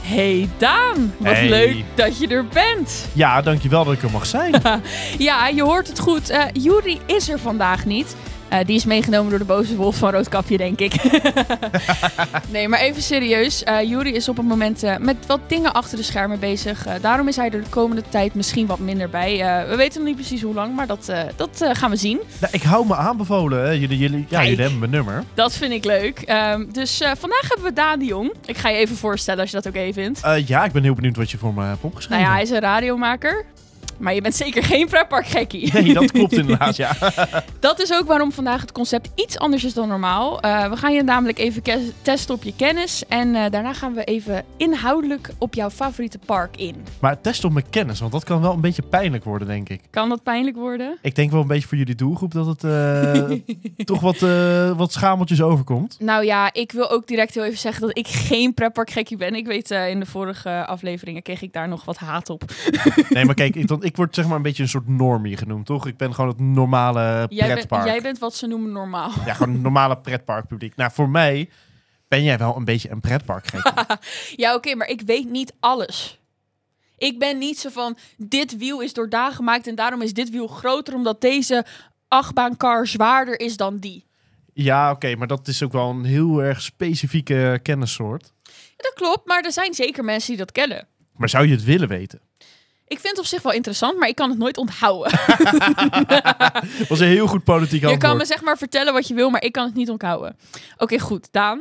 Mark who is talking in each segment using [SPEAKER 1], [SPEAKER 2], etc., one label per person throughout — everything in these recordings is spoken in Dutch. [SPEAKER 1] Hey Daan, wat
[SPEAKER 2] Hey.
[SPEAKER 1] leuk dat je er bent.
[SPEAKER 2] Ja, dankjewel dat ik er mag zijn.
[SPEAKER 1] Ja, je hoort het goed. Eh Juri is er vandaag niet. Eh, die is meegenomen door de boze wolf van Roodkapje, denk ik. nee, maar even serieus. Eh Juri is op het moment eh, met wat dingen achter de schermen bezig. Eh, daarom is hij er de komende tijd misschien wat minder bij. Eh, we weten nog niet precies hoe lang, maar dat, eh, dat eh, gaan we zien.
[SPEAKER 2] nou, ik hou me aanbevolen. hè. Jullie, jullie, ja,
[SPEAKER 1] Kijk.
[SPEAKER 2] jullie hebben mijn nummer.
[SPEAKER 1] Dat vind ik leuk. Ehm, dus eh, vandaag hebben we Daan de Jong. Ik ga je even voorstellen als je dat ook even vindt.
[SPEAKER 2] Eh, ja, ik ben heel benieuwd wat je voor me hebt
[SPEAKER 1] Nou
[SPEAKER 2] opgeschreven.
[SPEAKER 1] ja, hij is een radiomaker. Maar je bent zeker geen pretparkgekkie.
[SPEAKER 2] Nee, dat klopt inderdaad, ja.
[SPEAKER 1] Dat is ook waarom vandaag het concept iets anders is dan normaal. Eh, we gaan je namelijk even ke- testen op je kennis. En eh, daarna gaan we even inhoudelijk op jouw favoriete park in.
[SPEAKER 2] Maar test op mijn kennis, want dat kan wel een beetje pijnlijk worden, denk ik.
[SPEAKER 1] Kan dat pijnlijk worden?
[SPEAKER 2] Ik denk wel een beetje voor jullie doelgroep dat het eh, toch wat, eh, wat schameltjes overkomt.
[SPEAKER 1] Nou ja, ik wil ook direct heel even zeggen dat ik geen pretparkgekkie ben. Ik weet, eh, in de vorige afleveringen kreeg ik daar nog wat haat op.
[SPEAKER 2] Nee, maar kijk, ik, dan, ik word zeg maar een beetje een soort normie genoemd, toch? Ik ben gewoon het normale
[SPEAKER 1] Jij, bent-
[SPEAKER 2] pretpark.
[SPEAKER 1] jij bent wat ze noemen normaal.
[SPEAKER 2] Ja, gewoon het normale pretparkpubliek. Nou, voor mij ben jij wel een beetje een pretparkgek.
[SPEAKER 1] Ja, oké, maar ik weet niet alles. Ik ben niet zo van, dit wiel is door daar gemaakt en daarom is dit wiel groter omdat deze achtbaankar zwaarder is dan die.
[SPEAKER 2] Ja, oké, maar dat is ook wel een heel erg specifieke kennissoort.
[SPEAKER 1] Ja, dat klopt, maar er zijn zeker mensen die dat kennen.
[SPEAKER 2] Maar zou je het willen weten?
[SPEAKER 1] Ik vind het op zich wel interessant, maar ik kan het nooit onthouden.
[SPEAKER 2] Dat was een heel goed politiek
[SPEAKER 1] Je kan me
[SPEAKER 2] antwoord.
[SPEAKER 1] zeg maar vertellen wat je wil, maar ik kan het niet onthouden. Oké, goed, Daan.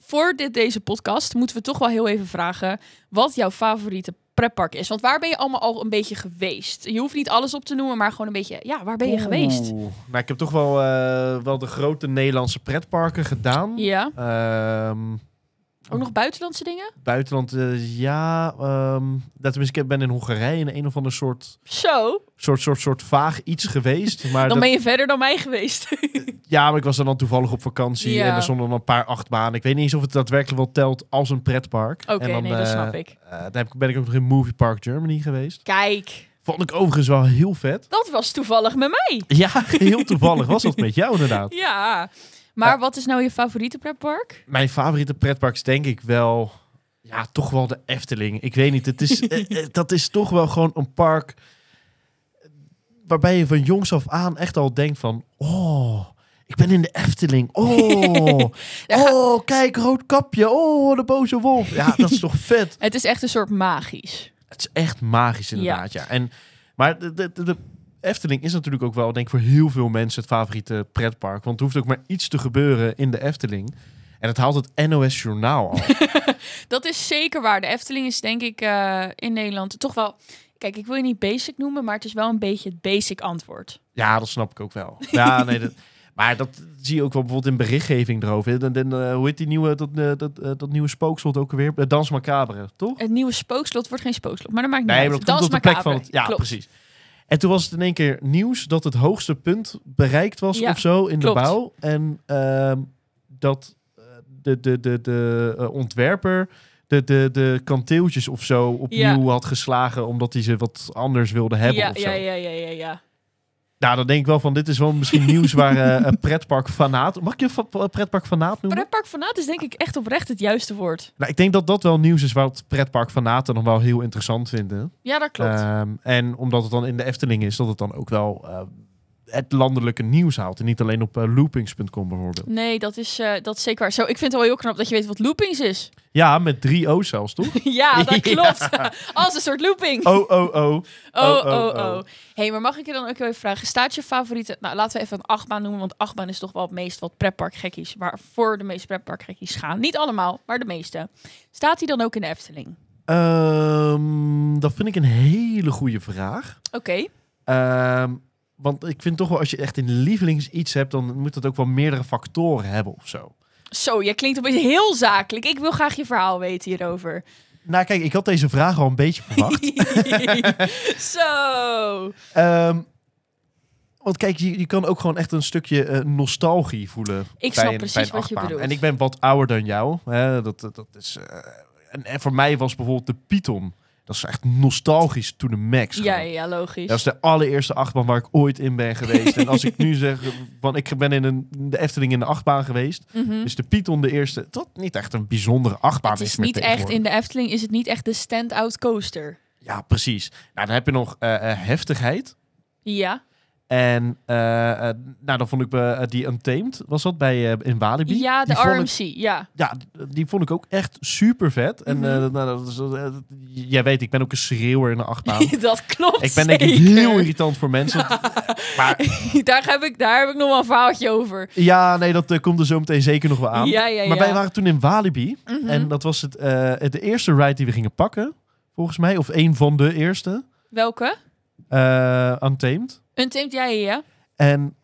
[SPEAKER 1] Voor dit, deze podcast moeten we toch wel heel even vragen wat jouw favoriete pretpark is. Want waar ben je allemaal al een beetje geweest? Je hoeft niet alles op te noemen, maar gewoon een beetje, ja, waar ben je geweest?
[SPEAKER 2] Oeh. Nou, ik heb toch wel, eh, wel de grote Nederlandse pretparken gedaan.
[SPEAKER 1] Ja,
[SPEAKER 2] Ehm,
[SPEAKER 1] ook nog buitenlandse dingen?
[SPEAKER 2] buitenland, eh, ja. ehm dat, tenminste, ik ben in Hongarije in een of ander soort,
[SPEAKER 1] Zo,
[SPEAKER 2] soort, soort, soort vaag iets geweest. Maar
[SPEAKER 1] dan
[SPEAKER 2] Ah, dat-
[SPEAKER 1] ben je verder dan mij geweest.
[SPEAKER 2] Ja, maar ik was dan, dan toevallig op vakantie
[SPEAKER 1] Ja.
[SPEAKER 2] en er stonden dan een paar achtbanen. Ik weet niet eens of het daadwerkelijk wel telt als een pretpark.
[SPEAKER 1] Oké,
[SPEAKER 2] En dan,
[SPEAKER 1] nee, dat
[SPEAKER 2] eh,
[SPEAKER 1] snap ik.
[SPEAKER 2] eh, daar heb ik- ben ik ook nog in Movie Park Germany geweest.
[SPEAKER 1] Kijk,
[SPEAKER 2] Vond ik overigens wel heel vet.
[SPEAKER 1] dat was toevallig met mij.
[SPEAKER 2] Ja, heel toevallig was dat met jou inderdaad.
[SPEAKER 1] Ja, maar wat is nou je favoriete pretpark?
[SPEAKER 2] Mijn favoriete pretpark is denk ik wel... Ja, toch wel de Efteling. Ik weet niet, het is, eh, eh, dat is toch wel gewoon een park... waarbij je van jongs af aan echt al denkt van... Oh, ik ben in de Efteling. Oh, oh kijk, rood kapje. Oh, de boze wolf. Ja, dat is toch vet.
[SPEAKER 1] Het is echt een soort magisch.
[SPEAKER 2] Het is echt magisch inderdaad, ja. En, maar de, de, de, de Efteling is natuurlijk ook wel, denk ik, voor heel veel mensen het favoriete pretpark. Want er hoeft ook maar iets te gebeuren in de Efteling. En het haalt het NOS Journaal af.
[SPEAKER 1] Dat is zeker waar. De Efteling is denk ik eh, in Nederland toch wel... Kijk, ik wil je niet basic noemen, maar het is wel een beetje het basic antwoord.
[SPEAKER 2] ja, dat snap ik ook wel. Ja, nee, dat, maar dat zie je ook wel bijvoorbeeld in berichtgeving erover. Dan, dan, eh, hoe heet die nieuwe, dat, eh, dat, eh, dat nieuwe spookslot ook alweer? Eh, Dans Macabre, toch?
[SPEAKER 1] Het nieuwe spookslot wordt geen spookslot, maar dat maakt niet
[SPEAKER 2] Nee,
[SPEAKER 1] uit.
[SPEAKER 2] maar dat
[SPEAKER 1] Dans
[SPEAKER 2] komt op de plek
[SPEAKER 1] Macabre.
[SPEAKER 2] van het... Ja,
[SPEAKER 1] Klopt.
[SPEAKER 2] precies. En toen was het in één keer nieuws dat het hoogste punt bereikt was
[SPEAKER 1] Ja,
[SPEAKER 2] of zo in
[SPEAKER 1] klopt.
[SPEAKER 2] de bouw. En ehm, dat eh, de, de, de, de eh, ontwerper de, de, de kanteeltjes of zo opnieuw had geslagen omdat hij ze wat anders wilde hebben
[SPEAKER 1] Ja,
[SPEAKER 2] of zo.
[SPEAKER 1] ja, ja, ja, ja, ja.
[SPEAKER 2] Nou, dan denk ik wel van dit is wel misschien nieuws waar eh, een pretpark fanaat... Mag ik je fa- eh, pretpark fanaat noemen?
[SPEAKER 1] Pretpark fanaat is denk ik echt oprecht het juiste woord.
[SPEAKER 2] nou, ik denk dat dat wel nieuws is wat pretpark fanaten nog wel heel interessant vinden.
[SPEAKER 1] Ja, dat klopt.
[SPEAKER 2] Ehm, en omdat het dan in de Efteling is, dat het dan ook wel eh, het landelijke nieuws haalt. En niet alleen op eh, loopings.com bijvoorbeeld.
[SPEAKER 1] Nee, dat is, eh, dat is zeker waar. Zo, ik vind het wel heel knap dat je weet wat loopings is.
[SPEAKER 2] Ja, met drie O's zelfs, toch?
[SPEAKER 1] ja, dat
[SPEAKER 2] Ja.
[SPEAKER 1] klopt. Als een soort looping. Oh,
[SPEAKER 2] Oh, oh, oh.
[SPEAKER 1] oh,
[SPEAKER 2] oh,
[SPEAKER 1] oh.
[SPEAKER 2] oh.
[SPEAKER 1] Hé, hey, maar mag ik je dan ook heel even vragen? Staat je favoriete... Nou, laten we even een achtbaan noemen, want achtbaan is toch wel het meest wat pretparkgekkies... waarvoor de meeste pretparkgekkies gaan. Niet allemaal, maar de meeste. Staat die dan ook in de Efteling? Oké.
[SPEAKER 2] Ehm, dat vind ik een hele goede vraag. Ehm, want ik vind toch wel, als je echt in lievelings iets hebt, dan moet dat ook wel meerdere factoren hebben of zo.
[SPEAKER 1] Zo, jij klinkt een beetje heel zakelijk. Ik wil graag je verhaal weten hierover.
[SPEAKER 2] Nou, kijk, ik had deze vraag al een beetje verwacht.
[SPEAKER 1] Zo.
[SPEAKER 2] Ehm, want kijk, je, je kan ook gewoon echt een stukje eh, nostalgie voelen.
[SPEAKER 1] Ik
[SPEAKER 2] bij
[SPEAKER 1] snap
[SPEAKER 2] een-
[SPEAKER 1] precies
[SPEAKER 2] bij een
[SPEAKER 1] wat je
[SPEAKER 2] achtbaan.
[SPEAKER 1] bedoelt.
[SPEAKER 2] En ik ben wat ouder dan jou. Hè? Dat, dat, dat is, eh, en, en voor mij was bijvoorbeeld de Python. Dat is echt nostalgisch toen de max.
[SPEAKER 1] Ja,
[SPEAKER 2] gewoon.
[SPEAKER 1] ja, logisch.
[SPEAKER 2] Dat is de allereerste achtbaan waar ik ooit in ben geweest. en als ik nu zeg, want ik ben in een, de Efteling in de achtbaan geweest,
[SPEAKER 1] Mhm.
[SPEAKER 2] is de Python de eerste. Dat niet echt een bijzondere achtbaan
[SPEAKER 1] het is
[SPEAKER 2] meer
[SPEAKER 1] niet echt,
[SPEAKER 2] tegenwoordig.
[SPEAKER 1] in de Efteling is het niet echt de stand-out coaster.
[SPEAKER 2] Ja, precies. Nou, dan heb je nog eh, eh, heftigheid.
[SPEAKER 1] Ja.
[SPEAKER 2] En eh, eh, nou, dan vond ik eh, die Untamed, was dat bij eh, in Walibi?
[SPEAKER 1] Ja, de
[SPEAKER 2] Die vond ik-
[SPEAKER 1] RMC, ja.
[SPEAKER 2] Ja, die vond ik ook echt super vet. En
[SPEAKER 1] Mhm.
[SPEAKER 2] eh, nou, dat is, eh, jij weet, ik ben ook een schreeuwer in de achtbaan.
[SPEAKER 1] dat klopt
[SPEAKER 2] ik ben denk ik
[SPEAKER 1] zeker.
[SPEAKER 2] heel irritant voor mensen. maar
[SPEAKER 1] daar, heb ik, daar heb ik nog wel een verhaaltje over.
[SPEAKER 2] ja, nee, dat eh, komt er zo meteen zeker nog wel aan.
[SPEAKER 1] Ja, ja, ja.
[SPEAKER 2] Maar wij waren toen in Walibi.
[SPEAKER 1] Mhm.
[SPEAKER 2] En dat was het, eh, het- de eerste ride die we gingen pakken, volgens mij. Of een van de eerste.
[SPEAKER 1] Welke?
[SPEAKER 2] eh Untamed.
[SPEAKER 1] Een teemt jij, ja?
[SPEAKER 2] En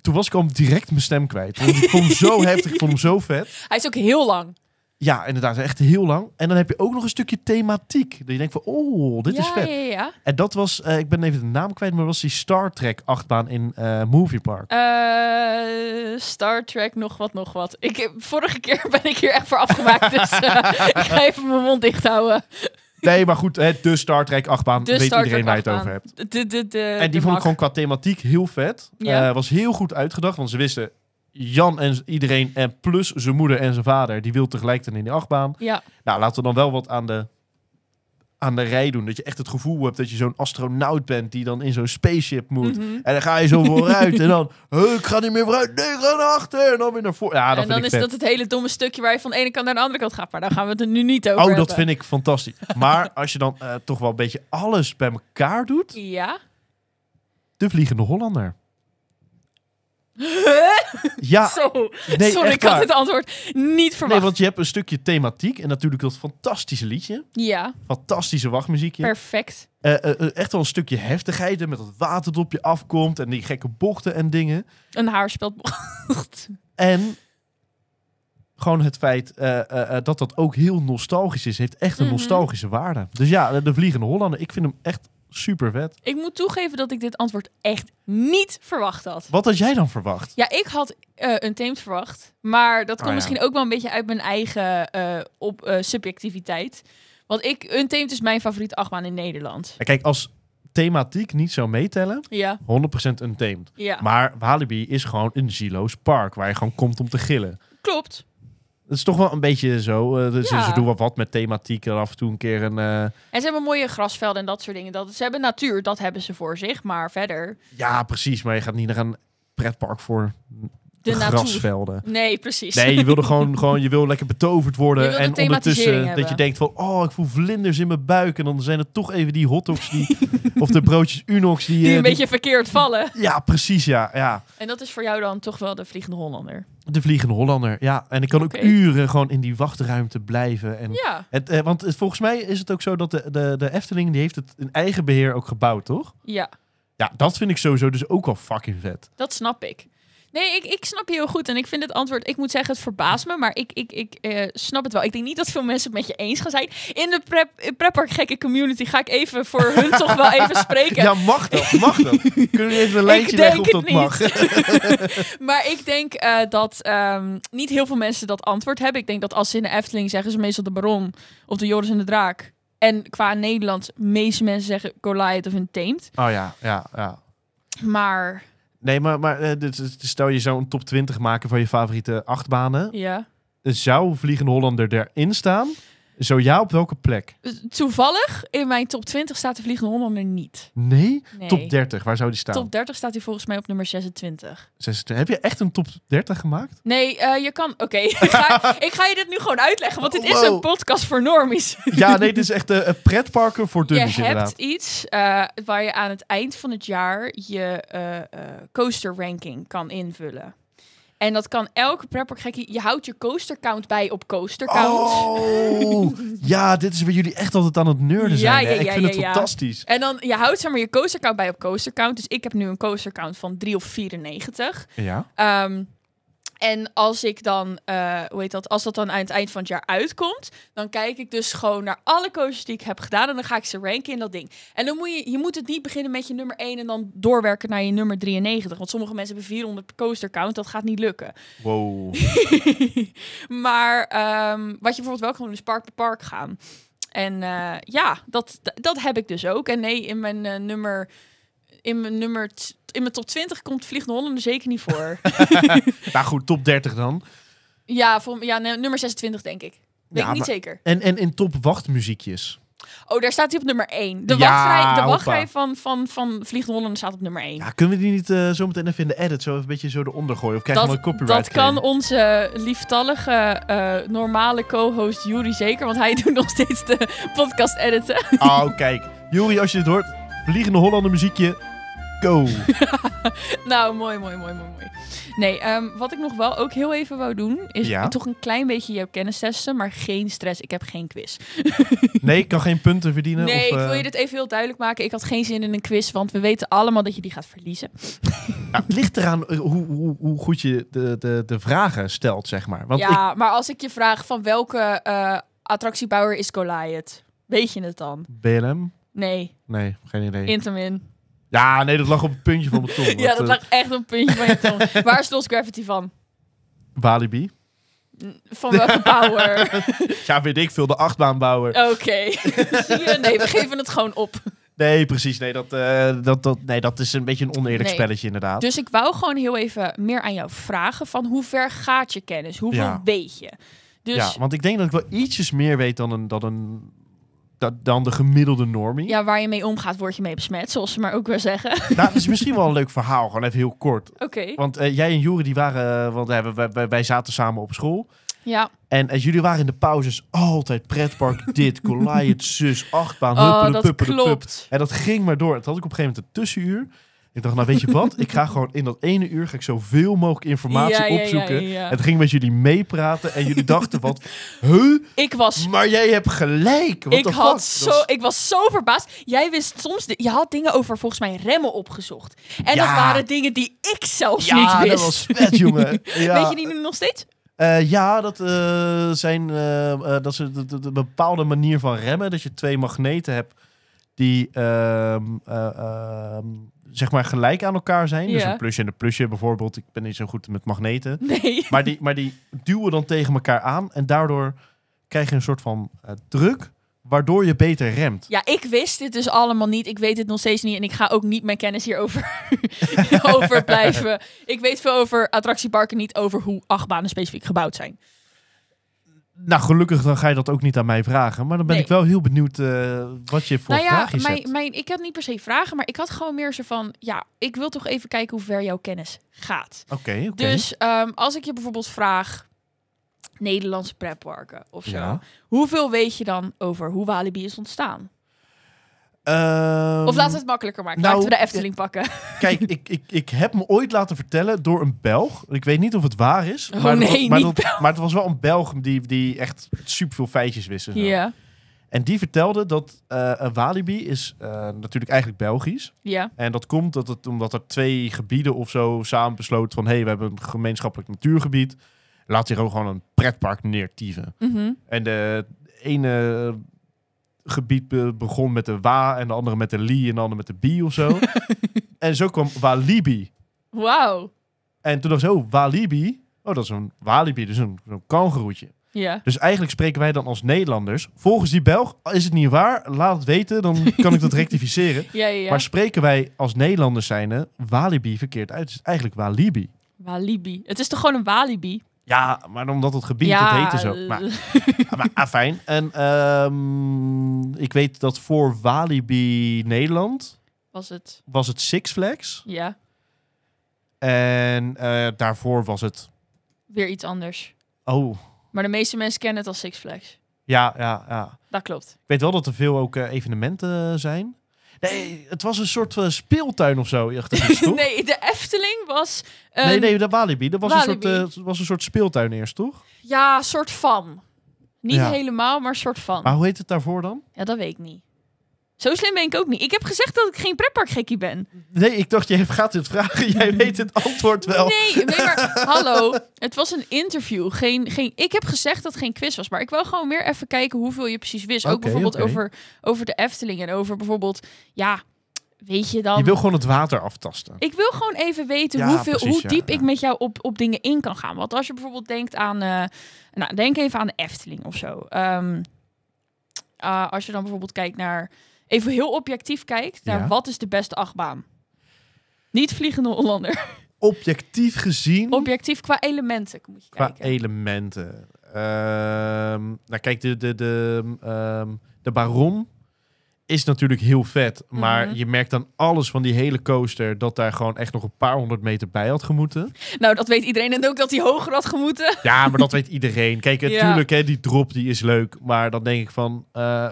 [SPEAKER 2] toen was ik al direct mijn stem kwijt. Want ik vond hem zo heftig, ik vond hem zo vet.
[SPEAKER 1] Hij is ook heel lang.
[SPEAKER 2] Ja, inderdaad, echt heel lang. En dan heb je ook nog een stukje thematiek. Dat je denkt van, oh, dit
[SPEAKER 1] ja,
[SPEAKER 2] is vet.
[SPEAKER 1] Ja, ja, ja.
[SPEAKER 2] En dat was, eh, ik ben even de naam kwijt, maar was die Star Trek achtbaan in eh Movie Park.
[SPEAKER 1] Eh, Star Trek, nog wat, nog wat. Ik, heb- vorige keer ben ik hier echt voor afgemaakt, dus eh, ik ga even mijn mond dicht houden.
[SPEAKER 2] Nee, maar goed, hè, de Star Trek achtbaan,
[SPEAKER 1] De
[SPEAKER 2] weet
[SPEAKER 1] Star
[SPEAKER 2] iedereen waar je
[SPEAKER 1] Trek
[SPEAKER 2] het over hebt.
[SPEAKER 1] De, de, de, de-
[SPEAKER 2] En
[SPEAKER 1] de
[SPEAKER 2] die vond ik
[SPEAKER 1] mak.
[SPEAKER 2] gewoon qua thematiek heel vet.
[SPEAKER 1] Ja.
[SPEAKER 2] Eh, was heel goed uitgedacht, want ze wisten... Jan en z- iedereen, en plus zijn moeder en zijn vader... die wil tegelijkertijd in die achtbaan.
[SPEAKER 1] Ja,
[SPEAKER 2] Nou, laten we dan wel wat aan de, aan de rij doen. Dat je echt het gevoel hebt dat je zo'n astronaut bent... die dan in zo'n spaceship moet.
[SPEAKER 1] mhm.
[SPEAKER 2] En dan ga je zo vooruit. en dan, "Huh, ik ga niet meer vooruit. Nee, ik ga naar achter. En dan weer naar voren. Ja,
[SPEAKER 1] en
[SPEAKER 2] dat vind
[SPEAKER 1] dan
[SPEAKER 2] ik
[SPEAKER 1] is
[SPEAKER 2] vet.
[SPEAKER 1] dat het hele domme stukje waar je van de ene kant naar de andere kant gaat. Maar daar gaan we het er nu niet over
[SPEAKER 2] Oh,
[SPEAKER 1] hebben.
[SPEAKER 2] dat vind ik fantastisch. Maar als je dan eh, toch wel een beetje alles bij elkaar doet...
[SPEAKER 1] Ja?
[SPEAKER 2] De Vliegende Hollander. Ja,
[SPEAKER 1] Zo.
[SPEAKER 2] Ah. nee,
[SPEAKER 1] Sorry,
[SPEAKER 2] echt
[SPEAKER 1] ik had
[SPEAKER 2] waar.
[SPEAKER 1] het antwoord niet
[SPEAKER 2] Nee,
[SPEAKER 1] verwacht.
[SPEAKER 2] want je hebt een stukje thematiek en natuurlijk dat fantastische liedje.
[SPEAKER 1] Ja,
[SPEAKER 2] Fantastische wachtmuziekje.
[SPEAKER 1] perfect.
[SPEAKER 2] Eh, eh, eh, echt wel een stukje heftigheid en met dat water dat op je afkomt en die gekke bochten en dingen.
[SPEAKER 1] Een haarspeld.
[SPEAKER 2] En gewoon het feit eh, eh, eh, dat dat ook heel nostalgisch is, heeft echt een
[SPEAKER 1] Mhm.
[SPEAKER 2] nostalgische waarde. Dus ja, eh, de Vliegende Hollander, ik vind hem echt super vet.
[SPEAKER 1] ik moet toegeven dat ik dit antwoord echt niet verwacht had.
[SPEAKER 2] Wat had jij dan verwacht?
[SPEAKER 1] Ja, ik had eh een teemt verwacht. Maar dat komt
[SPEAKER 2] Oh, ja.
[SPEAKER 1] misschien ook wel een beetje uit mijn eigen eh, op, eh, subjectiviteit. Want ik, een teemt is mijn favoriete achtbaan in Nederland.
[SPEAKER 2] Nou, Kijk, als thematiek niet zou meetellen,
[SPEAKER 1] Ja,
[SPEAKER 2] 100% untamed.
[SPEAKER 1] ja.
[SPEAKER 2] Maar Walibi is gewoon een zieloos park waar je gewoon komt om te gillen.
[SPEAKER 1] klopt.
[SPEAKER 2] Het is toch wel een beetje zo. eh, dus
[SPEAKER 1] Ja.
[SPEAKER 2] Ze doen wel wat met thematiek en af en toe een keer een... eh,
[SPEAKER 1] En ze hebben mooie grasvelden en dat soort dingen. Dat, ze hebben natuur, dat hebben ze voor zich. Maar verder,
[SPEAKER 2] ja, precies. Maar je gaat niet naar een pretpark voor
[SPEAKER 1] de natuur.
[SPEAKER 2] grasvelden.
[SPEAKER 1] Nee, precies.
[SPEAKER 2] Nee, je wilde gewoon, gewoon je wil lekker betooverd
[SPEAKER 1] Je
[SPEAKER 2] worden.
[SPEAKER 1] wil de
[SPEAKER 2] En
[SPEAKER 1] thematisering
[SPEAKER 2] ondertussen dat
[SPEAKER 1] hebben.
[SPEAKER 2] je denkt van... Oh, ik voel vlinders in mijn buik. En dan zijn het toch even die hotdogs die... of de broodjes Unox die...
[SPEAKER 1] Die
[SPEAKER 2] eh,
[SPEAKER 1] een
[SPEAKER 2] die-
[SPEAKER 1] beetje verkeerd vallen.
[SPEAKER 2] Ja, precies. Ja, ja.
[SPEAKER 1] En dat is voor jou dan toch wel de Vliegende Hollander.
[SPEAKER 2] De Vliegende Hollander. Ja, en ik kan
[SPEAKER 1] Oké.
[SPEAKER 2] ook uren gewoon in die wachtruimte blijven. En
[SPEAKER 1] Ja,
[SPEAKER 2] het, eh, want het, volgens mij is het ook zo dat de, de, de Efteling... die heeft het in eigen beheer ook gebouwd, toch?
[SPEAKER 1] ja,
[SPEAKER 2] Ja, dat vind ik sowieso dus ook al fucking vet.
[SPEAKER 1] dat snap ik. Nee, ik, ik snap je heel goed. En ik vind het antwoord, ik moet zeggen, het verbaast me. Maar ik, ik, ik eh, snap het wel. Ik denk niet dat veel mensen het met je eens gaan zijn. In de prep, prepper gekke community ga ik even voor hun toch wel even spreken.
[SPEAKER 2] Ja, mag dat? Mag dat? Kunnen we even een
[SPEAKER 1] Ik
[SPEAKER 2] lijntje leggen of
[SPEAKER 1] denk
[SPEAKER 2] dat
[SPEAKER 1] het
[SPEAKER 2] mag?
[SPEAKER 1] Maar ik denk eh, dat ehm, niet heel veel mensen dat antwoord hebben. Ik denk dat als ze in de Efteling zeggen ze meestal de Baron of de Joris en de Draak. En qua Nederland, meeste mensen zeggen Goliath of een Tamed.
[SPEAKER 2] Oh ja, ja, ja.
[SPEAKER 1] Maar
[SPEAKER 2] Nee, maar, maar eh, dit- dit- stel je zou een top 20 maken van je favoriete achtbanen.
[SPEAKER 1] ja.
[SPEAKER 2] Zou Vliegende Hollander erin staan? Zo ja, op welke plek?
[SPEAKER 1] Toevallig, in mijn top 20 staat de Vliegende Hollander niet.
[SPEAKER 2] Nee?
[SPEAKER 1] Nee.
[SPEAKER 2] Top 30, waar zou die staan?
[SPEAKER 1] Top 30 staat hij volgens mij op nummer 26.
[SPEAKER 2] 26. Heb je echt een top 30 gemaakt?
[SPEAKER 1] Nee, eh, je kan... Oké, ik, ga, ik ga je dit nu gewoon uitleggen, want dit is
[SPEAKER 2] Wow.
[SPEAKER 1] een podcast voor normies.
[SPEAKER 2] ja, nee, dit is echt eh, een pretparken voor
[SPEAKER 1] Je
[SPEAKER 2] dummies
[SPEAKER 1] hebt
[SPEAKER 2] inderdaad.
[SPEAKER 1] iets eh, waar je aan het eind van het jaar je eh, eh, coaster ranking kan invullen. En dat kan elke prepper gekkie. Je houdt je coaster count bij op coaster count.
[SPEAKER 2] Oh, ja, dit is waar jullie echt altijd aan het
[SPEAKER 1] Ja,
[SPEAKER 2] nerden zijn. hè?
[SPEAKER 1] ja,
[SPEAKER 2] Ik
[SPEAKER 1] ja,
[SPEAKER 2] vind
[SPEAKER 1] ja,
[SPEAKER 2] het
[SPEAKER 1] ja.
[SPEAKER 2] fantastisch.
[SPEAKER 1] En dan je houdt zeg maar je coaster count bij op coaster count. Dus ik heb nu een coaster count van 3 of 94.
[SPEAKER 2] Ja.
[SPEAKER 1] Ehm, en als ik dan, eh, hoe heet dat, als dat dan aan het eind van het jaar uitkomt, dan kijk ik dus gewoon naar alle coaches die ik heb gedaan en dan ga ik ze ranken in dat ding. En dan moet je, je moet het niet beginnen met je nummer 1 en dan doorwerken naar je nummer 93, want sommige mensen hebben 400 per coaster count, dat gaat niet lukken.
[SPEAKER 2] Wow.
[SPEAKER 1] maar ehm, wat je bijvoorbeeld wel kan doen is park per park gaan. En eh, ja, dat, d- dat heb ik dus ook. En nee, in mijn eh, nummer... In mijn, nummer t- in mijn top 20 komt Vliegende Hollander zeker niet voor.
[SPEAKER 2] Nou goed, top 30 dan.
[SPEAKER 1] ja, voor, ja, nee, nummer 26 denk ik. Weet
[SPEAKER 2] Ja,
[SPEAKER 1] ik niet
[SPEAKER 2] maar-
[SPEAKER 1] zeker.
[SPEAKER 2] En, en, en top wachtmuziekjes.
[SPEAKER 1] Oh, daar staat hij op nummer 1. De
[SPEAKER 2] Ja,
[SPEAKER 1] wachtrij, de
[SPEAKER 2] hoppa.
[SPEAKER 1] wachtrij van, van, van Vliegende Hollander staat op nummer 1.
[SPEAKER 2] Ja, kunnen we die niet eh, zo meteen even in de edit zo even een beetje zo eronder gooien? Of krijgen we een copyright
[SPEAKER 1] dat kan
[SPEAKER 2] claim?
[SPEAKER 1] onze lieftallige, eh, normale co-host Juri zeker. Want hij doet nog steeds de podcast editen.
[SPEAKER 2] Oh, kijk. Juri, als je dit hoort, vliegende Hollander muziekje, go.
[SPEAKER 1] nou, mooi, mooi, mooi, mooi, mooi. Nee, ehm, wat ik nog wel ook heel even wou doen... is
[SPEAKER 2] Ja?
[SPEAKER 1] toch een klein beetje jouw kennis testen. Maar geen stress, ik heb geen quiz.
[SPEAKER 2] Nee, ik kan geen punten verdienen.
[SPEAKER 1] Nee,
[SPEAKER 2] of,
[SPEAKER 1] ik wil
[SPEAKER 2] eh,
[SPEAKER 1] je dit even heel duidelijk maken. Ik had geen zin in een quiz, want we weten allemaal dat je die gaat verliezen.
[SPEAKER 2] nou, het ligt eraan eh, hoe, hoe, hoe goed je de, de, de vragen stelt, zeg maar. Want ik,
[SPEAKER 1] ja, maar als ik je vraag van welke eh, attractiebouwer is Goliath? Weet je het dan?
[SPEAKER 2] BLM?
[SPEAKER 1] Nee,
[SPEAKER 2] Nee, geen idee.
[SPEAKER 1] Intamin.
[SPEAKER 2] Ja, nee, dat lag op het puntje van mijn tong.
[SPEAKER 1] Ja,
[SPEAKER 2] want,
[SPEAKER 1] dat
[SPEAKER 2] eh,
[SPEAKER 1] lag echt op een puntje van je tong. Waar is Lost Gravity van?
[SPEAKER 2] Walibi.
[SPEAKER 1] Van welke power?
[SPEAKER 2] Ja, weet ik veel, de achtbaanbouwer.
[SPEAKER 1] Oké. Zie je? Nee, we geven het gewoon op.
[SPEAKER 2] Nee, precies. Nee dat, eh, dat, dat, nee, dat is een beetje een oneerlijk
[SPEAKER 1] Nee.
[SPEAKER 2] spelletje inderdaad.
[SPEAKER 1] Dus ik wou gewoon heel even meer aan jou vragen van hoe ver gaat je kennis? Hoeveel
[SPEAKER 2] Ja.
[SPEAKER 1] weet je? Dus ja,
[SPEAKER 2] Ja, want ik denk dat ik wel ietsjes meer weet dan, een, dan, een, da- dan de gemiddelde normie.
[SPEAKER 1] waar je mee omgaat word je mee besmet, zoals ze maar ook weer zeggen. Oké.
[SPEAKER 2] Nou, dat is misschien wel een leuk verhaal, gewoon even heel kort. Want eh, jij en Jure, die waren, eh, want eh, wij, wij, wij zaten samen op school.
[SPEAKER 1] Ja.
[SPEAKER 2] En eh, jullie waren in de pauzes altijd pretpark, dit, Goliath, zus, achtbaan,
[SPEAKER 1] Oh,
[SPEAKER 2] huppelen,
[SPEAKER 1] dat
[SPEAKER 2] puppelen, pup.
[SPEAKER 1] klopt.
[SPEAKER 2] En dat ging maar door. En toen had ik op een gegeven moment een tussenuur. Ik dacht, nou weet je wat, ik ga gewoon in dat ene uur ga ik zoveel mogelijk informatie
[SPEAKER 1] Ja, ja, ja,
[SPEAKER 2] opzoeken.
[SPEAKER 1] ja.
[SPEAKER 2] En toen ging ik met jullie meepraten en jullie dachten wat, huh?
[SPEAKER 1] Ik was
[SPEAKER 2] Maar jij hebt gelijk. What
[SPEAKER 1] ik,
[SPEAKER 2] the
[SPEAKER 1] had
[SPEAKER 2] fuck?
[SPEAKER 1] zo,
[SPEAKER 2] Dat is-
[SPEAKER 1] ik was zo verbaasd. Jij wist soms... de- je had dingen over volgens mij remmen opgezocht. En dat
[SPEAKER 2] Ja.
[SPEAKER 1] waren dingen die ik zelfs
[SPEAKER 2] Ja,
[SPEAKER 1] niet
[SPEAKER 2] dat
[SPEAKER 1] wist.
[SPEAKER 2] was vet, jongen. Ja,
[SPEAKER 1] Weet je die nu nog steeds?
[SPEAKER 2] Eh, ja dat eh, zijn eh, eh, dat ze de, de- de bepaalde manier van remmen. Dat je twee magneten hebt die ehm, eh, ehm, zeg maar gelijk aan elkaar zijn. Dus
[SPEAKER 1] Ja.
[SPEAKER 2] een plusje en een plusje bijvoorbeeld. Ik ben niet zo goed met magneten.
[SPEAKER 1] Nee.
[SPEAKER 2] Maar die, maar die duwen dan tegen elkaar aan. En daardoor krijg je een soort van eh, druk. Waardoor je beter remt.
[SPEAKER 1] Ja, ik wist dit dus allemaal niet. Ik weet het nog steeds niet. En ik ga ook niet mijn kennis hierover over blijven. Ik weet veel over attractieparken, niet over hoe achtbanen specifiek gebouwd zijn.
[SPEAKER 2] Nou, gelukkig dan ga je dat ook niet aan mij vragen. Maar dan ben
[SPEAKER 1] Nee.
[SPEAKER 2] ik wel heel benieuwd eh, wat je voor
[SPEAKER 1] nou ja,
[SPEAKER 2] vraagjes
[SPEAKER 1] mijn,
[SPEAKER 2] hebt.
[SPEAKER 1] mijn, ik had niet per se vragen, maar ik had gewoon meer zo van... Ja, ik wil toch even kijken hoe ver jouw kennis gaat.
[SPEAKER 2] Oké, oké.
[SPEAKER 1] Dus ehm, als ik je bijvoorbeeld vraag Nederlandse pretparken of zo,
[SPEAKER 2] Ja.
[SPEAKER 1] hoeveel weet je dan over hoe Walibi is ontstaan?
[SPEAKER 2] Ehm,
[SPEAKER 1] of laten we het makkelijker maken.
[SPEAKER 2] nou,
[SPEAKER 1] laten we de Efteling pakken.
[SPEAKER 2] Kijk, ik, ik, ik heb me ooit laten vertellen door een Belg. Ik weet niet of het waar is.
[SPEAKER 1] Oh,
[SPEAKER 2] maar,
[SPEAKER 1] nee,
[SPEAKER 2] dat, maar,
[SPEAKER 1] niet
[SPEAKER 2] dat, maar het was wel een Belg die, die echt superveel feitjes wist. En, zo.
[SPEAKER 1] Ja,
[SPEAKER 2] en die vertelde dat eh, een Walibi is eh, natuurlijk eigenlijk Belgisch.
[SPEAKER 1] ja,
[SPEAKER 2] En dat komt dat het, omdat er twee gebieden of zo samen besloten van... hé, hey, we hebben een gemeenschappelijk natuurgebied. Laat hier ook gewoon een pretpark neertieven.
[SPEAKER 1] mhm,
[SPEAKER 2] En de ene gebied be- begon met de Wa en de andere met de Li en de andere met de Bi of zo. en zo kwam Walibi.
[SPEAKER 1] Wauw.
[SPEAKER 2] En toen dacht ze, oh, Walibi. Oh, dat is een Walibi, dus een, een kangoeroetje.
[SPEAKER 1] Ja.
[SPEAKER 2] Dus eigenlijk spreken wij dan als Nederlanders... volgens die Belg, is het niet waar? Laat het weten, dan kan ik dat rectificeren.
[SPEAKER 1] Ja, ja, ja.
[SPEAKER 2] Maar spreken wij als Nederlanders zijnde Walibi verkeerd uit? Het is eigenlijk Walibi.
[SPEAKER 1] Walibi. Het is toch gewoon een Walibi?
[SPEAKER 2] Ja, maar omdat het gebied, dat heette zo. Maar, maar afijn. En ehm, ik weet dat voor Walibi Nederland
[SPEAKER 1] was het.
[SPEAKER 2] was het Six Flags.
[SPEAKER 1] Ja,
[SPEAKER 2] En eh, daarvoor was het...
[SPEAKER 1] weer iets anders.
[SPEAKER 2] Oh,
[SPEAKER 1] Maar de meeste mensen kennen het als Six Flags.
[SPEAKER 2] ja, ja, ja.
[SPEAKER 1] Dat klopt.
[SPEAKER 2] Ik weet wel dat er veel ook eh, evenementen zijn. Nee, het was een soort van speeltuin of zo. Achter iets, toch?
[SPEAKER 1] Nee, de Efteling was. een-
[SPEAKER 2] nee, nee, dat Walibi. Dat was,
[SPEAKER 1] Walibi.
[SPEAKER 2] Een soort, eh, was een soort speeltuin eerst, toch?
[SPEAKER 1] Ja, soort van. Niet
[SPEAKER 2] Ja.
[SPEAKER 1] helemaal, maar soort van.
[SPEAKER 2] Maar hoe heet het daarvoor dan?
[SPEAKER 1] Ja, dat weet ik niet. Zo slim ben ik ook niet. Ik heb gezegd dat ik geen pretparkgekkie ben.
[SPEAKER 2] Nee, ik dacht, jij gaat dit vragen. Jij weet het antwoord wel.
[SPEAKER 1] Nee, nee, maar hallo. Het was een interview. Geen, geen, ik heb gezegd dat het geen quiz was. Maar ik wil gewoon meer even kijken hoeveel je precies wist. ook
[SPEAKER 2] Oké,
[SPEAKER 1] bijvoorbeeld
[SPEAKER 2] oké.
[SPEAKER 1] over, over de Efteling. En over bijvoorbeeld, ja, weet je dan...
[SPEAKER 2] Je wil gewoon het water aftasten.
[SPEAKER 1] Ik wil gewoon even weten
[SPEAKER 2] Ja,
[SPEAKER 1] hoeveel,
[SPEAKER 2] precies,
[SPEAKER 1] hoe
[SPEAKER 2] ja,
[SPEAKER 1] diep
[SPEAKER 2] ja.
[SPEAKER 1] ik met jou op, op dingen in kan gaan. Want als je bijvoorbeeld denkt aan... eh, nou, denk even aan de Efteling of zo. Ehm, eh, als je dan bijvoorbeeld kijkt naar, even heel objectief kijkt, naar
[SPEAKER 2] Ja.
[SPEAKER 1] wat is de beste achtbaan? Niet Vliegende Hollander.
[SPEAKER 2] Objectief gezien,
[SPEAKER 1] Objectief qua elementen moet je
[SPEAKER 2] qua
[SPEAKER 1] kijken.
[SPEAKER 2] elementen. Ehm, nou kijk, de, de, de, ehm, de Baron is natuurlijk heel vet. Maar
[SPEAKER 1] Mhm.
[SPEAKER 2] je merkt aan alles van die hele coaster... dat daar gewoon echt nog een paar honderd meter bij had gemoeten.
[SPEAKER 1] Nou, dat weet iedereen en ook dat hij hoger had gemoeten.
[SPEAKER 2] Ja, maar dat weet iedereen. Kijk,
[SPEAKER 1] Ja.
[SPEAKER 2] natuurlijk, hè, die drop die is leuk. Maar dan denk ik van... eh,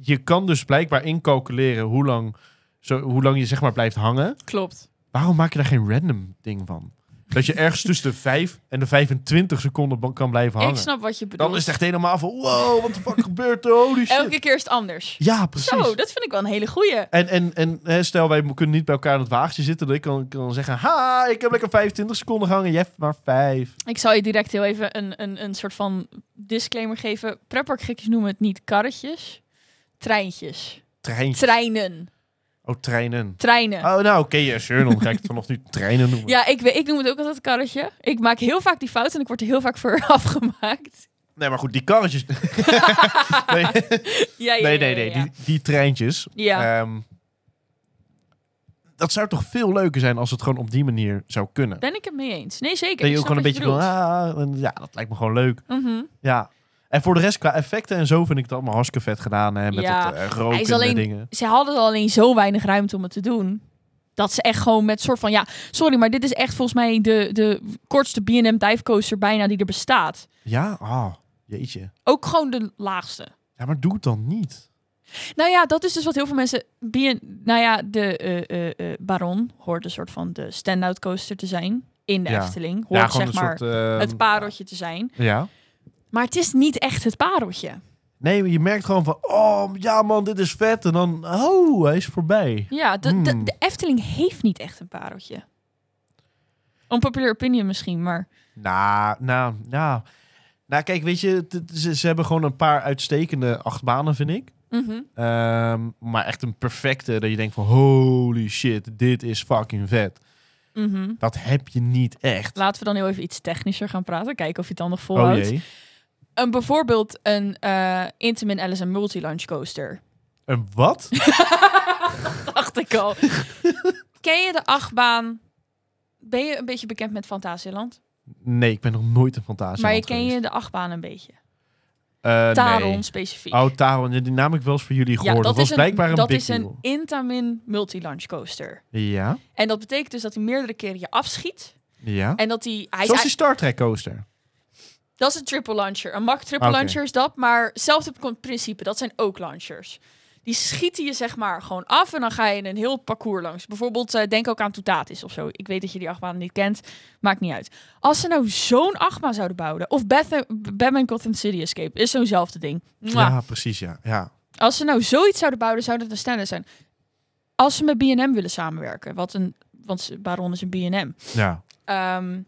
[SPEAKER 2] je kan dus blijkbaar incalculeren hoe lang, zo, hoe lang je zeg maar blijft hangen.
[SPEAKER 1] Klopt.
[SPEAKER 2] Waarom maak je daar geen random ding van? Dat je ergens tussen de 5 en de 25 seconden ba- kan blijven hangen.
[SPEAKER 1] Ik snap wat je bedoelt.
[SPEAKER 2] Dan is het echt helemaal van... Wow, wat de fuck gebeurt er? Holy shit.
[SPEAKER 1] Elke keer is het anders.
[SPEAKER 2] Ja, precies.
[SPEAKER 1] Zo, dat vind ik wel een hele goeie.
[SPEAKER 2] En, en, en hè, stel, wij kunnen niet bij elkaar in het wagentje zitten. Dan kan ik kan zeggen... Ha, ik heb lekker 25 seconden gehangen. Jij hebt maar 5.
[SPEAKER 1] Ik zal je direct heel even een, een, een soort van disclaimer geven. Pretparkgekjes noemen het niet karretjes, treintjes.
[SPEAKER 2] Treintje.
[SPEAKER 1] Treinen.
[SPEAKER 2] Oh, treinen.
[SPEAKER 1] Treinen.
[SPEAKER 2] Oh, nou oké, ja, sure. Dan ga ik het vanaf nu treinen noemen.
[SPEAKER 1] Ja, ik, weet- ik noem het ook altijd karretje. Ik maak heel vaak die fout en ik word er heel vaak voor afgemaakt.
[SPEAKER 2] Nee, maar goed, die karretjes. nee,
[SPEAKER 1] Ja, ja, ja,
[SPEAKER 2] nee,
[SPEAKER 1] ja,
[SPEAKER 2] nee, nee,
[SPEAKER 1] ja.
[SPEAKER 2] Die, die treintjes.
[SPEAKER 1] Ja.
[SPEAKER 2] Ehm, dat zou toch veel leuker zijn als het gewoon op die manier zou kunnen.
[SPEAKER 1] Ben ik het mee eens? Nee, zeker.
[SPEAKER 2] Dat
[SPEAKER 1] Ik
[SPEAKER 2] je
[SPEAKER 1] snap
[SPEAKER 2] ook gewoon een beetje ah.
[SPEAKER 1] wat
[SPEAKER 2] van,
[SPEAKER 1] je
[SPEAKER 2] ah, en ja, dat lijkt me gewoon leuk.
[SPEAKER 1] bedoelt. Mhm.
[SPEAKER 2] Ja. En voor de rest, qua effecten en zo, vind ik het allemaal hartstikke vet gedaan. Hè, met
[SPEAKER 1] Ja.
[SPEAKER 2] dat eh, roken
[SPEAKER 1] Hij is alleen-
[SPEAKER 2] en dingen.
[SPEAKER 1] Ze hadden alleen zo weinig ruimte om het te doen. Dat ze echt gewoon met soort van, ja, sorry, maar dit is echt volgens mij de, de kortste B&M divecoaster bijna die er bestaat.
[SPEAKER 2] Ja, ah, jeetje.
[SPEAKER 1] Ook gewoon de laagste.
[SPEAKER 2] Ja, maar doe het dan niet.
[SPEAKER 1] Nou ja, dat is dus wat heel veel mensen. BN nou ja, de eh, eh, eh, Baron hoort een soort van de stand-out coaster te zijn. In de
[SPEAKER 2] Ja.
[SPEAKER 1] Efteling.
[SPEAKER 2] ja,
[SPEAKER 1] Hoort
[SPEAKER 2] gewoon
[SPEAKER 1] zeg
[SPEAKER 2] een
[SPEAKER 1] maar
[SPEAKER 2] soort... ehm,
[SPEAKER 1] het pareltje te zijn.
[SPEAKER 2] Ja.
[SPEAKER 1] Maar het is niet echt het pareltje.
[SPEAKER 2] Nee, je merkt gewoon van, oh ja man, dit is vet. En dan, oh, hij is voorbij.
[SPEAKER 1] Ja, de, de,
[SPEAKER 2] Hmm.
[SPEAKER 1] de Efteling heeft niet echt een pareltje. Unpopular opinion misschien, maar
[SPEAKER 2] Nou, nou, nou. Nou, kijk, weet je, het- het- ze, ze hebben gewoon een paar uitstekende achtbanen, vind ik.
[SPEAKER 1] mhm,
[SPEAKER 2] Ehm, maar echt een perfecte, dat je denkt van, holy shit, dit is fucking vet.
[SPEAKER 1] mhm.
[SPEAKER 2] Dat heb je niet echt.
[SPEAKER 1] laten we dan heel even iets technischer gaan praten. Kijken of je het dan nog
[SPEAKER 2] Oh
[SPEAKER 1] volhoudt.
[SPEAKER 2] jee,
[SPEAKER 1] een, bijvoorbeeld een eh, Intamin Alice en Multi-Launch coaster.
[SPEAKER 2] een wat?
[SPEAKER 1] dacht ik al. Ken je de achtbaan? Ben je een beetje bekend met Fantasieland?
[SPEAKER 2] Nee, ik ben nog nooit een fantasie
[SPEAKER 1] maar je ken je de achtbaan een beetje.
[SPEAKER 2] je
[SPEAKER 1] Taron specifiek.
[SPEAKER 2] Eh, Oh, Taron, die naam heb ik wel eens voor jullie gehoord. dat, was blijkbaar een
[SPEAKER 1] dat
[SPEAKER 2] big
[SPEAKER 1] is een
[SPEAKER 2] deal.
[SPEAKER 1] Intamin multi-launch coaster.
[SPEAKER 2] Ja,
[SPEAKER 1] En dat betekent dus dat hij meerdere keren je afschiet.
[SPEAKER 2] ja.
[SPEAKER 1] En dat hij... hij is
[SPEAKER 2] Zoals die
[SPEAKER 1] eigenlijk-
[SPEAKER 2] Star Trek coaster.
[SPEAKER 1] dat is een triple launcher. Een Mach triple
[SPEAKER 2] Oké.
[SPEAKER 1] launcher is dat. Maar hetzelfde con- principe. Dat zijn ook launchers. Die schieten je zeg maar gewoon af. En dan ga je een heel parcours langs. Bijvoorbeeld eh, denk ook aan Toetatis of zo. Ik weet dat je die achtbaan niet kent. Maakt niet uit. Als ze nou zo'n achtbaan zouden bouwen. Of Batman, Batman Gotham City Escape. Is zo'nzelfde ding. Mwah.
[SPEAKER 2] Ja, precies, ja. ja.
[SPEAKER 1] Als ze nou zoiets zouden bouwen, zou dat een standaard zijn. Als ze met B&M willen samenwerken, wat een, want ze- Baron is een B&M.
[SPEAKER 2] Ja.
[SPEAKER 1] Ehm,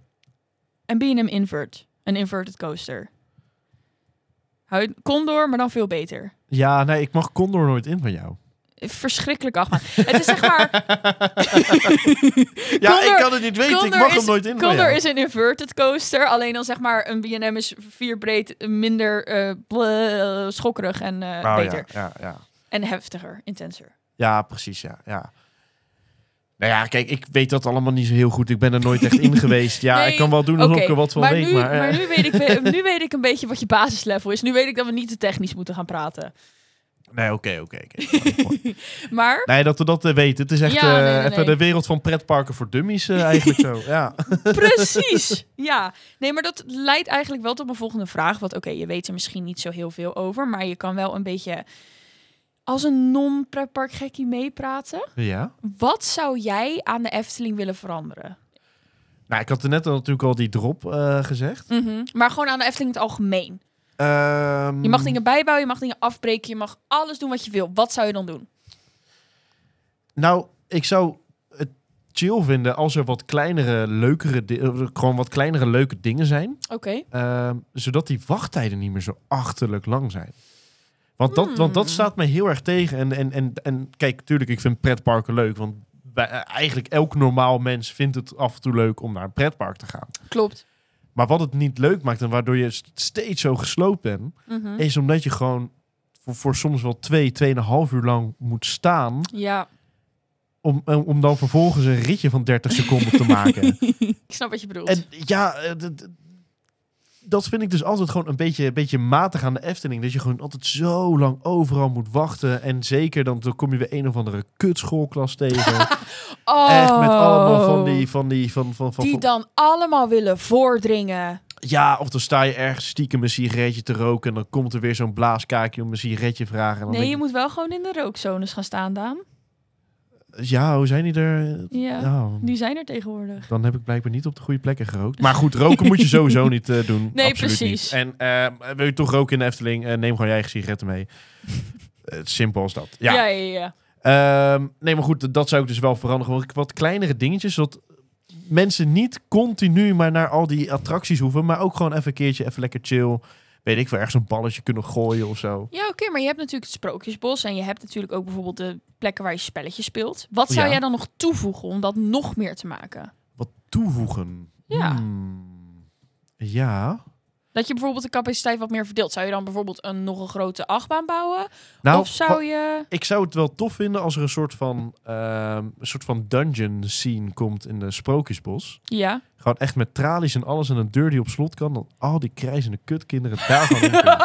[SPEAKER 1] een B&M invert, een inverted coaster. Hou je- Condor, maar dan veel beter.
[SPEAKER 2] Ja, nee, ik mag Condor nooit in van jou.
[SPEAKER 1] Verschrikkelijk achtbaan. Het is zeg maar,
[SPEAKER 2] Ja,
[SPEAKER 1] Condor-
[SPEAKER 2] ik kan het niet weten. Ik
[SPEAKER 1] Condor
[SPEAKER 2] mag
[SPEAKER 1] is-
[SPEAKER 2] hem nooit in van
[SPEAKER 1] Condor
[SPEAKER 2] jou.
[SPEAKER 1] is een inverted coaster. Alleen dan zeg maar, een B&M is vier breed, minder eh, bleh, schokkerig en eh,
[SPEAKER 2] Oh,
[SPEAKER 1] beter.
[SPEAKER 2] ja, ja, ja.
[SPEAKER 1] En heftiger, intenser.
[SPEAKER 2] ja, precies, ja, ja. Nou ja, kijk, ik weet dat allemaal niet zo heel goed. Ik ben er nooit echt in geweest. Ja,
[SPEAKER 1] Nee,
[SPEAKER 2] ik kan wel doen alsof
[SPEAKER 1] Oké,
[SPEAKER 2] ik er wat van
[SPEAKER 1] maar
[SPEAKER 2] weet,
[SPEAKER 1] nu,
[SPEAKER 2] maar... eh,
[SPEAKER 1] nu, weet ik, be- nu weet ik een beetje wat je basislevel is. Nu weet ik dat we niet te technisch moeten gaan praten.
[SPEAKER 2] Nee, oké, oké. oké.
[SPEAKER 1] Maar
[SPEAKER 2] nee, dat we dat eh, weten. Het is echt
[SPEAKER 1] Ja, nee,
[SPEAKER 2] eh,
[SPEAKER 1] nee, nee.
[SPEAKER 2] even de wereld van pretparken voor dummies eh, eigenlijk zo. Ja.
[SPEAKER 1] precies, ja. Nee, maar dat leidt eigenlijk wel tot mijn volgende vraag. Want oké, je weet er misschien niet zo heel veel over. Maar je kan wel een beetje als een non-pretpark gekkie meepraten.
[SPEAKER 2] ja.
[SPEAKER 1] Wat zou jij aan de Efteling willen veranderen?
[SPEAKER 2] Nou, ik had er net al natuurlijk al die drop eh, gezegd.
[SPEAKER 1] Mhm. Maar gewoon aan de Efteling in het algemeen.
[SPEAKER 2] Ehm,
[SPEAKER 1] Je mag dingen bijbouwen, je mag dingen afbreken. Je mag alles doen wat je wil. Wat zou je dan doen?
[SPEAKER 2] Nou, ik zou het chill vinden als er wat kleinere, leukere, di- eh, gewoon wat kleinere, leuke dingen zijn.
[SPEAKER 1] Oké.
[SPEAKER 2] Ehm, zodat die wachttijden niet meer zo achterlijk lang zijn. Want dat, want dat
[SPEAKER 1] Hmm.
[SPEAKER 2] staat mij heel erg tegen. En, en, en, en kijk, tuurlijk, ik vind pretparken leuk. Want bij, eh, eigenlijk elk normaal mens vindt het af en toe leuk om naar een pretpark te gaan.
[SPEAKER 1] Klopt.
[SPEAKER 2] Maar wat het niet leuk maakt en waardoor je st- steeds zo gesloopt bent,
[SPEAKER 1] Mhm.
[SPEAKER 2] is omdat je gewoon voor voor, voor soms wel twee, tweeënhalf uur lang moet staan.
[SPEAKER 1] Ja,
[SPEAKER 2] Om, om om dan vervolgens een ritje van 30 seconden te maken.
[SPEAKER 1] ik snap wat je bedoelt.
[SPEAKER 2] En ja, eh, d- d- dat vind ik dus altijd gewoon een beetje, een beetje matig aan de Efteling. Dat je gewoon altijd zo lang overal moet wachten. En zeker dan, dan kom je weer een of andere kutschoolklas tegen.
[SPEAKER 1] oh,
[SPEAKER 2] Echt met allemaal van die... Van die, van, van, van,
[SPEAKER 1] die
[SPEAKER 2] van-
[SPEAKER 1] dan allemaal willen voordringen.
[SPEAKER 2] ja, of dan sta je ergens stiekem een sigaretje te roken. En dan komt er weer zo'n blaaskaakje om een sigaretje vragen. En dan
[SPEAKER 1] Nee, je
[SPEAKER 2] denk
[SPEAKER 1] moet wel gewoon in de rookzones gaan staan, Daan.
[SPEAKER 2] ik, ja, hoe zijn die er?
[SPEAKER 1] Ja,
[SPEAKER 2] Nou,
[SPEAKER 1] die zijn er tegenwoordig.
[SPEAKER 2] Dan heb ik blijkbaar niet op de goede plekken gerookt. Maar goed, roken moet je sowieso niet eh, doen.
[SPEAKER 1] Nee,
[SPEAKER 2] Absoluut
[SPEAKER 1] precies.
[SPEAKER 2] niet. En eh, wil je toch roken in de Efteling, eh, neem gewoon je eigen sigaretten mee. Eh, simpel als dat. Ja.
[SPEAKER 1] ja, ja. ja.
[SPEAKER 2] Ehm, nee, maar goed, dat zou ik dus wel veranderen. Gewoon wat kleinere dingetjes, zodat mensen niet continu maar naar al die attracties hoeven. Maar ook gewoon even een keertje, even lekker chill. Weet ik wel, ergens een balletje kunnen gooien of zo.
[SPEAKER 1] Ja, oké, maar je hebt natuurlijk het Sprookjesbos en je hebt natuurlijk ook bijvoorbeeld de plekken waar je spelletjes speelt. Wat zou
[SPEAKER 2] Ja.
[SPEAKER 1] jij dan nog toevoegen om dat nog meer te maken?
[SPEAKER 2] Wat toevoegen.
[SPEAKER 1] Ja.
[SPEAKER 2] Hmm. Ja.
[SPEAKER 1] Dat je bijvoorbeeld de capaciteit wat meer verdeelt. Zou je dan bijvoorbeeld een nog een grote achtbaan bouwen?
[SPEAKER 2] Nou,
[SPEAKER 1] of zou je...
[SPEAKER 2] Ik zou het wel tof vinden als er een soort van, ehm, een soort van dungeon scene komt in de Sprookjesbos.
[SPEAKER 1] Ja.
[SPEAKER 2] Gewoon echt met tralies en alles en een deur die op slot kan. Dan al die krijzende kutkinderen daar gewoon in kunnen.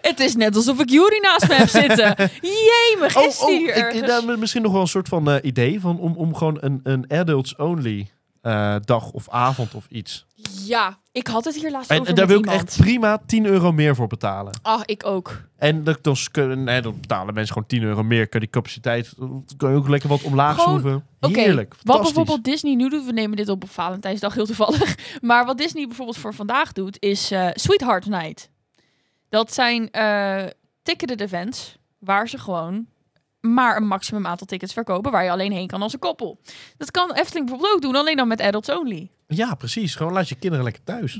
[SPEAKER 1] Het is net alsof ik Juri naast me heb zitten. Jemig, is die hier
[SPEAKER 2] Oh, ik-
[SPEAKER 1] ergens?
[SPEAKER 2] nou, misschien nog wel een soort van eh, idee van om, om gewoon een, een adults only eh, dag of avond of iets.
[SPEAKER 1] Ja, ik had het hier laatst
[SPEAKER 2] En,
[SPEAKER 1] over
[SPEAKER 2] en daar
[SPEAKER 1] met
[SPEAKER 2] wil ik
[SPEAKER 1] iemand.
[SPEAKER 2] echt prima 10 euro meer voor betalen.
[SPEAKER 1] Ah, ik ook.
[SPEAKER 2] En dat, dan, s- kunnen- nee, dan betalen mensen gewoon 10 euro meer. Kan die capaciteit dan kan je ook lekker wat omlaag
[SPEAKER 1] Gewoon-
[SPEAKER 2] schroeven.
[SPEAKER 1] Oké,
[SPEAKER 2] Heerlijk.
[SPEAKER 1] Wat
[SPEAKER 2] Fantastisch.
[SPEAKER 1] bijvoorbeeld Disney nu doet, we nemen dit op op Valentijnsdag heel toevallig. Maar wat Disney bijvoorbeeld voor vandaag doet, is eh, Sweetheart Night. Dat zijn eh ticketed events waar ze gewoon maar een maximum aantal tickets verkopen waar je alleen heen kan als een koppel. Dat kan Efteling bijvoorbeeld ook doen, alleen dan met adults only.
[SPEAKER 2] Ja, precies. Gewoon laat je kinderen lekker thuis.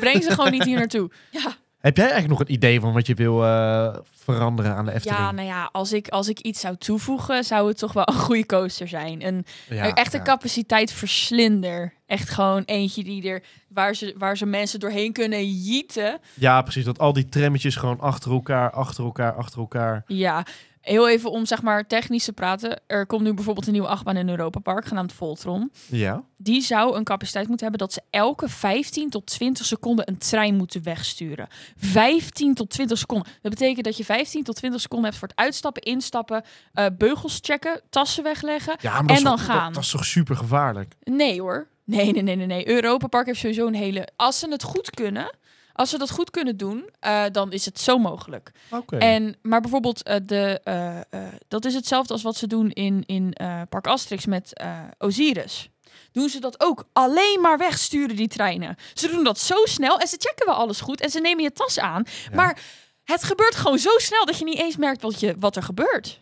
[SPEAKER 1] Breng ze gewoon niet hier naartoe. Ja,
[SPEAKER 2] Heb jij eigenlijk nog een idee van wat je wil eh, veranderen aan de Efteling?
[SPEAKER 1] ja nou ja, als ik, als ik iets zou toevoegen, zou het toch wel een goede coaster zijn. Een
[SPEAKER 2] Ja,
[SPEAKER 1] Echt echte
[SPEAKER 2] ja.
[SPEAKER 1] capaciteitsverslinder. Echt gewoon eentje die er, waar ze, waar ze mensen doorheen kunnen jieten.
[SPEAKER 2] Ja, precies. Dat al die trammetjes gewoon achter elkaar, achter elkaar, achter elkaar.
[SPEAKER 1] Ja, heel even om zeg maar technisch te praten. Er komt nu bijvoorbeeld een nieuwe achtbaan in Europa Park, genaamd Voltron.
[SPEAKER 2] Ja.
[SPEAKER 1] Die zou een capaciteit moeten hebben dat ze elke 15 tot 20 seconden een trein moeten wegsturen. 15 tot 20 seconden. Dat betekent dat je 15 tot 20 seconden hebt voor het uitstappen, instappen, eh, beugels checken, tassen wegleggen.
[SPEAKER 2] ja maar dat
[SPEAKER 1] En
[SPEAKER 2] is
[SPEAKER 1] dan
[SPEAKER 2] toch-
[SPEAKER 1] gaan.
[SPEAKER 2] Dat, dat is toch super gevaarlijk?
[SPEAKER 1] Nee hoor. Nee, nee, nee, nee, nee. Europa Park heeft sowieso een hele. Als ze het goed kunnen, als ze dat goed kunnen doen, eh, dan is het zo mogelijk.
[SPEAKER 2] Oké.
[SPEAKER 1] En, maar bijvoorbeeld, eh, de, eh, eh, dat is hetzelfde als wat ze doen in, in eh, Park Asterix met eh, Osiris. Doen ze dat ook? Alleen maar wegsturen die treinen. Ze doen dat zo snel en ze checken wel alles goed en ze nemen je tas aan.
[SPEAKER 2] Ja.
[SPEAKER 1] Maar het gebeurt gewoon zo snel dat je niet eens merkt wat, je, wat er gebeurt.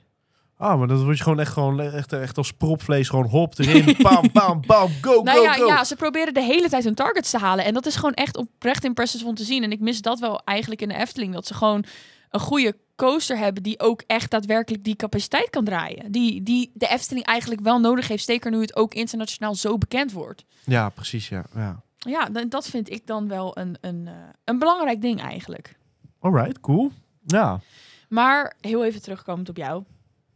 [SPEAKER 2] Ah, maar dan word je gewoon echt, gewoon echt, echt als propvlees gewoon hop erin. Bam, bam, bam. Go,
[SPEAKER 1] nou
[SPEAKER 2] Oh, go,
[SPEAKER 1] ja,
[SPEAKER 2] go.
[SPEAKER 1] ja, ze proberen de hele tijd hun targets te halen. En dat is gewoon echt oprecht impressive om te zien. En ik mis dat wel eigenlijk in de Efteling. Dat ze gewoon een goede coaster hebben die ook echt daadwerkelijk die capaciteit kan draaien. Die, die de Efteling eigenlijk wel nodig heeft. Zeker nu het ook internationaal zo bekend wordt.
[SPEAKER 2] Ja, precies. Ja. ja.
[SPEAKER 1] Ja, dan- dat vind ik dan wel een, een, eh, een belangrijk ding eigenlijk.
[SPEAKER 2] All right, cool. Ja.
[SPEAKER 1] Maar heel even terugkomend op jou.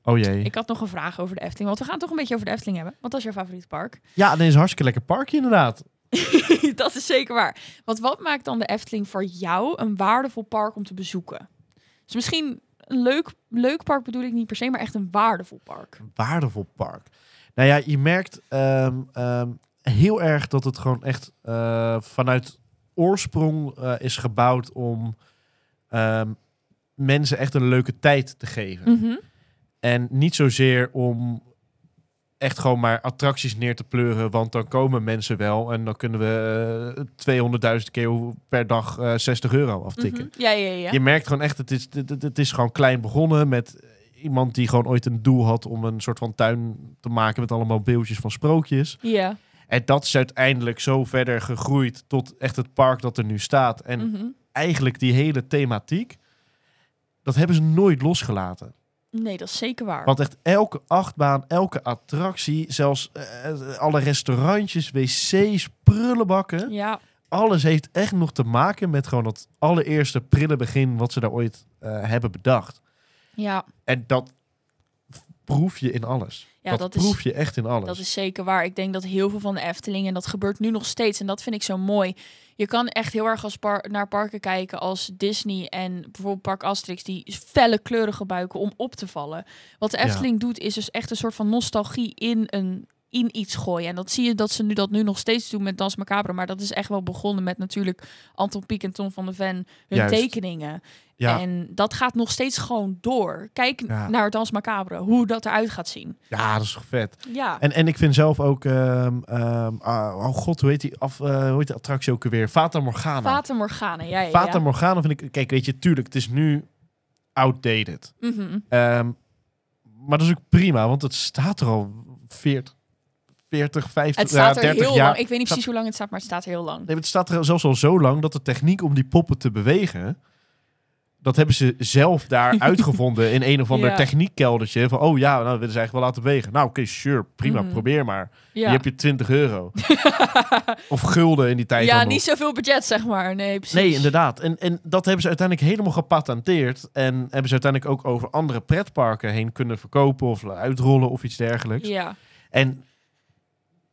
[SPEAKER 2] Oh jee.
[SPEAKER 1] Ik had nog een vraag over de Efteling. Want we gaan het toch een beetje over de Efteling hebben. Want dat is jouw favoriete park.
[SPEAKER 2] Ja, dit is een hartstikke lekker parkje inderdaad.
[SPEAKER 1] dat is zeker waar. Want wat maakt dan de Efteling voor jou een waardevol park om te bezoeken? Dus misschien een leuk, leuk park bedoel ik niet per se, maar echt een waardevol park.
[SPEAKER 2] Een waardevol park. Nou ja, je merkt ehm, ehm, heel erg dat het gewoon echt eh, vanuit oorsprong eh, is gebouwd om ehm, mensen echt een leuke tijd te geven.
[SPEAKER 1] Mm. Mhm,
[SPEAKER 2] En niet zozeer om echt gewoon maar attracties neer te pleuren, want dan komen mensen wel en dan kunnen we eh, 200.000 keer per dag eh, 60 euro aftikken.
[SPEAKER 1] Mhm. Ja, ja, ja.
[SPEAKER 2] Je merkt gewoon echt, het is, het, het- het is gewoon klein begonnen met eh, iemand die gewoon ooit een doel had om een soort van tuin te maken met allemaal beeldjes van sprookjes.
[SPEAKER 1] Ja.
[SPEAKER 2] En dat is uiteindelijk zo verder gegroeid tot echt het park dat er nu staat. En
[SPEAKER 1] Mhm.
[SPEAKER 2] eigenlijk die hele thematiek, dat hebben ze nooit losgelaten.
[SPEAKER 1] Nee, dat is zeker waar.
[SPEAKER 2] Want echt elke achtbaan, elke attractie, zelfs eh, eh, alle restaurantjes, wc's, prullenbakken.
[SPEAKER 1] Ja,
[SPEAKER 2] alles heeft echt nog te maken met gewoon dat allereerste prille begin wat ze daar ooit eh, hebben bedacht.
[SPEAKER 1] Ja,
[SPEAKER 2] En dat proef je in alles.
[SPEAKER 1] ja
[SPEAKER 2] dat
[SPEAKER 1] dat, is,
[SPEAKER 2] proef je echt in alles.
[SPEAKER 1] dat is zeker waar. Ik denk dat heel veel van de Efteling, en dat gebeurt nu nog steeds, en dat vind ik zo mooi. Je kan echt heel erg als par- naar parken kijken als Disney en bijvoorbeeld Park Asterix, die felle kleuren gebruiken om op te vallen. Wat de
[SPEAKER 2] Ja.
[SPEAKER 1] Efteling doet, is dus echt een soort van nostalgie in een in iets gooien. En dat zie je dat ze nu dat nu nog steeds doen met Dans Macabre. Maar dat is echt wel begonnen met natuurlijk Anton Pieck en Tom van der Ven, hun
[SPEAKER 2] Juist.
[SPEAKER 1] tekeningen.
[SPEAKER 2] ja,
[SPEAKER 1] En dat gaat nog steeds gewoon door. Kijk
[SPEAKER 2] Ja.
[SPEAKER 1] naar Dans Macabre, hoe dat eruit gaat zien.
[SPEAKER 2] ja, dat is toch vet.
[SPEAKER 1] Ja.
[SPEAKER 2] En, en ik vind zelf ook, ehm, ehm, ah, oh god, hoe heet die, af, eh, hoe heet die attractie ook weer? Fata Morgana.
[SPEAKER 1] Fata Morgana, ja, ja, ja.
[SPEAKER 2] Fata Morgana vind ik, kijk, weet je, tuurlijk, het is nu outdated.
[SPEAKER 1] Mhm.
[SPEAKER 2] Ehm, maar dat is ook prima, want het staat er al 40, 40 50,
[SPEAKER 1] Het staat
[SPEAKER 2] ja,
[SPEAKER 1] er
[SPEAKER 2] 30
[SPEAKER 1] heel
[SPEAKER 2] jaar.
[SPEAKER 1] lang. Ik weet niet precies hoe lang het staat, maar het staat er heel lang.
[SPEAKER 2] Nee, maar het staat er zelfs al zo lang dat de techniek om die poppen te bewegen. Dat hebben ze zelf daar uitgevonden in een of ander
[SPEAKER 1] Ja.
[SPEAKER 2] techniekkeldertje. Van, oh ja, nou, we willen ze eigenlijk wel laten bewegen. Nou, oké, sure, prima,
[SPEAKER 1] Mhm.
[SPEAKER 2] probeer maar.
[SPEAKER 1] Ja,
[SPEAKER 2] Hier heb je 20 euro. of gulden in die tijd
[SPEAKER 1] ja
[SPEAKER 2] dan nog.
[SPEAKER 1] niet zoveel budget, zeg maar. Nee, precies.
[SPEAKER 2] Nee, inderdaad. En, en dat hebben ze uiteindelijk helemaal gepatenteerd. En hebben ze uiteindelijk ook over andere pretparken heen kunnen verkopen of uitrollen of iets dergelijks.
[SPEAKER 1] Ja,
[SPEAKER 2] En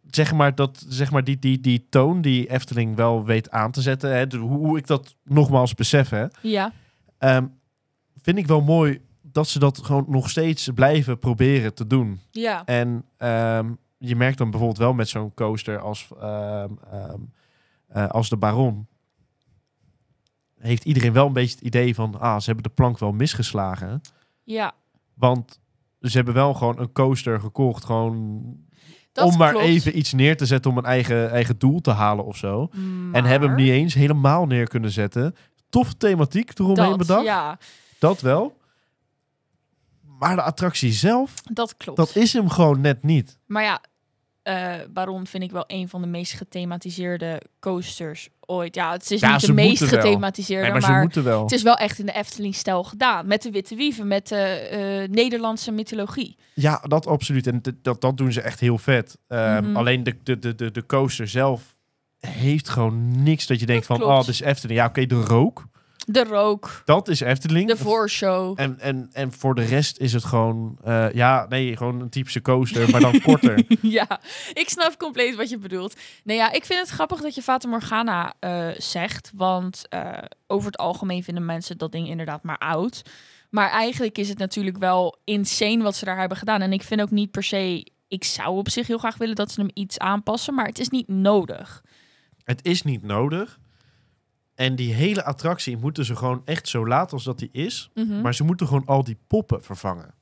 [SPEAKER 2] zeg maar, dat, zeg maar die, die, die toon die Efteling wel weet aan te zetten, hè, de- hoe, hoe ik dat nogmaals besef, hè,
[SPEAKER 1] ja.
[SPEAKER 2] ehm, vind ik wel mooi dat ze dat gewoon nog steeds blijven proberen te doen.
[SPEAKER 1] ja.
[SPEAKER 2] En ehm, je merkt dan bijvoorbeeld wel met zo'n coaster als, ehm, ehm, eh, als de Baron. Heeft iedereen wel een beetje het idee van, ah, ze hebben de plank wel misgeslagen.
[SPEAKER 1] ja.
[SPEAKER 2] Want ze hebben wel gewoon een coaster gekocht, gewoon
[SPEAKER 1] Dat
[SPEAKER 2] om maar
[SPEAKER 1] klopt.
[SPEAKER 2] even iets neer te zetten om een eigen, eigen doel te halen of zo. En
[SPEAKER 1] Maar
[SPEAKER 2] hebben hem niet eens helemaal neer kunnen zetten. Toffe thematiek eromheen
[SPEAKER 1] dat,
[SPEAKER 2] bedacht,
[SPEAKER 1] Ja,
[SPEAKER 2] dat wel. Maar de attractie zelf,
[SPEAKER 1] dat klopt.
[SPEAKER 2] dat is hem gewoon net niet.
[SPEAKER 1] Maar ja, eh, Baron vind ik wel een van de meest gethematiseerde coasters ooit. Ja, het is
[SPEAKER 2] Ja,
[SPEAKER 1] niet
[SPEAKER 2] ze
[SPEAKER 1] de meest
[SPEAKER 2] moeten wel.
[SPEAKER 1] gethematiseerde,
[SPEAKER 2] Nee, maar ze
[SPEAKER 1] maar
[SPEAKER 2] moeten wel.
[SPEAKER 1] Het is wel echt in de Efteling-stijl gedaan. Met de witte wieven, met de eh, Nederlandse mythologie.
[SPEAKER 2] Ja, dat absoluut. En d- dat, dat doen ze echt heel vet. Ehm,
[SPEAKER 1] Mhm.
[SPEAKER 2] Alleen de, de, de, de, de coaster zelf heeft gewoon niks dat je denkt
[SPEAKER 1] Dat
[SPEAKER 2] van,
[SPEAKER 1] klopt.
[SPEAKER 2] oh, dit is Efteling. Ja, oké, de rook,
[SPEAKER 1] De rook,
[SPEAKER 2] dat is Efteling.
[SPEAKER 1] de voorshow.
[SPEAKER 2] En, en, en voor de rest is het gewoon, eh, ja, nee, gewoon een typische coaster, maar dan korter.
[SPEAKER 1] ja, ik snap compleet wat je bedoelt. Nou ja, ik vind het grappig dat je Fata Morgana eh, zegt. Want eh, over het algemeen vinden mensen dat ding inderdaad maar oud. Maar eigenlijk is het natuurlijk wel insane wat ze daar hebben gedaan. En ik vind ook niet per se... Ik zou op zich heel graag willen dat ze hem iets aanpassen. Maar het is niet nodig.
[SPEAKER 2] Het is niet nodig. En die hele attractie moeten ze gewoon echt zo laat als dat die is.
[SPEAKER 1] Mhm.
[SPEAKER 2] Maar ze moeten gewoon al die poppen vervangen.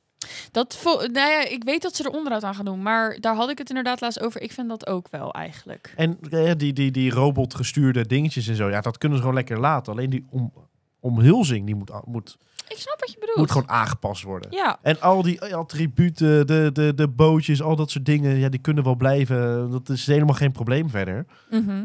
[SPEAKER 1] Dat vo- nou ja, ik weet dat ze er onderhoud aan gaan doen, maar daar had ik het inderdaad laatst over. Ik vind dat ook wel eigenlijk.
[SPEAKER 2] En eh, die, die, die robotgestuurde dingetjes en zo, ja, dat kunnen ze gewoon lekker laten. Alleen die om, omhulzing, die moet, a- moet,
[SPEAKER 1] Ik snap wat je bedoelt.
[SPEAKER 2] moet gewoon aangepast worden.
[SPEAKER 1] Ja,
[SPEAKER 2] En al die eh, attributen, de, de, de bootjes, al dat soort dingen, ja, die kunnen wel blijven. Dat is helemaal geen probleem verder.
[SPEAKER 1] mhm.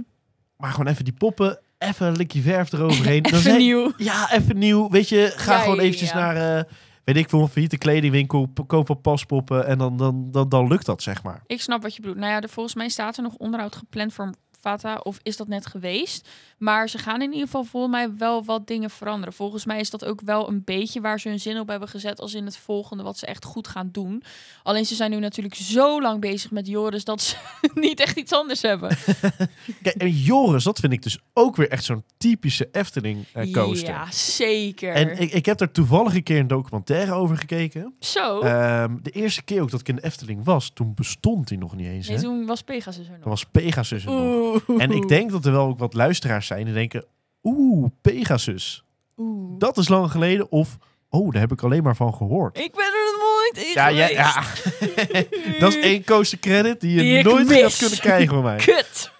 [SPEAKER 2] Maar gewoon even die poppen, even een likje verf eroverheen. Dan
[SPEAKER 1] even
[SPEAKER 2] zijn-
[SPEAKER 1] nieuw.
[SPEAKER 2] Ja, even nieuw. Weet je, ga
[SPEAKER 1] Ja,
[SPEAKER 2] gewoon
[SPEAKER 1] ja,
[SPEAKER 2] eventjes
[SPEAKER 1] ja.
[SPEAKER 2] naar, eh, weet ik veel, een failliete kledingwinkel. p- Koop wat paspoppen en dan, dan, dan, dan lukt dat, zeg maar.
[SPEAKER 1] Ik snap wat je bedoelt. Nou ja, er, volgens mij staat er nog onderhoud gepland voor Vata, of is dat net geweest? Maar ze gaan in ieder geval volgens mij wel wat dingen veranderen. Volgens mij is dat ook wel een beetje waar ze hun zin op hebben gezet, als in het volgende wat ze echt goed gaan doen. Alleen ze zijn nu natuurlijk zo lang bezig met Joris dat ze niet echt iets anders hebben.
[SPEAKER 2] Kijk, en Joris, dat vind ik dus ook weer echt zo'n typische Efteling eh, coaster.
[SPEAKER 1] Ja, zeker.
[SPEAKER 2] En ik, ik heb daar toevallig een keer een documentaire over gekeken.
[SPEAKER 1] Zo.
[SPEAKER 2] Ehm, de eerste keer ook dat ik in de Efteling was, toen bestond die nog niet eens.
[SPEAKER 1] Nee,
[SPEAKER 2] hè?
[SPEAKER 1] toen was Pegasus er
[SPEAKER 2] Dat
[SPEAKER 1] nog.
[SPEAKER 2] was Pegasus er nog.
[SPEAKER 1] Oeh.
[SPEAKER 2] En ik denk dat er wel ook wat luisteraars zijn die denken... Oeh, Pegasus.
[SPEAKER 1] Oeh.
[SPEAKER 2] Dat is lang geleden. Of, oh, daar heb ik alleen maar van gehoord.
[SPEAKER 1] Ik ben er nog nooit in
[SPEAKER 2] Ja, ja,
[SPEAKER 1] geweest.
[SPEAKER 2] ja. dat is één coaster credit die je
[SPEAKER 1] Die ik
[SPEAKER 2] nooit
[SPEAKER 1] mis.
[SPEAKER 2] gaat kunnen krijgen van mij.
[SPEAKER 1] Kut.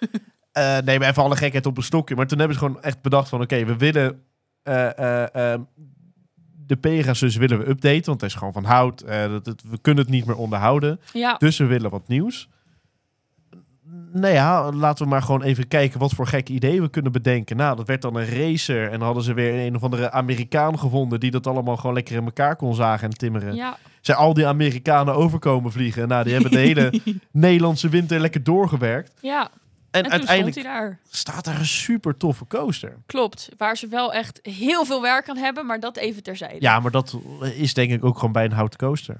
[SPEAKER 2] Eh, nee, maar even alle gekheid op een stokje. Maar toen hebben ze gewoon echt bedacht van... Oké, we willen... eh, eh, ehm, de Pegasus willen we updaten, want hij is gewoon van hout. Eh, dat, dat- we kunnen het niet meer onderhouden.
[SPEAKER 1] Ja,
[SPEAKER 2] Dus we willen wat nieuws. Nou ja, laten we maar gewoon even kijken wat voor gekke ideeën we kunnen bedenken. Nou, dat werd dan een racer. En dan hadden ze weer een of andere Amerikaan gevonden... die dat allemaal gewoon lekker in elkaar kon zagen en timmeren.
[SPEAKER 1] ja.
[SPEAKER 2] Zijn al die Amerikanen overkomen vliegen. Nou, die hebben de hele Nederlandse winter lekker doorgewerkt.
[SPEAKER 1] ja.
[SPEAKER 2] Eh,
[SPEAKER 1] En,
[SPEAKER 2] en,
[SPEAKER 1] toen stond
[SPEAKER 2] uiteindelijk
[SPEAKER 1] hij daar.
[SPEAKER 2] staat daar een super toffe coaster.
[SPEAKER 1] Klopt. Waar ze wel echt heel veel werk aan hebben, maar dat even terzijde.
[SPEAKER 2] Ja, maar dat is denk ik ook gewoon bij een houten coaster.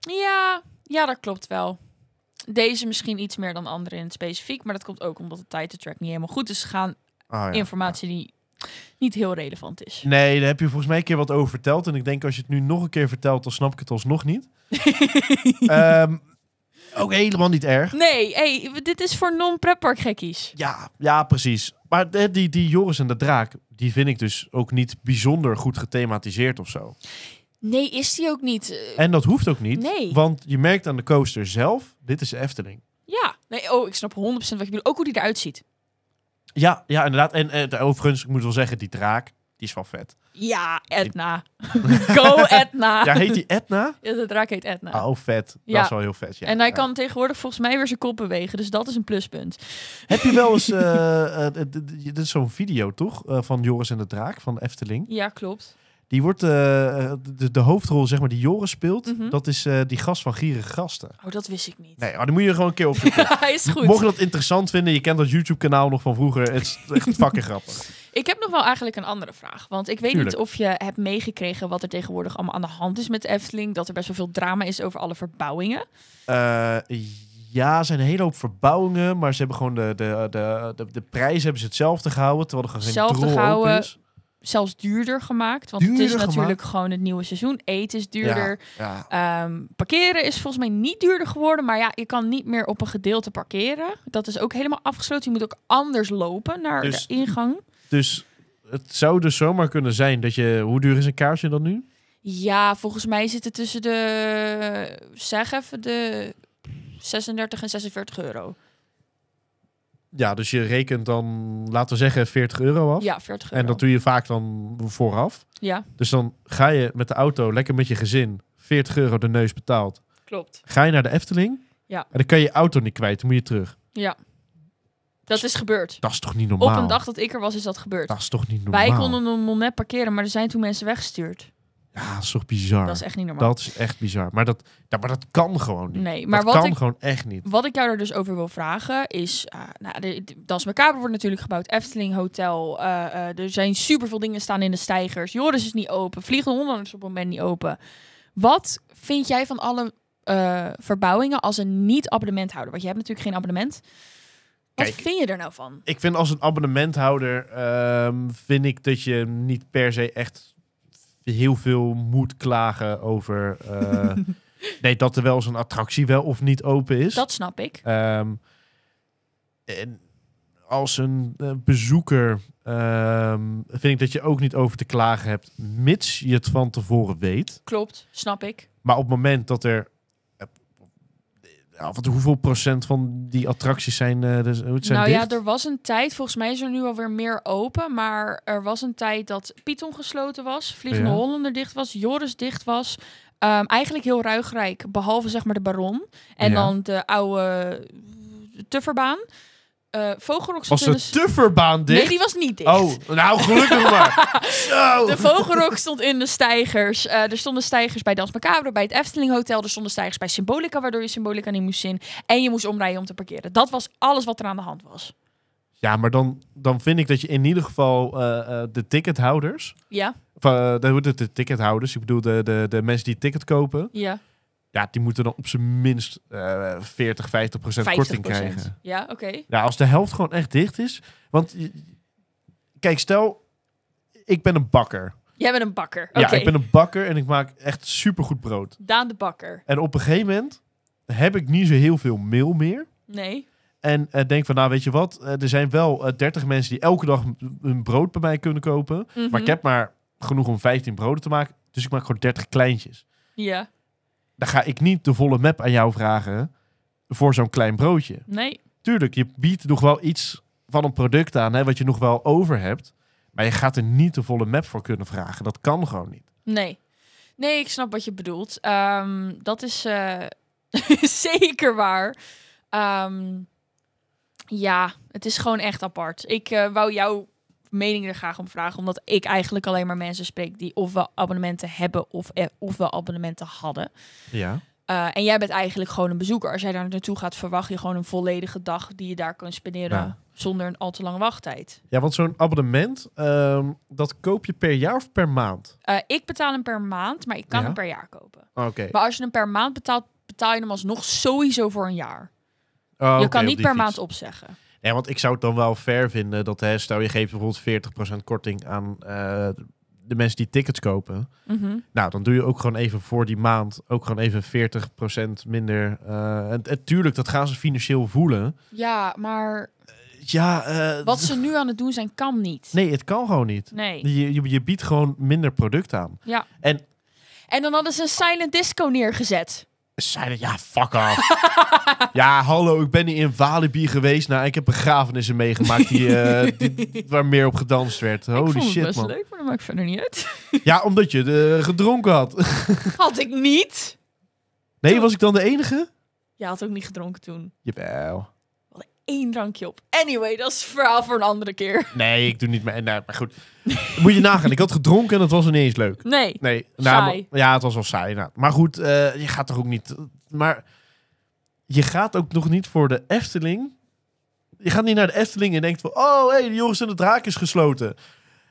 [SPEAKER 1] Ja, ja, dat klopt wel. Deze misschien iets meer dan andere in het specifiek, maar dat komt ook omdat de title track niet helemaal goed is gegaan.
[SPEAKER 2] Ah, ja.
[SPEAKER 1] Informatie die niet heel relevant is.
[SPEAKER 2] Nee, daar heb je volgens mij een keer wat over verteld. En ik denk als je het nu nog een keer vertelt, dan snap ik het alsnog niet. Ehm, ook helemaal niet erg.
[SPEAKER 1] Nee, hey, dit is voor non-preppark gekkies.
[SPEAKER 2] Ja, ja, precies. Maar eh, die, die Joris en de Draak, die vind ik dus ook niet bijzonder goed gethematiseerd of zo.
[SPEAKER 1] Nee, is die ook niet. eh,
[SPEAKER 2] En dat hoeft ook niet,
[SPEAKER 1] Nee.
[SPEAKER 2] want je merkt aan de coaster zelf, dit is de Efteling.
[SPEAKER 1] Ja. Nee, oh, ik snap 100% wat je bedoelt. Ook hoe die eruit ziet.
[SPEAKER 2] Ja, ja inderdaad. En eh, overigens, ik moet wel zeggen, die draak, die is wel vet.
[SPEAKER 1] Ja, Edna. Go Edna.
[SPEAKER 2] Ja, heet die Edna?
[SPEAKER 1] Ja, de draak heet Edna.
[SPEAKER 2] Oh, vet.
[SPEAKER 1] Ja.
[SPEAKER 2] Dat is wel heel vet, ja.
[SPEAKER 1] en hij
[SPEAKER 2] Ja.
[SPEAKER 1] kan tegenwoordig volgens mij weer zijn kop bewegen. Dus dat is een pluspunt.
[SPEAKER 2] Heb je wel eens... eh, eh, d- d- d- dit is zo'n video, toch? Eh, van Joris en de Draak, van Efteling.
[SPEAKER 1] Ja, klopt.
[SPEAKER 2] Die wordt... eh, eh, de, de hoofdrol, zeg maar, die Joris speelt...
[SPEAKER 1] Mhm.
[SPEAKER 2] Dat is eh, die gast van Gierige Gasten.
[SPEAKER 1] Oh, dat wist ik niet.
[SPEAKER 2] Nee, maar dan moet je gewoon een keer opzoeken.
[SPEAKER 1] hij is goed.
[SPEAKER 2] Mocht je dat interessant vinden, je kent dat YouTube-kanaal nog van vroeger. Het is echt fucking grappig.
[SPEAKER 1] Ik heb nog wel eigenlijk een andere vraag. Want ik weet
[SPEAKER 2] Tuurlijk.
[SPEAKER 1] niet of je hebt meegekregen wat er tegenwoordig allemaal aan de hand is met de Efteling. Dat er best wel veel drama is over alle verbouwingen.
[SPEAKER 2] Eh, ja, er zijn een hele hoop verbouwingen, maar ze hebben gewoon de, de, de, de, de prijs hebben ze hetzelfde gehouden, terwijl er gewoon geen
[SPEAKER 1] Hetzelfde
[SPEAKER 2] drol
[SPEAKER 1] gehouden,
[SPEAKER 2] open is.
[SPEAKER 1] Zelfs duurder gemaakt. Want het is
[SPEAKER 2] Duurder
[SPEAKER 1] natuurlijk gewoon het nieuwe seizoen. Eten is duurder.
[SPEAKER 2] Ja,
[SPEAKER 1] Ehm, parkeren is volgens mij niet duurder geworden. Maar ja, je kan niet meer op een gedeelte parkeren. Dat is ook helemaal afgesloten. Je moet ook anders lopen naar
[SPEAKER 2] Dus-
[SPEAKER 1] de ingang.
[SPEAKER 2] Dus het zou dus zomaar kunnen zijn dat je... Hoe duur is een kaarsje dan nu?
[SPEAKER 1] Ja, volgens mij zit het tussen de... Zeg even de... 36 en 46 euro.
[SPEAKER 2] Ja, dus je rekent dan, laten we zeggen, 40 euro af.
[SPEAKER 1] Ja, 40 euro.
[SPEAKER 2] En dat doe je vaak dan vooraf.
[SPEAKER 1] Ja,
[SPEAKER 2] Dus dan ga je met de auto, lekker met je gezin, 40 euro de neus betaald.
[SPEAKER 1] klopt.
[SPEAKER 2] Ga je naar de Efteling
[SPEAKER 1] Ja.
[SPEAKER 2] en dan kan je je auto niet kwijt, dan moet je terug.
[SPEAKER 1] Ja. Dat is gebeurd.
[SPEAKER 2] Dat is toch niet normaal?
[SPEAKER 1] Op een dag dat ik er was, is dat gebeurd.
[SPEAKER 2] Dat is toch niet normaal?
[SPEAKER 1] Wij konden hem nog net parkeren, maar er zijn toen mensen weggestuurd.
[SPEAKER 2] Ja, dat is toch bizar?
[SPEAKER 1] Dat is echt niet normaal.
[SPEAKER 2] Dat is echt bizar. Maar dat, ja, maar dat kan gewoon niet.
[SPEAKER 1] Nee, maar
[SPEAKER 2] dat
[SPEAKER 1] wat
[SPEAKER 2] kan
[SPEAKER 1] ik-
[SPEAKER 2] gewoon echt niet.
[SPEAKER 1] Wat ik jou er dus over wil vragen is... eh nou, de, de Dans Macabre wordt natuurlijk gebouwd. Efteling Hotel. eh, eh, er zijn superveel dingen staan in de stijgers. Joris is niet open. Vliegende Holland is op het moment niet open. Wat vind jij van alle eh, verbouwingen als een niet-abonnementhouder? Want je hebt natuurlijk geen abonnement. Wat
[SPEAKER 2] Kijk.
[SPEAKER 1] vind je er nou van?
[SPEAKER 2] Ik vind als een abonnementhouder, ehm, vind ik dat je niet per se echt heel veel moet klagen over... eh, nee, dat er wel eens een attractie wel of niet open is.
[SPEAKER 1] Dat snap ik.
[SPEAKER 2] Ehm, en als een eh, bezoeker ehm, vind ik dat je ook niet over te klagen hebt, mits je het van tevoren weet.
[SPEAKER 1] Klopt, snap ik.
[SPEAKER 2] Maar op het moment dat er. eh, ja, wat, hoeveel procent van die attracties zijn, eh, dus, hoe het zijn
[SPEAKER 1] nou
[SPEAKER 2] dicht?
[SPEAKER 1] ja, er was een tijd, volgens mij is er nu alweer meer open, maar er was een tijd dat Python gesloten was, Vliegende
[SPEAKER 2] Ja.
[SPEAKER 1] Hollander dicht was, Joris dicht was. Ehm, eigenlijk heel ruigrijk, behalve zeg maar de Baron en
[SPEAKER 2] Ja.
[SPEAKER 1] dan de oude Tufferbaan. Eh Vogelrok
[SPEAKER 2] Was
[SPEAKER 1] stond in de...
[SPEAKER 2] de tufferbaan
[SPEAKER 1] Nee,
[SPEAKER 2] dicht?
[SPEAKER 1] die was niet dicht.
[SPEAKER 2] Oh, nou gelukkig maar. Nou. Zo.
[SPEAKER 1] De Vogelrok stond in de stijgers. Eh, er stonden stijgers bij Dans Macabre, bij het Efteling Hotel. Er stonden stijgers bij Symbolica, waardoor je Symbolica niet moest zien. En je moest omrijden om te parkeren. Dat was alles wat er aan de hand was.
[SPEAKER 2] Ja, maar dan, dan vind ik dat je in ieder geval eh, eh, de tickethouders.
[SPEAKER 1] Ja,
[SPEAKER 2] Of, eh, de, hoe heet het, de tickethouders, ik bedoel de, de, de mensen die ticket kopen.
[SPEAKER 1] ja.
[SPEAKER 2] Ja, die moeten dan op zijn minst eh 40, 50 procent
[SPEAKER 1] 50%.
[SPEAKER 2] korting krijgen.
[SPEAKER 1] Ja, oké.
[SPEAKER 2] Ja, als de helft gewoon echt dicht is. Want je- kijk, stel, ik ben een bakker.
[SPEAKER 1] Jij bent een bakker. Oké.
[SPEAKER 2] Ja, ik ben een bakker en ik maak echt supergoed brood.
[SPEAKER 1] Daan de bakker.
[SPEAKER 2] En op een gegeven moment heb ik niet zo heel veel meel meer.
[SPEAKER 1] Nee.
[SPEAKER 2] En eh, denk van, nou weet je wat, eh, er zijn wel eh, 30 mensen die elke dag m- hun brood bij mij kunnen kopen.
[SPEAKER 1] Mhm.
[SPEAKER 2] Maar ik heb maar genoeg om 15 broden te maken. Dus ik maak gewoon 30 kleintjes.
[SPEAKER 1] Ja.
[SPEAKER 2] Dan ga ik niet de volle map aan jou vragen voor zo'n klein broodje.
[SPEAKER 1] Nee.
[SPEAKER 2] Tuurlijk, je biedt nog wel iets van een product aan, hè, wat je nog wel over hebt. Maar je gaat er niet de volle map voor kunnen vragen. Dat kan gewoon niet.
[SPEAKER 1] Nee. Nee, ik snap wat je bedoelt. Ehm, dat is eh, zeker waar. Ehm, ja, het is gewoon echt apart. Ik eh, wou jouw mening er graag om vragen, omdat ik eigenlijk alleen maar mensen spreek die ofwel abonnementen hebben of eh, ofwel abonnementen hadden.
[SPEAKER 2] Ja.
[SPEAKER 1] Eh, en jij bent eigenlijk gewoon een bezoeker. Als jij daar naartoe gaat, verwacht je gewoon een volledige dag die je daar kan spenderen
[SPEAKER 2] Ja.
[SPEAKER 1] zonder een al te lange wachttijd.
[SPEAKER 2] Ja, want zo'n abonnement, ehm, dat koop je per jaar of per maand?
[SPEAKER 1] Eh, ik betaal hem per maand, maar ik kan
[SPEAKER 2] Ja.
[SPEAKER 1] hem per jaar kopen.
[SPEAKER 2] Oké.
[SPEAKER 1] Maar als je hem per maand betaalt, betaal je hem alsnog sowieso voor een jaar.
[SPEAKER 2] Oh,
[SPEAKER 1] je
[SPEAKER 2] oké,
[SPEAKER 1] kan
[SPEAKER 2] op
[SPEAKER 1] niet
[SPEAKER 2] die
[SPEAKER 1] per
[SPEAKER 2] fiets.
[SPEAKER 1] maand opzeggen.
[SPEAKER 2] Nee, want ik zou het dan wel fair vinden dat, hè, stel je geeft bijvoorbeeld 40% korting aan eh, de mensen die tickets kopen.
[SPEAKER 1] Mhm.
[SPEAKER 2] Nou, dan doe je ook gewoon even voor die maand ook gewoon even 40% minder. eh, en, en tuurlijk, dat gaan ze financieel voelen.
[SPEAKER 1] Ja, maar
[SPEAKER 2] Ja, eh,
[SPEAKER 1] wat ze nu aan het doen zijn, kan niet.
[SPEAKER 2] nee, het kan gewoon niet.
[SPEAKER 1] Nee.
[SPEAKER 2] Je, je, je biedt gewoon minder product aan.
[SPEAKER 1] Ja.
[SPEAKER 2] En-
[SPEAKER 1] en dan hadden ze een silent disco neergezet.
[SPEAKER 2] Zeiden, ja, fuck off. ja, hallo, ik ben hier in Walibi geweest. Nou, ik heb begrafenissen meegemaakt die, eh, die- waar meer op gedanst werd.
[SPEAKER 1] ik
[SPEAKER 2] Holy
[SPEAKER 1] vond het
[SPEAKER 2] shit,
[SPEAKER 1] best
[SPEAKER 2] man.
[SPEAKER 1] leuk, maar dat maakt verder niet uit.
[SPEAKER 2] Ja, omdat je eh, gedronken had.
[SPEAKER 1] Had ik niet.
[SPEAKER 2] nee, was ik dan de enige?
[SPEAKER 1] Je had ook niet gedronken toen.
[SPEAKER 2] Jawel.
[SPEAKER 1] Eén drankje op. Anyway, dat is het verhaal voor een andere keer.
[SPEAKER 2] Nee, ik doe niet meer. Nou, maar goed. Moet je nagaan. Ik had gedronken en het was ineens leuk.
[SPEAKER 1] Nee.
[SPEAKER 2] Nee, nou,
[SPEAKER 1] Saai.
[SPEAKER 2] maar- ja, het was wel saai. nou. Maar goed, eh, je gaat toch ook niet. Maar je gaat ook nog niet voor de Efteling. Je gaat niet naar de Efteling en denkt van, oh hé, hey, de Joris en de Draak is gesloten.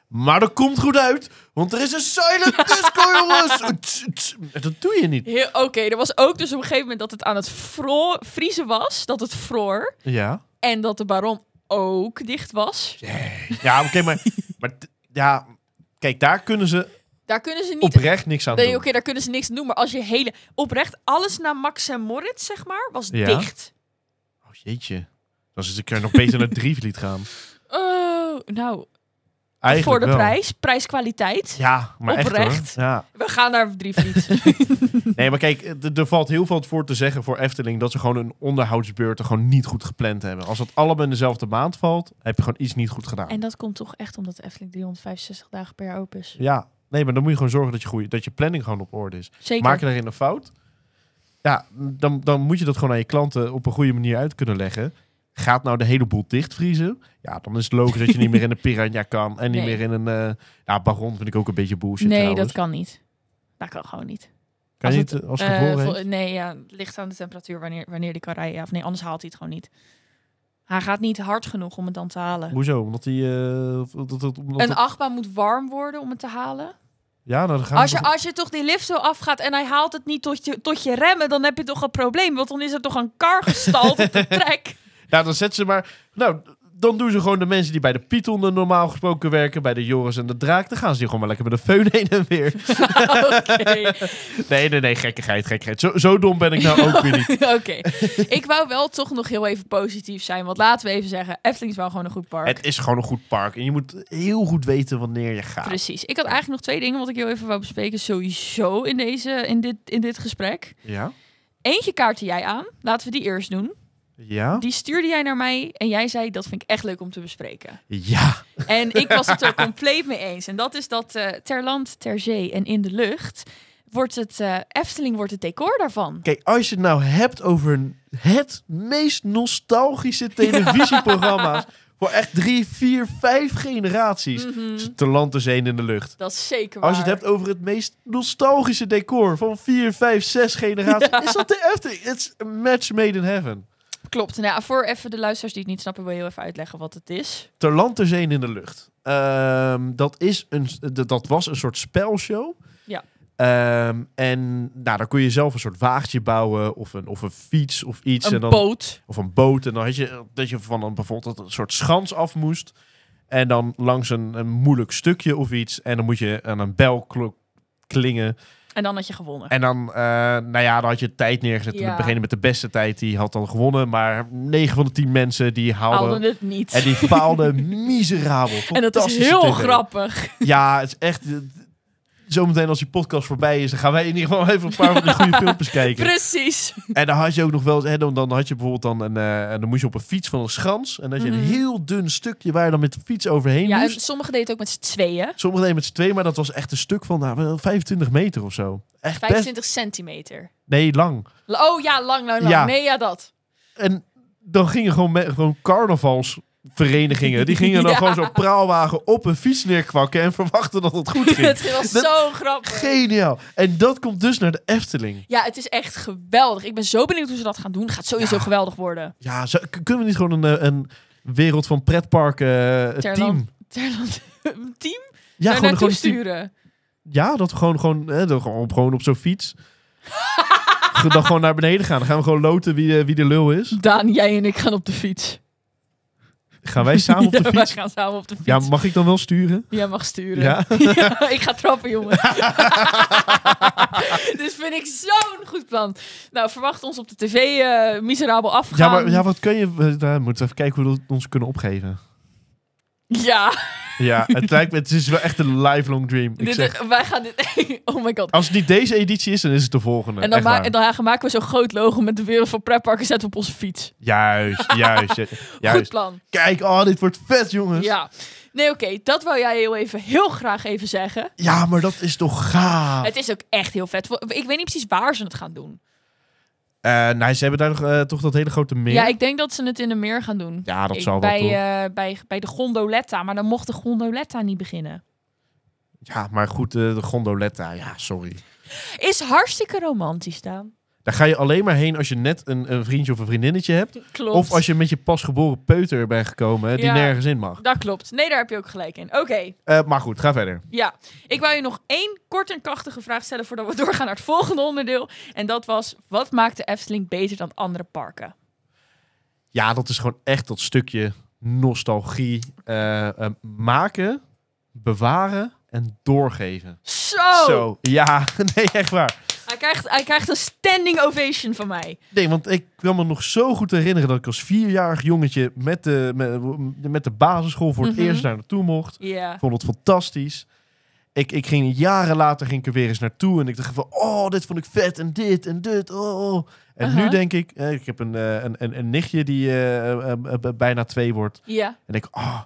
[SPEAKER 2] Maar dat komt goed uit, want er is een silent disco, jongens. Tss, tss. Dat doe je niet.
[SPEAKER 1] Heel- Oké, er was ook dus op een gegeven moment dat het aan het vro- vriezen was. Dat het vroor.
[SPEAKER 2] Ja.
[SPEAKER 1] En dat de baron ook dicht was.
[SPEAKER 2] Ja, oké, maar, maar t- ja, kijk, daar kunnen ze
[SPEAKER 1] Daar kunnen ze niet...
[SPEAKER 2] oprecht niks aan
[SPEAKER 1] Nee,
[SPEAKER 2] doen.
[SPEAKER 1] oké, daar kunnen ze niks aan doen. Maar als je hele... Oprecht, alles na Max en Moritz, zeg maar, was
[SPEAKER 2] Ja.
[SPEAKER 1] dicht.
[SPEAKER 2] Oh, jeetje. Dan is ik er nog beter naar Drievliet gaan.
[SPEAKER 1] Oh, nou,
[SPEAKER 2] Eigenlijk
[SPEAKER 1] voor de
[SPEAKER 2] wel.
[SPEAKER 1] prijs. Prijs-kwaliteit.
[SPEAKER 2] Ja, maar
[SPEAKER 1] Oprecht.
[SPEAKER 2] echt hoor. Ja.
[SPEAKER 1] We gaan naar Drievliet.
[SPEAKER 2] Nee, maar kijk, er- er valt heel veel voor te zeggen voor Efteling... dat ze gewoon een onderhoudsbeurt er gewoon niet goed gepland hebben. Als dat allemaal in dezelfde maand valt, heb je gewoon iets niet goed gedaan.
[SPEAKER 1] en dat komt toch echt omdat de Efteling 365 dagen per jaar open is.
[SPEAKER 2] Ja, nee, maar dan moet je gewoon zorgen dat je, goeie, dat je planning gewoon op orde is.
[SPEAKER 1] Zeker.
[SPEAKER 2] Maak je daarin een fout? Ja, dan, dan moet je dat gewoon aan je klanten op een goede manier uit kunnen leggen. Gaat nou de hele boel dichtvriezen? Ja, dan is het logisch dat je niet meer in een piranha kan. En niet
[SPEAKER 1] Nee.
[SPEAKER 2] meer in een... eh ja, baron vind ik ook een beetje bullshit
[SPEAKER 1] nee,
[SPEAKER 2] trouwens.
[SPEAKER 1] dat kan niet. Dat kan gewoon niet.
[SPEAKER 2] Kan
[SPEAKER 1] Als
[SPEAKER 2] je niet
[SPEAKER 1] het,
[SPEAKER 2] eh, als
[SPEAKER 1] Eh,
[SPEAKER 2] gevolg
[SPEAKER 1] vol-
[SPEAKER 2] heeft?
[SPEAKER 1] nee, ja, het ligt aan de temperatuur wanneer, wanneer die kan rijden. Ja, of nee, anders haalt hij het gewoon niet. Hij gaat niet hard genoeg om het dan te halen.
[SPEAKER 2] Hoezo? Omdat die... eh, dat, dat- omdat
[SPEAKER 1] Een
[SPEAKER 2] dat-
[SPEAKER 1] achtbaan moet warm worden om het te halen.
[SPEAKER 2] ja, nou, dan gaan
[SPEAKER 1] Als
[SPEAKER 2] we
[SPEAKER 1] je, als je toch die lift zo afgaat en hij haalt het niet tot je, tot je remmen, dan heb je toch een probleem. Want dan is er toch een kar gestald op de trek.
[SPEAKER 2] Nou, dan zetten ze maar... Nou, dan doen ze gewoon de mensen die bij de Python er normaal gesproken werken... bij de Joris en de Draak... dan gaan ze die gewoon maar lekker met een feun heen en weer.
[SPEAKER 1] Oké.
[SPEAKER 2] Nee, nee, nee, gekkigheid, gekkigheid. Zo, zo dom ben ik nou ook weer niet.
[SPEAKER 1] Oké. Ik wou wel toch nog heel even positief zijn. Want laten we even zeggen, Efteling is wel gewoon een goed park.
[SPEAKER 2] Het is gewoon een goed park. En je moet heel goed weten wanneer je gaat.
[SPEAKER 1] Precies. Ik had eigenlijk nog twee dingen wat ik heel even wou bespreken. Sowieso in, deze, in, dit, in dit gesprek.
[SPEAKER 2] Ja?
[SPEAKER 1] Eentje kaartte jij aan. Laten we die eerst doen.
[SPEAKER 2] Ja?
[SPEAKER 1] Die stuurde jij naar mij. En jij zei, dat vind ik echt leuk om te bespreken.
[SPEAKER 2] Ja.
[SPEAKER 1] En ik was het er compleet mee eens. En dat is dat eh, ter land, ter zee en in de lucht... wordt het eh, Efteling wordt het decor daarvan.
[SPEAKER 2] Kijk, als je het nou hebt over het meest nostalgische televisieprogramma's... voor echt drie, vier, vijf generaties...
[SPEAKER 1] Mhm.
[SPEAKER 2] is het Te land, te zee en in de lucht.
[SPEAKER 1] Dat is zeker waar.
[SPEAKER 2] Als je het hebt over het meest nostalgische decor van 4, 5, 6 generaties, is dat de Efteling. It's a match made in heaven.
[SPEAKER 1] Klopt. Nou, ja, voor even de luisteraars die het niet snappen... wil je heel even uitleggen wat het is.
[SPEAKER 2] Ter land, ter zee en in de lucht. Ehm, dat, is een, d- dat was een soort spelshow.
[SPEAKER 1] Ja.
[SPEAKER 2] Ehm, en nou, dan kon je zelf een soort wagentje bouwen of een, of een fiets of iets.
[SPEAKER 1] Een
[SPEAKER 2] en dan,
[SPEAKER 1] boot.
[SPEAKER 2] Of een boot. En dan had je dat je van een, bijvoorbeeld een soort schans af moest. En dan langs een, een moeilijk stukje of iets. En dan moet je aan een bel klo- klingen.
[SPEAKER 1] En dan had je gewonnen.
[SPEAKER 2] En dan, eh, nou ja, dan had je tijd neergezet.
[SPEAKER 1] Ja.
[SPEAKER 2] En degene met de beste tijd, die had dan gewonnen. Maar 9 van de 10 mensen, die haalden...
[SPEAKER 1] Hadden het niet.
[SPEAKER 2] En die faalden miserabel.
[SPEAKER 1] En dat is
[SPEAKER 2] Fantastische
[SPEAKER 1] heel
[SPEAKER 2] TV.
[SPEAKER 1] grappig.
[SPEAKER 2] Ja, het is echt... eh, Zometeen als die podcast voorbij is, dan gaan wij in ieder geval even een paar van die goede filmpjes kijken.
[SPEAKER 1] Precies.
[SPEAKER 2] En dan had je ook nog wel, hè, dan, dan had je bijvoorbeeld dan een, eh, en dan moest je op een fiets van een schans. En dan had je
[SPEAKER 1] Mhm.
[SPEAKER 2] een heel dun stukje waar je dan met de fiets overheen
[SPEAKER 1] Ja, en
[SPEAKER 2] moest.
[SPEAKER 1] sommigen deden het ook met z'n tweeën.
[SPEAKER 2] Sommigen deden met z'n twee, maar dat was echt een stuk van nou, wel 25 meter of zo. Echt best,
[SPEAKER 1] 25 centimeter.
[SPEAKER 2] nee, lang.
[SPEAKER 1] La- Oh ja, lang, lang, lang.
[SPEAKER 2] Ja.
[SPEAKER 1] Nee, ja, dat.
[SPEAKER 2] En dan gingen gewoon, me- gewoon carnavals verenigingen. Die gingen dan
[SPEAKER 1] Ja.
[SPEAKER 2] gewoon zo'n praalwagen op een fiets neerkwakken en verwachten dat het goed ging.
[SPEAKER 1] Het was
[SPEAKER 2] Dat-
[SPEAKER 1] zo grappig.
[SPEAKER 2] Geniaal. En dat komt dus naar de Efteling.
[SPEAKER 1] Ja, het is echt geweldig. Ik ben zo benieuwd hoe ze dat gaan doen. Het gaat sowieso
[SPEAKER 2] Ja.
[SPEAKER 1] geweldig worden.
[SPEAKER 2] Ja, zo- k- kunnen we niet gewoon een, eh, een wereld van pretparken eh, team?
[SPEAKER 1] Terland. Terland, een team
[SPEAKER 2] Ja,
[SPEAKER 1] daar naartoe
[SPEAKER 2] een team-
[SPEAKER 1] sturen.
[SPEAKER 2] Ja, dat we gewoon, gewoon, hè, dat we gewoon, op, gewoon op zo'n fiets. Ge- dan gewoon naar beneden gaan. Dan gaan we gewoon loten wie, eh, wie de lul is.
[SPEAKER 1] Daan, jij en ik gaan op de fiets.
[SPEAKER 2] Gaan wij samen op de
[SPEAKER 1] Ja, wij
[SPEAKER 2] fiets?
[SPEAKER 1] gaan samen op de fiets.
[SPEAKER 2] Ja, mag ik dan wel sturen?
[SPEAKER 1] Jij mag sturen.
[SPEAKER 2] Ja?
[SPEAKER 1] Ja, ik ga trappen, jongen. Dit vind ik zo'n goed plan. Nou, verwacht ons op de tv eh, miserabel
[SPEAKER 2] Ja,
[SPEAKER 1] afgaan.
[SPEAKER 2] maar ja, wat kun je... eh, Daar moeten we even kijken hoe we ons kunnen opgeven.
[SPEAKER 1] Ja,
[SPEAKER 2] Ja, het lijkt me... Het is wel echt een lifelong dream. Ik
[SPEAKER 1] dit-
[SPEAKER 2] zeg,
[SPEAKER 1] wij gaan dit... oh my god.
[SPEAKER 2] als het niet deze editie is, dan is het de volgende.
[SPEAKER 1] En dan,
[SPEAKER 2] Echt
[SPEAKER 1] ma-
[SPEAKER 2] waar.
[SPEAKER 1] en dan maken we zo'n groot logo met de wereld van pretparken zetten we op onze fiets.
[SPEAKER 2] Juist, juist. ju-
[SPEAKER 1] Goed
[SPEAKER 2] juist.
[SPEAKER 1] plan.
[SPEAKER 2] Kijk, oh, dit wordt vet, jongens. Ja,
[SPEAKER 1] Ja. Nee, oké. Dat wou jij heel even, heel graag even zeggen.
[SPEAKER 2] maar dat is toch gaaf.
[SPEAKER 1] Het is ook echt heel vet. Ik weet niet precies waar ze het gaan doen.
[SPEAKER 2] Eh, nou, ze hebben daar nog, eh, toch dat hele grote meer.
[SPEAKER 1] Ja, ik denk dat ze het in de meer gaan doen.
[SPEAKER 2] Ja, dat
[SPEAKER 1] Ik-
[SPEAKER 2] zal wel,
[SPEAKER 1] bij,
[SPEAKER 2] toch?
[SPEAKER 1] eh, bij, bij de gondoletta. Maar dan mocht de gondoletta niet beginnen.
[SPEAKER 2] Ja, maar goed, eh, de gondoletta, ja, sorry.
[SPEAKER 1] Is hartstikke romantisch, Daan.
[SPEAKER 2] Daar ga je alleen maar heen als je net een, een vriendje of een vriendinnetje hebt.
[SPEAKER 1] Klopt.
[SPEAKER 2] Of als je met je pasgeboren peuter bent gekomen hè, die
[SPEAKER 1] Ja.
[SPEAKER 2] nergens in mag.
[SPEAKER 1] Dat klopt. Nee, daar heb je ook gelijk in. Oké,
[SPEAKER 2] Eh, maar goed, ga verder.
[SPEAKER 1] ja. Ik wou je nog één kort en krachtige vraag stellen voordat we doorgaan naar het volgende onderdeel. En dat was, wat maakt de Efteling beter dan andere parken?
[SPEAKER 2] Ja, dat is gewoon echt dat stukje nostalgie eh, eh, maken, bewaren en doorgeven.
[SPEAKER 1] Zo!
[SPEAKER 2] Zo, ja, nee, echt waar.
[SPEAKER 1] Hij, krijgt, hij krijgt een standing ovation van mij.
[SPEAKER 2] Nee, want ik kan me nog zo goed herinneren dat ik als vierjarig jongetje met de, met, met de basisschool voor het
[SPEAKER 1] Mhm.
[SPEAKER 2] eerst daar naartoe mocht.
[SPEAKER 1] Ja.
[SPEAKER 2] Ik vond het fantastisch. Ik, ik ging jaren later ging ik er weer eens naartoe en ik dacht van, oh, dit vond ik vet en dit en dit. Oh. oh. En
[SPEAKER 1] Aha.
[SPEAKER 2] nu denk ik, eh, ik heb een, eh, een, een, een nichtje die eh, eh, eh, eh, bijna twee wordt.
[SPEAKER 1] Ja.
[SPEAKER 2] En ik, oh,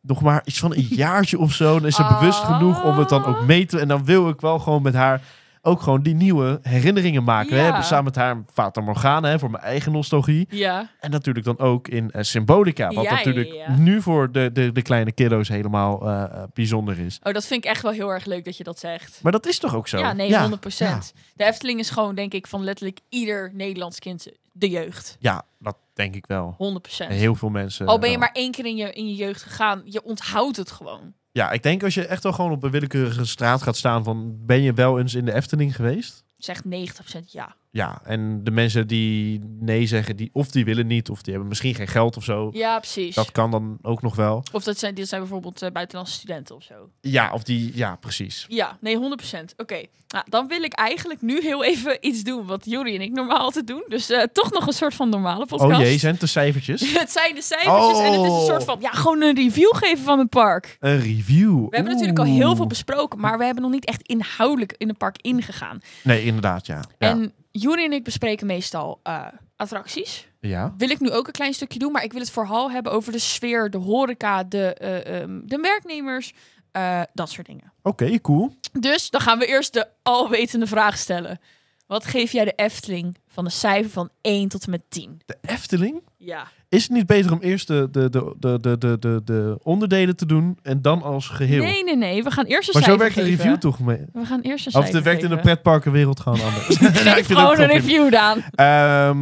[SPEAKER 2] nog maar iets van een jaartje of zo. Dan is ze
[SPEAKER 1] Ah.
[SPEAKER 2] bewust genoeg om het dan ook mee te... En dan wil ik wel gewoon met haar ook gewoon die nieuwe herinneringen maken. We
[SPEAKER 1] Ja.
[SPEAKER 2] hebben samen met haar een Fata Morgana hè, voor mijn eigen nostalgie.
[SPEAKER 1] Ja.
[SPEAKER 2] En natuurlijk dan ook in eh, Symbolica. Wat
[SPEAKER 1] Ja, ja,
[SPEAKER 2] natuurlijk
[SPEAKER 1] ja.
[SPEAKER 2] nu voor de, de, de kleine kiddo's helemaal eh, eh, bijzonder is.
[SPEAKER 1] Oh, dat vind ik echt wel heel erg leuk dat je dat zegt.
[SPEAKER 2] Maar dat is toch ook zo?
[SPEAKER 1] Ja, nee, 100%. De Efteling is gewoon, denk ik, van letterlijk ieder Nederlands kind de jeugd. 100%.
[SPEAKER 2] Ja, dat denk ik wel. En heel veel mensen. eh,
[SPEAKER 1] Al ben je
[SPEAKER 2] wel.
[SPEAKER 1] maar één keer in je, in je jeugd gegaan, je onthoudt het gewoon.
[SPEAKER 2] Ja, ik denk als je echt wel gewoon op een willekeurige straat gaat staan van... Ben je wel eens in de Efteling geweest?
[SPEAKER 1] Zegt 90% ja.
[SPEAKER 2] Ja, en de mensen die nee zeggen, die, of die willen niet, of die hebben misschien geen geld of zo.
[SPEAKER 1] Ja, precies.
[SPEAKER 2] Dat kan dan ook nog wel.
[SPEAKER 1] Of dat zijn, dit zijn bijvoorbeeld eh, buitenlandse studenten of zo.
[SPEAKER 2] Ja, of die, ja, precies.
[SPEAKER 1] Ja, nee, 100%. Oké, nou, dan wil ik eigenlijk nu heel even iets doen wat Juri en ik normaal altijd doen. Dus eh, toch nog een soort van normale podcast.
[SPEAKER 2] Oh jee, zijn het de cijfertjes?
[SPEAKER 1] Het zijn de cijfertjes en het is een
[SPEAKER 2] Oh.
[SPEAKER 1] soort van, ja, gewoon een review geven van het park. We
[SPEAKER 2] Een review. We
[SPEAKER 1] hebben natuurlijk al heel veel besproken, maar we hebben nog niet echt inhoudelijk in het park ingegaan.
[SPEAKER 2] Nee, inderdaad, ja. Ja.
[SPEAKER 1] En Juri en ik bespreken meestal eh, attracties.
[SPEAKER 2] ja.
[SPEAKER 1] Wil ik nu ook een klein stukje doen, maar ik wil het vooral hebben over de sfeer, de horeca, de, eh, ehm, de werknemers, eh, dat soort dingen.
[SPEAKER 2] Oké, cool.
[SPEAKER 1] Dus dan gaan we eerst de alwetende vraag stellen. Wat geef jij de Efteling van een cijfer van 1 tot en met 10?
[SPEAKER 2] De Efteling?
[SPEAKER 1] Ja.
[SPEAKER 2] Is het niet beter om eerst de, de, de, de, de, de, de, de onderdelen te doen en dan als geheel?
[SPEAKER 1] Nee, nee, nee. We gaan eerst een
[SPEAKER 2] maar zo
[SPEAKER 1] cijfer
[SPEAKER 2] werkt een
[SPEAKER 1] geven.
[SPEAKER 2] review toch mee?
[SPEAKER 1] We gaan eerst een
[SPEAKER 2] Of
[SPEAKER 1] cijfer
[SPEAKER 2] het werkt in de
[SPEAKER 1] geven.
[SPEAKER 2] pretparkenwereld gewoon anders. Nou, ik vind
[SPEAKER 1] Geef
[SPEAKER 2] het
[SPEAKER 1] gewoon een
[SPEAKER 2] wel prima.
[SPEAKER 1] review, Daan.
[SPEAKER 2] Ehm,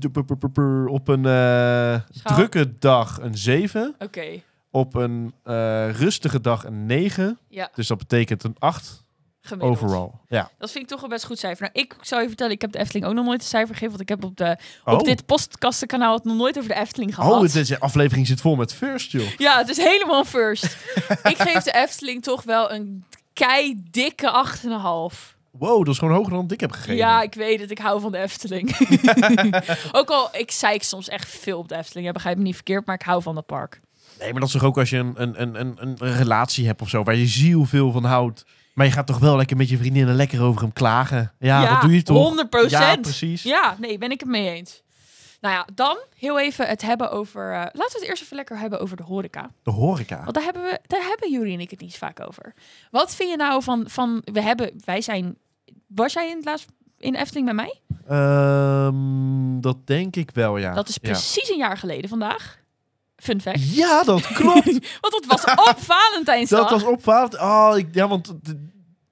[SPEAKER 2] de- pu- pu- pu- pu- op een eh,
[SPEAKER 1] Schaal.
[SPEAKER 2] drukke dag een 7.
[SPEAKER 1] Oké,
[SPEAKER 2] Op een eh, rustige dag een 9.
[SPEAKER 1] ja,
[SPEAKER 2] Dus dat betekent een 8
[SPEAKER 1] gemiddeld.
[SPEAKER 2] overall. Ja.
[SPEAKER 1] Dat vind ik toch een best goed cijfer. Nou, ik zou je vertellen, ik heb de Efteling ook nog nooit een cijfer gegeven. Want ik heb op, de, op dit podcastenkanaal het nog nooit over de Efteling gehad.
[SPEAKER 2] oh deze aflevering zit vol met first, joh.
[SPEAKER 1] Ja, het is helemaal een first. ik geef de Efteling toch wel een kei dikke 8,5.
[SPEAKER 2] Wow, dat is gewoon hoger dan ik heb gegeven.
[SPEAKER 1] Ja, ik weet het. Ik hou van de Efteling. ook al, ik zeik soms echt veel op de Efteling. Ja, begrijp me niet verkeerd, maar ik hou van dat park.
[SPEAKER 2] Nee, maar dat is toch ook als je een, een, een, een, een een relatie hebt of zo, waar je ziel veel van houdt. Maar je gaat toch wel lekker met je vriendinnen lekker over hem klagen. Ja, dat doe je toch?
[SPEAKER 1] 100 procent.
[SPEAKER 2] Ja, precies.
[SPEAKER 1] Ja, nee, ben ik het mee eens. Nou ja, dan heel even het hebben over... eh, laten we het eerst even lekker hebben over de horeca.
[SPEAKER 2] De horeca.
[SPEAKER 1] Want daar hebben, we, daar hebben jullie en ik het niet zo vaak over. Wat vind je nou van... van we hebben, wij zijn... Was jij in het laatst in de Efteling bij mij?
[SPEAKER 2] Eh, Ehm, dat denk ik wel, ja.
[SPEAKER 1] Dat is
[SPEAKER 2] Ja.
[SPEAKER 1] precies een jaar geleden vandaag. Fun fact.
[SPEAKER 2] Ja, dat klopt.
[SPEAKER 1] Want dat was op Valentijnsdag.
[SPEAKER 2] dat was opvallend. Oh, ik, ja, want d-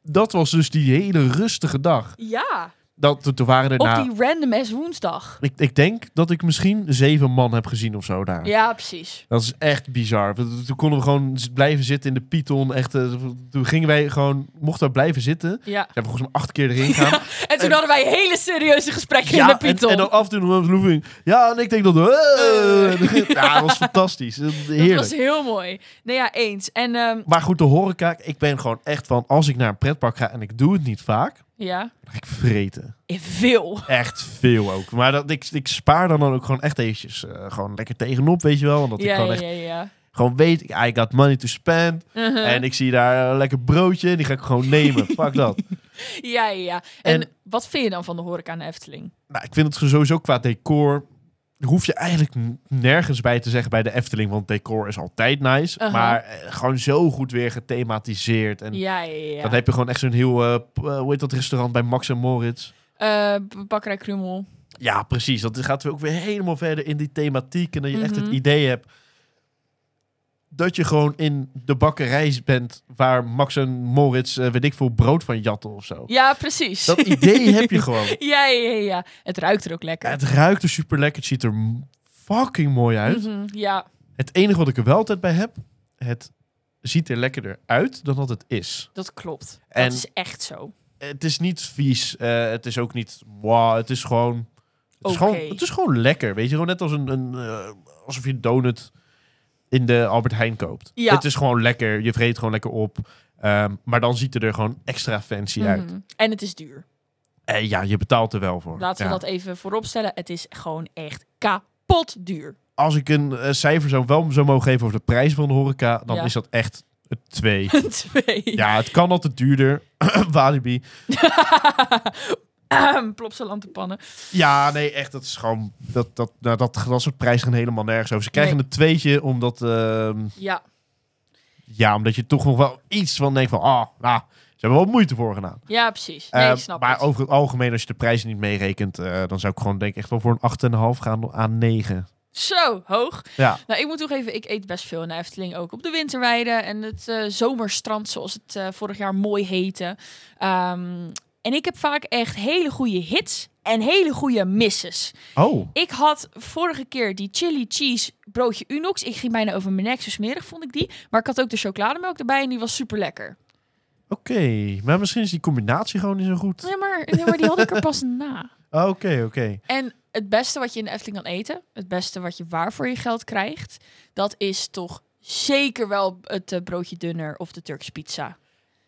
[SPEAKER 2] dat was dus die hele rustige dag.
[SPEAKER 1] Ja,
[SPEAKER 2] Dat, toen waren er
[SPEAKER 1] op
[SPEAKER 2] na,
[SPEAKER 1] die random ass woensdag.
[SPEAKER 2] ik, ik denk dat ik misschien zeven man heb gezien of zo daar.
[SPEAKER 1] Ja, precies.
[SPEAKER 2] Dat is echt bizar. Want Toen konden we gewoon z- blijven zitten in de Python. Echt, eh, toen gingen wij gewoon, mochten we blijven zitten. Zijn
[SPEAKER 1] Ja.
[SPEAKER 2] we volgens mij acht keer erin gaan.
[SPEAKER 1] En toen hadden wij hele serieuze gesprekken in
[SPEAKER 2] Ja,
[SPEAKER 1] de
[SPEAKER 2] en,
[SPEAKER 1] Python.
[SPEAKER 2] en dan af en toe nog een looping. Ja, en ik denk dat...
[SPEAKER 1] Eh.
[SPEAKER 2] ja, dat was fantastisch. Heerlijk.
[SPEAKER 1] dat was heel mooi. Nee, ja, eens. En ehm,
[SPEAKER 2] Maar goed, de horeca, ik ben gewoon echt van... Als ik naar een pretpark ga en ik doe het niet vaak...
[SPEAKER 1] ja,
[SPEAKER 2] dan ga ik vreten.
[SPEAKER 1] veel.
[SPEAKER 2] Echt veel ook. Maar dat, ik, ik spaar dan ook gewoon echt eventjes eh, gewoon lekker tegenop, weet je wel. Omdat ik
[SPEAKER 1] Ja,
[SPEAKER 2] gewoon
[SPEAKER 1] ja,
[SPEAKER 2] echt
[SPEAKER 1] ja, ja.
[SPEAKER 2] gewoon weet, I got money to spend.
[SPEAKER 1] Uh-huh.
[SPEAKER 2] En ik zie daar een lekker broodje, die ga ik gewoon nemen. Pak dat.
[SPEAKER 1] Ja, ja, ja. En,
[SPEAKER 2] En-
[SPEAKER 1] wat vind je dan van de horeca aan de Efteling?
[SPEAKER 2] Nou, ik vind het sowieso qua decor... Hoef je eigenlijk n- nergens bij te zeggen bij de Efteling, want decor is altijd nice.
[SPEAKER 1] Aha.
[SPEAKER 2] Maar eh, gewoon zo goed weer gethematiseerd. En
[SPEAKER 1] Uh-huh. Ja, ja, ja.
[SPEAKER 2] dan heb je gewoon echt zo'n heel, eh, p- eh, hoe heet dat restaurant bij Max en Moritz.
[SPEAKER 1] Eh, bakkerij Krummel.
[SPEAKER 2] Ja, precies. Dat gaat weer ook weer helemaal verder in die thematiek. En dat je echt het
[SPEAKER 1] Mhm.
[SPEAKER 2] idee hebt dat je gewoon in de bakkerij bent waar Max en Moritz, eh, weet ik veel, brood van jatten of zo.
[SPEAKER 1] Ja, precies.
[SPEAKER 2] Dat idee heb je gewoon.
[SPEAKER 1] Ja, ja, ja, ja. Het ruikt er ook lekker.
[SPEAKER 2] Het ruikt er super lekker. Het ziet er m- fucking mooi uit.
[SPEAKER 1] Mhm, ja.
[SPEAKER 2] Het enige wat ik er wel altijd bij heb, het ziet er lekkerder uit dan dat het is.
[SPEAKER 1] Dat klopt.
[SPEAKER 2] En-
[SPEAKER 1] Dat is echt zo.
[SPEAKER 2] Het is niet vies. eh, het is ook niet wow. Het is gewoon Het,
[SPEAKER 1] Oké.
[SPEAKER 2] is gewoon, het is gewoon lekker, weet je. Gewoon net als een, een eh, alsof je een donut in de Albert Heijn koopt.
[SPEAKER 1] Ja.
[SPEAKER 2] Het is gewoon lekker. Je vreet gewoon lekker op. Ehm, maar dan ziet het er gewoon extra fancy uit.
[SPEAKER 1] Mhm. En het is duur.
[SPEAKER 2] En ja, je betaalt er wel voor.
[SPEAKER 1] Laten
[SPEAKER 2] Ja.
[SPEAKER 1] we dat even vooropstellen. Het is gewoon echt kapot duur.
[SPEAKER 2] Als ik een eh, cijfer zou wel zou mogen geven over de prijs van de horeca, dan
[SPEAKER 1] Ja.
[SPEAKER 2] is dat echt het twee.
[SPEAKER 1] Twee.
[SPEAKER 2] ja, het kan altijd duurder. Walibi.
[SPEAKER 1] Ahem, Ehm, Plop ze land te pannen.
[SPEAKER 2] Ja, nee, echt. Dat is gewoon. Dat, dat, nou, dat, dat soort prijzen gaan helemaal nergens over. Ze krijgen
[SPEAKER 1] Nee.
[SPEAKER 2] een tweetje omdat. ehm,
[SPEAKER 1] Ja,
[SPEAKER 2] Ja, omdat je toch nog wel iets van denkt van, ah, nou, ze hebben wel moeite voor gedaan.
[SPEAKER 1] ja precies. Nee,
[SPEAKER 2] Eh,
[SPEAKER 1] ik snap
[SPEAKER 2] maar
[SPEAKER 1] het.
[SPEAKER 2] over het algemeen, als je de prijzen niet meerekent, eh, dan zou ik gewoon denk ik echt wel voor een 8,5 gaan aan 9.
[SPEAKER 1] Zo, hoog.
[SPEAKER 2] Ja,
[SPEAKER 1] Nou, ik moet toegeven, ik eet best veel in de Efteling ook. Op de winterweide en het eh, zomerstrand, zoals het eh, vorig jaar mooi heette. Ehm, en ik heb vaak echt hele goede hits en hele goede misses.
[SPEAKER 2] oh,
[SPEAKER 1] Ik had vorige keer die chili cheese broodje Unox. Ik ging bijna over mijn nek, zo smerig vond ik die. Maar ik had ook de chocolademelk erbij en die was super lekker.
[SPEAKER 2] oké. Maar misschien is die combinatie gewoon niet zo goed.
[SPEAKER 1] Nee, maar, nee, maar die had ik er pas na.
[SPEAKER 2] Oké, oké.
[SPEAKER 1] En het beste wat je in de Efteling kan eten, het beste wat je waar voor je geld krijgt, dat is toch zeker wel het eh, broodje dunner of de Turkse pizza.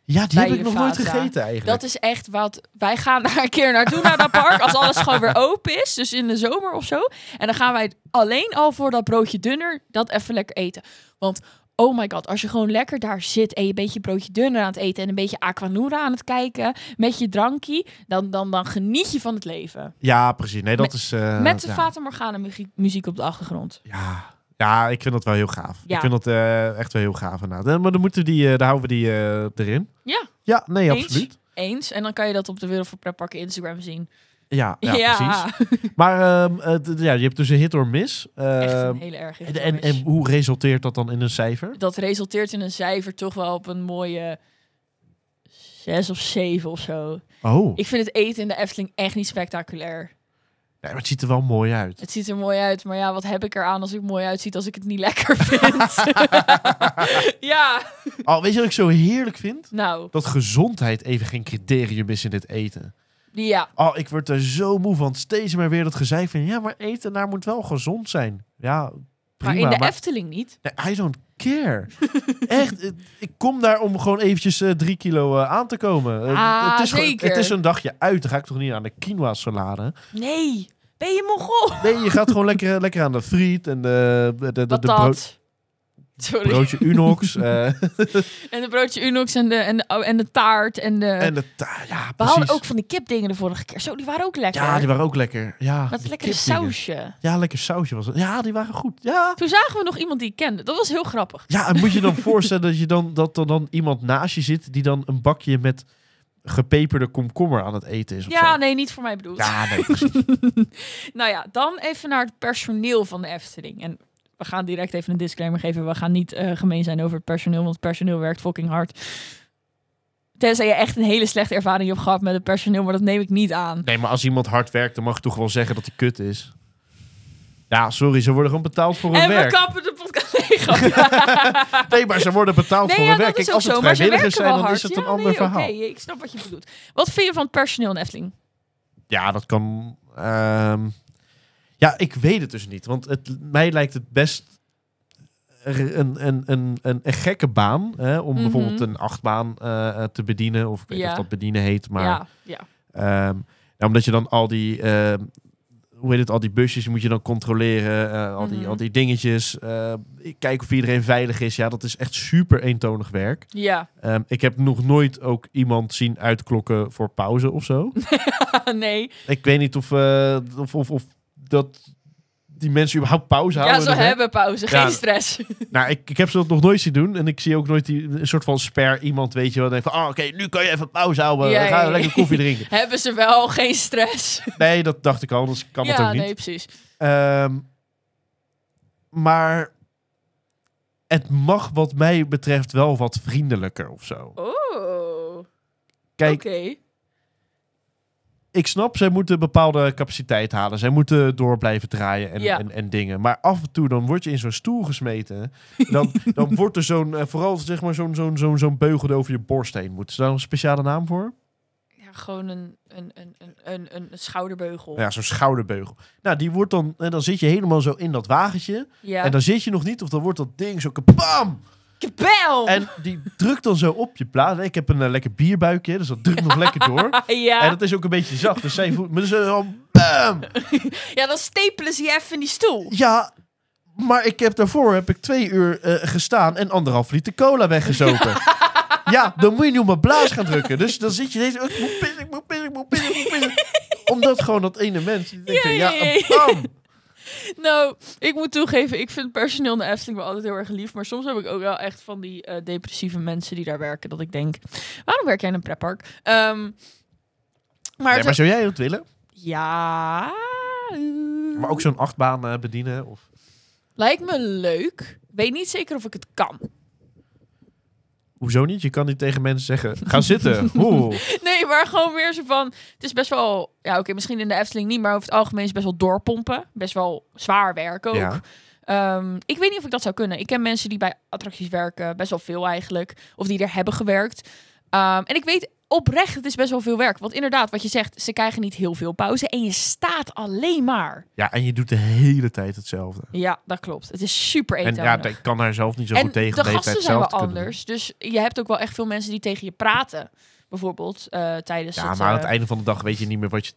[SPEAKER 2] Ja, die
[SPEAKER 1] Bij
[SPEAKER 2] heb ik
[SPEAKER 1] je
[SPEAKER 2] nog nooit
[SPEAKER 1] Vata.
[SPEAKER 2] gegeten eigenlijk.
[SPEAKER 1] Dat is echt wat. Wij gaan daar een keer naartoe naar dat park. Als alles gewoon weer open is. Dus in de zomer of zo. En dan gaan wij alleen al voor dat broodje dunner. Dat even lekker eten. Want oh my god. Als je gewoon lekker daar zit. En je een beetje broodje dunner aan het eten. En een beetje Aquanura aan het kijken. Met je drankje. Dan, dan, dan geniet je van het leven.
[SPEAKER 2] Ja, precies. Nee, dat is... eh,
[SPEAKER 1] Met de
[SPEAKER 2] ja.
[SPEAKER 1] Fata Morgana muziek, muziek op de achtergrond.
[SPEAKER 2] Ja. Ja, ik vind dat wel heel gaaf.
[SPEAKER 1] Ja.
[SPEAKER 2] Ik vind dat eh, echt wel heel gaaf inderdaad. Eh, Maar dan, moeten we die, eh, dan houden we die eh, erin.
[SPEAKER 1] Ja.
[SPEAKER 2] Ja, nee,
[SPEAKER 1] Eens.
[SPEAKER 2] absoluut.
[SPEAKER 1] Eens. En dan kan je dat op de Wereld voor Pretparken Instagram zien.
[SPEAKER 2] Ja, ja, precies. Maar ehm, eh, d- ja, je hebt dus een hit or miss. Ehm,
[SPEAKER 1] Echt een hele erg.
[SPEAKER 2] en, en, en hoe resulteert dat dan in een cijfer?
[SPEAKER 1] dat resulteert in een cijfer toch wel op een mooie zes of zeven of zo.
[SPEAKER 2] Oh,
[SPEAKER 1] Ik vind het eten in de Efteling echt niet spectaculair.
[SPEAKER 2] nee, maar het ziet er wel mooi uit.
[SPEAKER 1] Het ziet er mooi uit, maar ja, wat heb ik eraan als ik mooi uitziet als ik het niet lekker vind? ja,
[SPEAKER 2] Oh, weet je wat ik zo heerlijk vind?
[SPEAKER 1] nou,
[SPEAKER 2] Dat gezondheid even geen criterium is in dit eten.
[SPEAKER 1] ja.
[SPEAKER 2] Oh, ik word er zo moe van. Steeds maar weer dat gezeik van... Ja, maar eten daar moet wel gezond zijn. Ja, prima.
[SPEAKER 1] maar in de
[SPEAKER 2] maar-
[SPEAKER 1] Efteling niet.
[SPEAKER 2] Nee, I don't care. Echt, eh, ik kom daar om gewoon eventjes eh, drie kilo eh, aan te komen. Eh,
[SPEAKER 1] Ah,
[SPEAKER 2] het, is gewoon-
[SPEAKER 1] zeker.
[SPEAKER 2] het is een dagje uit. Dan ga ik toch niet aan de quinoa salade.
[SPEAKER 1] Nee, ben je mongol?
[SPEAKER 2] Nee, je gaat gewoon lekker, eh, lekker aan de friet en de, de, de, de
[SPEAKER 1] Wat
[SPEAKER 2] brood-
[SPEAKER 1] dat? Sorry.
[SPEAKER 2] broodje Unox. eh,
[SPEAKER 1] En de broodje Unox en de, en de, oh, en de taart en de...
[SPEAKER 2] en de ta- ja,
[SPEAKER 1] We hadden
[SPEAKER 2] precies.
[SPEAKER 1] ook van die kipdingen de vorige keer. Zo, die waren ook lekker.
[SPEAKER 2] ja, die waren ook lekker. Ja,
[SPEAKER 1] Met
[SPEAKER 2] die
[SPEAKER 1] lekkere
[SPEAKER 2] kipdingen.
[SPEAKER 1] sausje.
[SPEAKER 2] Ja, lekker sausje was het. Ja, die waren goed. Ja.
[SPEAKER 1] Toen zagen we nog iemand die ik kende. Dat was heel grappig.
[SPEAKER 2] Ja, en moet je dan voorstellen dat je dan dat er dan iemand naast je zit die dan een bakje met gepeperde komkommer aan het eten is. of
[SPEAKER 1] Ja,
[SPEAKER 2] zo.
[SPEAKER 1] nee, niet voor mij bedoeld.
[SPEAKER 2] ja nee, precies.
[SPEAKER 1] Nou ja, dan even naar het personeel van de Efteling. En we gaan direct even een disclaimer geven. We gaan niet eh, gemeen zijn over het personeel, want het personeel werkt fucking hard. Tenzij je echt een hele slechte ervaring hebt gehad met het personeel, maar dat neem ik niet aan.
[SPEAKER 2] nee, maar als iemand hard werkt, dan mag je toch wel zeggen dat hij kut is. Ja, sorry, ze worden gewoon betaald voor hun
[SPEAKER 1] En
[SPEAKER 2] werk.
[SPEAKER 1] we kappen de podcast. Nee, grapje.
[SPEAKER 2] Nee, maar ze worden betaald
[SPEAKER 1] Nee,
[SPEAKER 2] voor
[SPEAKER 1] ja,
[SPEAKER 2] hun
[SPEAKER 1] dat
[SPEAKER 2] werk.
[SPEAKER 1] is
[SPEAKER 2] Kijk,
[SPEAKER 1] ook
[SPEAKER 2] als het
[SPEAKER 1] zo, maar ze werken
[SPEAKER 2] vrijwilligers zijn,
[SPEAKER 1] wel
[SPEAKER 2] dan
[SPEAKER 1] hard.
[SPEAKER 2] is het
[SPEAKER 1] Ja,
[SPEAKER 2] een ander
[SPEAKER 1] nee,
[SPEAKER 2] verhaal.
[SPEAKER 1] Oké, ik snap wat je bedoelt. Wat vind je van het personeel in Efteling?
[SPEAKER 2] Ja, dat kan. ehm, ja, ik weet het dus niet. Want het, mij lijkt het best er- een, een, een, een, een gekke baan. Hè, om
[SPEAKER 1] Mhm.
[SPEAKER 2] bijvoorbeeld een achtbaan eh, eh, te bedienen. Of ik weet niet
[SPEAKER 1] Ja.
[SPEAKER 2] of dat bedienen heet. Maar
[SPEAKER 1] Ja, ja.
[SPEAKER 2] Ehm, ja, omdat je dan al die, ehm, hoe heet het, al die busjes moet je dan controleren. eh, al, die,
[SPEAKER 1] Mhm.
[SPEAKER 2] al die dingetjes. eh, kijken of iedereen veilig is. Ja, dat is echt super eentonig werk.
[SPEAKER 1] Ja,
[SPEAKER 2] Ehm, ik heb nog nooit ook iemand zien uitklokken voor pauze of zo.
[SPEAKER 1] nee.
[SPEAKER 2] ik weet niet of, eh, of, of, of dat die mensen überhaupt pauze
[SPEAKER 1] Ja,
[SPEAKER 2] houden.
[SPEAKER 1] ze
[SPEAKER 2] in hun werk.
[SPEAKER 1] hebben pauze. Geen
[SPEAKER 2] Ja.
[SPEAKER 1] stress.
[SPEAKER 2] Nou, ik, ik heb ze dat nog nooit zien doen. En ik zie ook nooit die, een soort van sper iemand, weet je wel. Denk van, oh, oké, nu kan je even pauze houden.
[SPEAKER 1] Ja,
[SPEAKER 2] ga
[SPEAKER 1] ja, ja.
[SPEAKER 2] lekker koffie drinken.
[SPEAKER 1] hebben ze wel geen stress.
[SPEAKER 2] Nee, dat dacht ik al, anders kan het
[SPEAKER 1] ja,
[SPEAKER 2] ook niet.
[SPEAKER 1] nee, precies.
[SPEAKER 2] Ehm, maar het mag wat mij betreft wel wat vriendelijker of zo.
[SPEAKER 1] Oh,
[SPEAKER 2] Kijk,
[SPEAKER 1] oké.
[SPEAKER 2] ik snap, zij moeten bepaalde capaciteit halen. Zij moeten door blijven draaien en,
[SPEAKER 1] Ja.
[SPEAKER 2] en, en dingen. Maar af en toe dan word je in zo'n stoel gesmeten. Dan, dan wordt er zo'n, eh, vooral zeg maar zo'n, zo'n, zo'n, zo'n beugel die over je borst heen moet. Is daar een speciale naam voor?
[SPEAKER 1] Ja, gewoon een, een, een, een, een, een- een schouderbeugel.
[SPEAKER 2] Ja, zo'n schouderbeugel. Nou, die wordt dan, en dan zit je helemaal zo in dat wagentje.
[SPEAKER 1] Ja.
[SPEAKER 2] En dan zit je nog niet, of dan wordt dat ding zo kabam!
[SPEAKER 1] Kabel!
[SPEAKER 2] En die drukt dan zo op je plaat. Ik heb een eh, lekker bierbuikje, dus dat drukt nog lekker door.
[SPEAKER 1] ja.
[SPEAKER 2] En dat is ook een beetje zacht. Dus zij voelt maar zo van, bam!
[SPEAKER 1] ja, dan stapelen ze je even in die stoel.
[SPEAKER 2] Ja, maar ik heb daarvoor heb ik twee uur eh, gestaan en anderhalf liter cola weggezopen. ja, dan moet je nu op mijn blaas gaan drukken. Dus dan zit je deze, ik moet pissen, ik moet pissen, ik moet pissen, ik moet pissen. Omdat gewoon dat ene mens, die denkt,
[SPEAKER 1] Ja,
[SPEAKER 2] ja,
[SPEAKER 1] ja, ja.
[SPEAKER 2] bam!
[SPEAKER 1] Nou, ik moet toegeven, ik vind personeel in de Efteling wel altijd heel erg lief. Maar soms heb ik ook wel echt van die eh, depressieve mensen die daar werken. Dat ik denk, waarom werk jij in een pretpark? Ehm, maar,
[SPEAKER 2] Nee, maar
[SPEAKER 1] het-
[SPEAKER 2] zou jij dat willen?
[SPEAKER 1] Ja.
[SPEAKER 2] Maar ook zo'n achtbaan eh, bedienen? Of...
[SPEAKER 1] Lijkt me leuk. Weet niet zeker of ik het kan.
[SPEAKER 2] Hoezo niet? Je kan niet tegen mensen zeggen, ga zitten. Oeh.
[SPEAKER 1] Nee, maar gewoon weer zo van... Het is best wel... Ja, oké, misschien in de Efteling niet, maar over het algemeen is het best wel doorpompen. Best wel zwaar werk ook.
[SPEAKER 2] Ja.
[SPEAKER 1] Ehm, ik weet niet of ik dat zou kunnen. Ik ken mensen die bij attracties werken, best wel veel eigenlijk. Of die er hebben gewerkt. Ehm, en ik weet oprecht, het is best wel veel werk. Want inderdaad, wat je zegt, ze krijgen niet heel veel pauze. En je staat alleen maar.
[SPEAKER 2] Ja, en je doet de hele tijd hetzelfde.
[SPEAKER 1] Ja, dat klopt. Het is super
[SPEAKER 2] En
[SPEAKER 1] eentonig.
[SPEAKER 2] ja, ik kan daar zelf niet zo
[SPEAKER 1] en
[SPEAKER 2] goed tegen.
[SPEAKER 1] de
[SPEAKER 2] hele tijd
[SPEAKER 1] gasten zijn wel
[SPEAKER 2] hetzelfde te kunnen
[SPEAKER 1] anders. Dus je hebt ook wel echt veel mensen die tegen je praten. Bijvoorbeeld eh, tijdens
[SPEAKER 2] doen. Ja,
[SPEAKER 1] het...
[SPEAKER 2] maar aan
[SPEAKER 1] eh,
[SPEAKER 2] het einde van de dag weet je niet meer wat je...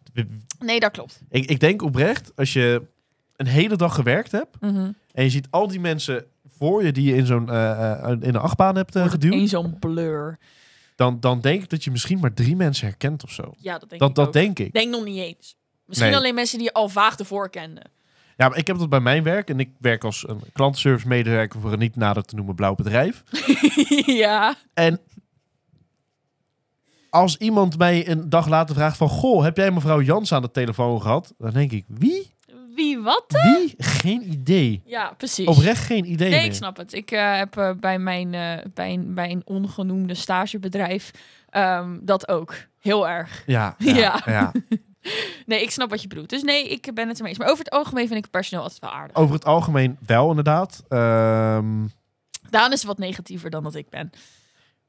[SPEAKER 1] Nee, dat klopt.
[SPEAKER 2] Ik, ik denk oprecht, als je een hele dag gewerkt hebt...
[SPEAKER 1] Mhm.
[SPEAKER 2] en je ziet al die mensen voor je die je in, zo'n, eh, eh, in de achtbaan hebt eh, geduwd...
[SPEAKER 1] Eén zo'n blur.
[SPEAKER 2] Dan, dan denk ik dat je misschien maar drie mensen herkent of zo.
[SPEAKER 1] Ja, dat denk ik
[SPEAKER 2] Dat, dat
[SPEAKER 1] ook.
[SPEAKER 2] denk ik.
[SPEAKER 1] Denk nog niet eens. Misschien
[SPEAKER 2] Nee.
[SPEAKER 1] alleen mensen die je al vaag ervoor kenden.
[SPEAKER 2] Ja, maar ik heb dat bij mijn werk... en ik werk als een klantenservice medewerker... voor een niet nader te noemen blauw bedrijf.
[SPEAKER 1] ja.
[SPEAKER 2] En als iemand mij een dag later vraagt van... Goh, heb jij mevrouw Jans aan de telefoon gehad? Dan denk ik, wie?
[SPEAKER 1] Wie wat?
[SPEAKER 2] Wie? Geen idee.
[SPEAKER 1] Ja, precies.
[SPEAKER 2] Oprecht geen idee
[SPEAKER 1] Nee,
[SPEAKER 2] meer.
[SPEAKER 1] ik snap het. Ik eh, heb eh, bij, mijn, eh, bij, een, bij een ongenoemde stagebedrijf ehm, dat ook. Heel erg.
[SPEAKER 2] Ja, ja,
[SPEAKER 1] Ja.
[SPEAKER 2] ja.
[SPEAKER 1] Nee, ik snap wat je bedoelt. Dus nee, ik ben het ermee eens. Maar over het algemeen vind ik het personeel altijd wel aardig.
[SPEAKER 2] Over het algemeen wel, inderdaad. Ehm,
[SPEAKER 1] Daan is wat negatiever dan dat ik ben.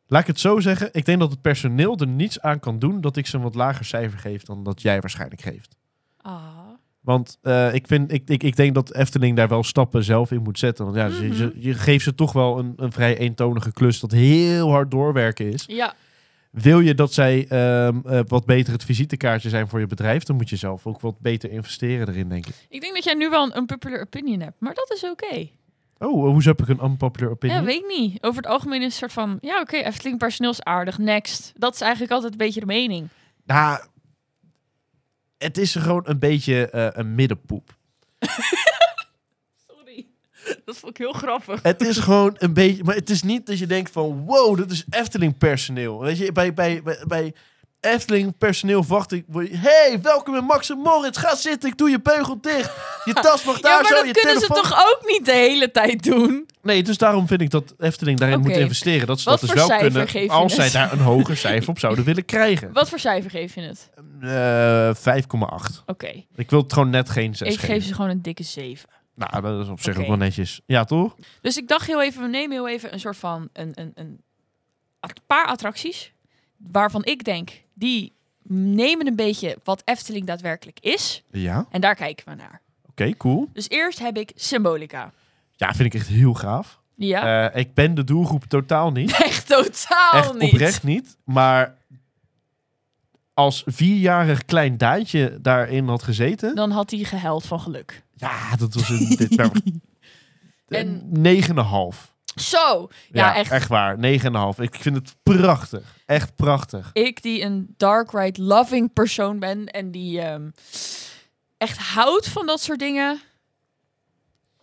[SPEAKER 2] laat ik het zo zeggen. Ik denk dat het personeel er niets aan kan doen... dat ik ze een wat lager cijfer geef dan dat jij waarschijnlijk geeft.
[SPEAKER 1] Ah.
[SPEAKER 2] Want eh, ik, vind, ik, ik, ik denk dat Efteling daar wel stappen zelf in moet zetten. Want ja, ze-
[SPEAKER 1] Mhm.
[SPEAKER 2] ze- je, geeft ze toch wel een, een vrij eentonige klus... dat heel hard doorwerken is.
[SPEAKER 1] Ja,
[SPEAKER 2] Wil je dat zij ehm, eh, wat beter het visitekaartje zijn voor je bedrijf, dan moet je zelf ook wat beter investeren erin, denk ik.
[SPEAKER 1] ik denk dat jij nu wel een unpopular opinion hebt. Maar dat is oké.
[SPEAKER 2] Oh, eh, hoezo heb ik een unpopular opinion?
[SPEAKER 1] Ja, weet ik niet. Over het algemeen is het soort van... Ja, oké, Efteling personeel is aardig. Next. Dat is eigenlijk altijd een beetje de mening.
[SPEAKER 2] Nou, het is gewoon een beetje eh, een middenpoep.
[SPEAKER 1] Sorry. Dat vond ik heel grappig.
[SPEAKER 2] Het is gewoon een beetje, maar het is niet dat je denkt van, wow, dat is Efteling personeel. Weet je, bij, bij, bij, bij Efteling personeel wacht ik. hey, welkom in Max en Moritz. Ga zitten, ik doe je beugel dicht. Je tas mag daar
[SPEAKER 1] ja, maar
[SPEAKER 2] zo,
[SPEAKER 1] dat
[SPEAKER 2] je
[SPEAKER 1] kunnen
[SPEAKER 2] telefoon...
[SPEAKER 1] ze toch ook niet de hele tijd doen?
[SPEAKER 2] Nee, dus daarom vind ik dat Efteling daarin
[SPEAKER 1] Oké.
[SPEAKER 2] moet investeren. Dat ze
[SPEAKER 1] Wat
[SPEAKER 2] dat
[SPEAKER 1] voor
[SPEAKER 2] dus wel
[SPEAKER 1] cijfer
[SPEAKER 2] kunnen
[SPEAKER 1] geef je
[SPEAKER 2] als zij
[SPEAKER 1] het?
[SPEAKER 2] daar een hoger cijfer op zouden willen krijgen.
[SPEAKER 1] Wat voor cijfer geef je het?
[SPEAKER 2] Eh, 5,8.
[SPEAKER 1] Oké,
[SPEAKER 2] Ik wil het gewoon net geen 6
[SPEAKER 1] ik
[SPEAKER 2] geven.
[SPEAKER 1] geef ze gewoon een dikke 7.
[SPEAKER 2] Nou, dat is op zich
[SPEAKER 1] Oké.
[SPEAKER 2] ook wel netjes. Ja, toch?
[SPEAKER 1] Dus ik dacht heel even, we nemen heel even een soort van een, een, een at- paar attracties. Waarvan ik denk, die nemen een beetje wat Efteling daadwerkelijk is.
[SPEAKER 2] Ja. Oké,
[SPEAKER 1] En daar kijken we naar.
[SPEAKER 2] cool.
[SPEAKER 1] Dus eerst heb ik Symbolica.
[SPEAKER 2] Ja, vind ik echt heel gaaf.
[SPEAKER 1] Ja,
[SPEAKER 2] Eh, ik ben de doelgroep totaal niet.
[SPEAKER 1] echt totaal
[SPEAKER 2] echt
[SPEAKER 1] niet.
[SPEAKER 2] oprecht niet. Maar als vierjarig klein daantje daarin had gezeten...
[SPEAKER 1] Dan had hij gehuild van geluk.
[SPEAKER 2] Ja, dat was een... dit, nou,
[SPEAKER 1] En-
[SPEAKER 2] een 9,5.
[SPEAKER 1] Zo! Ja, echt.
[SPEAKER 2] waar. 9,5. Ik vind het prachtig. Echt prachtig.
[SPEAKER 1] Ik die een dark ride loving persoon ben en die ehm, echt houdt van dat soort dingen.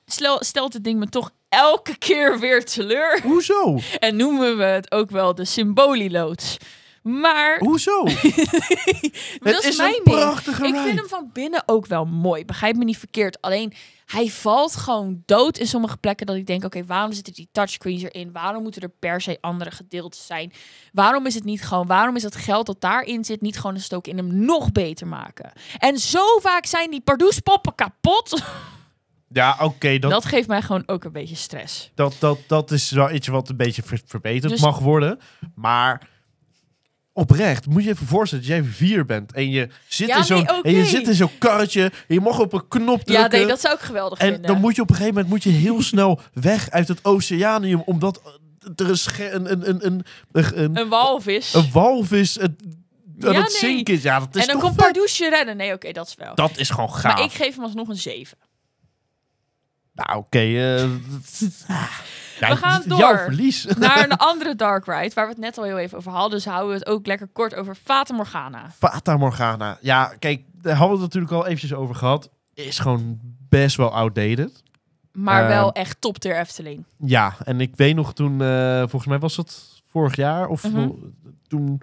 [SPEAKER 1] Stel, stelt het ding me toch elke keer weer teleur.
[SPEAKER 2] Hoezo?
[SPEAKER 1] En noemen we het ook wel de symbolieloods. Maar
[SPEAKER 2] Hoezo?
[SPEAKER 1] dat
[SPEAKER 2] het
[SPEAKER 1] is
[SPEAKER 2] is
[SPEAKER 1] mijn
[SPEAKER 2] een
[SPEAKER 1] ding.
[SPEAKER 2] prachtige
[SPEAKER 1] Ik vind
[SPEAKER 2] ride.
[SPEAKER 1] hem van binnen ook wel mooi. Begrijp me niet verkeerd. Alleen hij valt gewoon dood in sommige plekken. Dat ik denk: oké, waarom zitten die touchscreens erin? Waarom moeten er per se andere gedeeltes zijn? Waarom is het niet gewoon? Waarom is dat geld dat daarin zit niet gewoon een stok in hem nog beter maken? En zo vaak zijn die Pardoes-poppen kapot.
[SPEAKER 2] Ja, oké. dat,
[SPEAKER 1] Dat...
[SPEAKER 2] dat...
[SPEAKER 1] geeft mij gewoon ook een beetje stress.
[SPEAKER 2] Dat, dat, is wel iets wat een beetje ver- verbeterd
[SPEAKER 1] Dus-
[SPEAKER 2] mag worden. Maar oprecht, moet je even voorstellen dat jij vier bent. En je zit,
[SPEAKER 1] Ja,
[SPEAKER 2] in, zo'n,
[SPEAKER 1] nee, oké.
[SPEAKER 2] en je zit in zo'n karretje. En je mag op een knop drukken.
[SPEAKER 1] Ja, nee, dat zou ik geweldig
[SPEAKER 2] En
[SPEAKER 1] vinden.
[SPEAKER 2] dan moet je op een gegeven moment moet je heel snel weg uit het oceanium. Omdat eh, er een, sche- een, een, een, een, een, een,
[SPEAKER 1] Een walvis.
[SPEAKER 2] een walvis het, aan
[SPEAKER 1] Ja,
[SPEAKER 2] het
[SPEAKER 1] nee.
[SPEAKER 2] zinken is. Ja, dat is
[SPEAKER 1] en dan
[SPEAKER 2] toch
[SPEAKER 1] komt
[SPEAKER 2] vet?
[SPEAKER 1] Pardoesje redden. Nee, oké, dat is wel.
[SPEAKER 2] Dat is gewoon gaaf.
[SPEAKER 1] maar ik geef hem alsnog een 7.
[SPEAKER 2] Nou, oké. eh, ja,
[SPEAKER 1] We gaan
[SPEAKER 2] d- Jouw
[SPEAKER 1] door.
[SPEAKER 2] verlies.
[SPEAKER 1] naar een andere dark ride, waar we het net al heel even over hadden. Dus houden we het ook lekker kort over Fata Morgana.
[SPEAKER 2] Fata Morgana. Ja, kijk, daar hadden we het natuurlijk al eventjes over gehad. Is gewoon best wel outdated.
[SPEAKER 1] Maar
[SPEAKER 2] Eh.
[SPEAKER 1] wel echt top tier Efteling.
[SPEAKER 2] Ja, en ik weet nog toen, eh, volgens mij was dat vorig jaar of
[SPEAKER 1] Mhm.
[SPEAKER 2] toen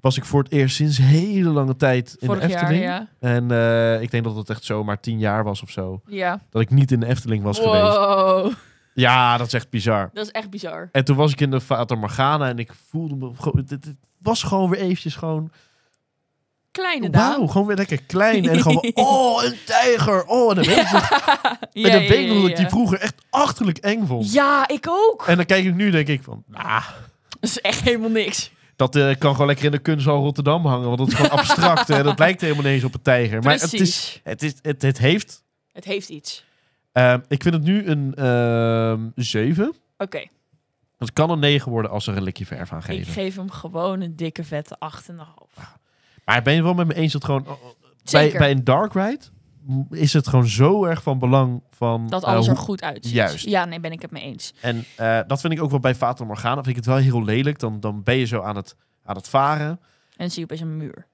[SPEAKER 2] was ik voor het eerst sinds hele lange tijd in
[SPEAKER 1] Vorig
[SPEAKER 2] de Efteling.
[SPEAKER 1] jaar, ja.
[SPEAKER 2] En eh, ik denk dat het echt zomaar tien jaar was of zo.
[SPEAKER 1] Ja.
[SPEAKER 2] Dat ik niet in de Efteling was geweest.
[SPEAKER 1] Wow,
[SPEAKER 2] Ja, dat is echt bizar.
[SPEAKER 1] dat is echt bizar.
[SPEAKER 2] En toen was ik in de Fata Morgana en ik voelde me... gewoon- Het het- het was gewoon weer eventjes gewoon...
[SPEAKER 1] Kleine Daan.
[SPEAKER 2] Wauw, gewoon weer lekker klein. En gewoon, oh, een tijger. Oh, en dan weet ik nog-
[SPEAKER 1] Ja,
[SPEAKER 2] en dan
[SPEAKER 1] ja,
[SPEAKER 2] weet ik nog
[SPEAKER 1] ja,
[SPEAKER 2] dat ik die
[SPEAKER 1] ja.
[SPEAKER 2] vroeger echt achterlijk eng vond.
[SPEAKER 1] Ja, ik ook.
[SPEAKER 2] En dan kijk ik nu denk ik van... ah,
[SPEAKER 1] Dat is echt helemaal niks.
[SPEAKER 2] dat eh, kan gewoon lekker in de kunsthal Rotterdam hangen. Want dat is gewoon abstract. en dat lijkt helemaal niet eens op een tijger. Maar
[SPEAKER 1] Precies.
[SPEAKER 2] het, is, het, is, het, het heeft...
[SPEAKER 1] Het heeft iets.
[SPEAKER 2] ehm, ik vind het nu een ehm 7.
[SPEAKER 1] Oké,
[SPEAKER 2] Het kan een 9 worden als ze er een likje verf aan
[SPEAKER 1] ik
[SPEAKER 2] geven.
[SPEAKER 1] geef hem gewoon een dikke vette 8,5.
[SPEAKER 2] Maar ik ben het wel met me eens dat gewoon... oh, oh, Bij,
[SPEAKER 1] Zeker,
[SPEAKER 2] bij een dark ride m- is het gewoon zo erg van belang van...
[SPEAKER 1] dat
[SPEAKER 2] eh,
[SPEAKER 1] alles er
[SPEAKER 2] hoe-
[SPEAKER 1] goed uitziet.
[SPEAKER 2] Juist.
[SPEAKER 1] Ja, nee, ben ik het mee eens.
[SPEAKER 2] En eh, dat vind ik ook wel bij Fata Morgana. Vind ik het wel heel lelijk. Dan, dan ben je zo aan het, aan het varen.
[SPEAKER 1] En dan zie je opeens een muur.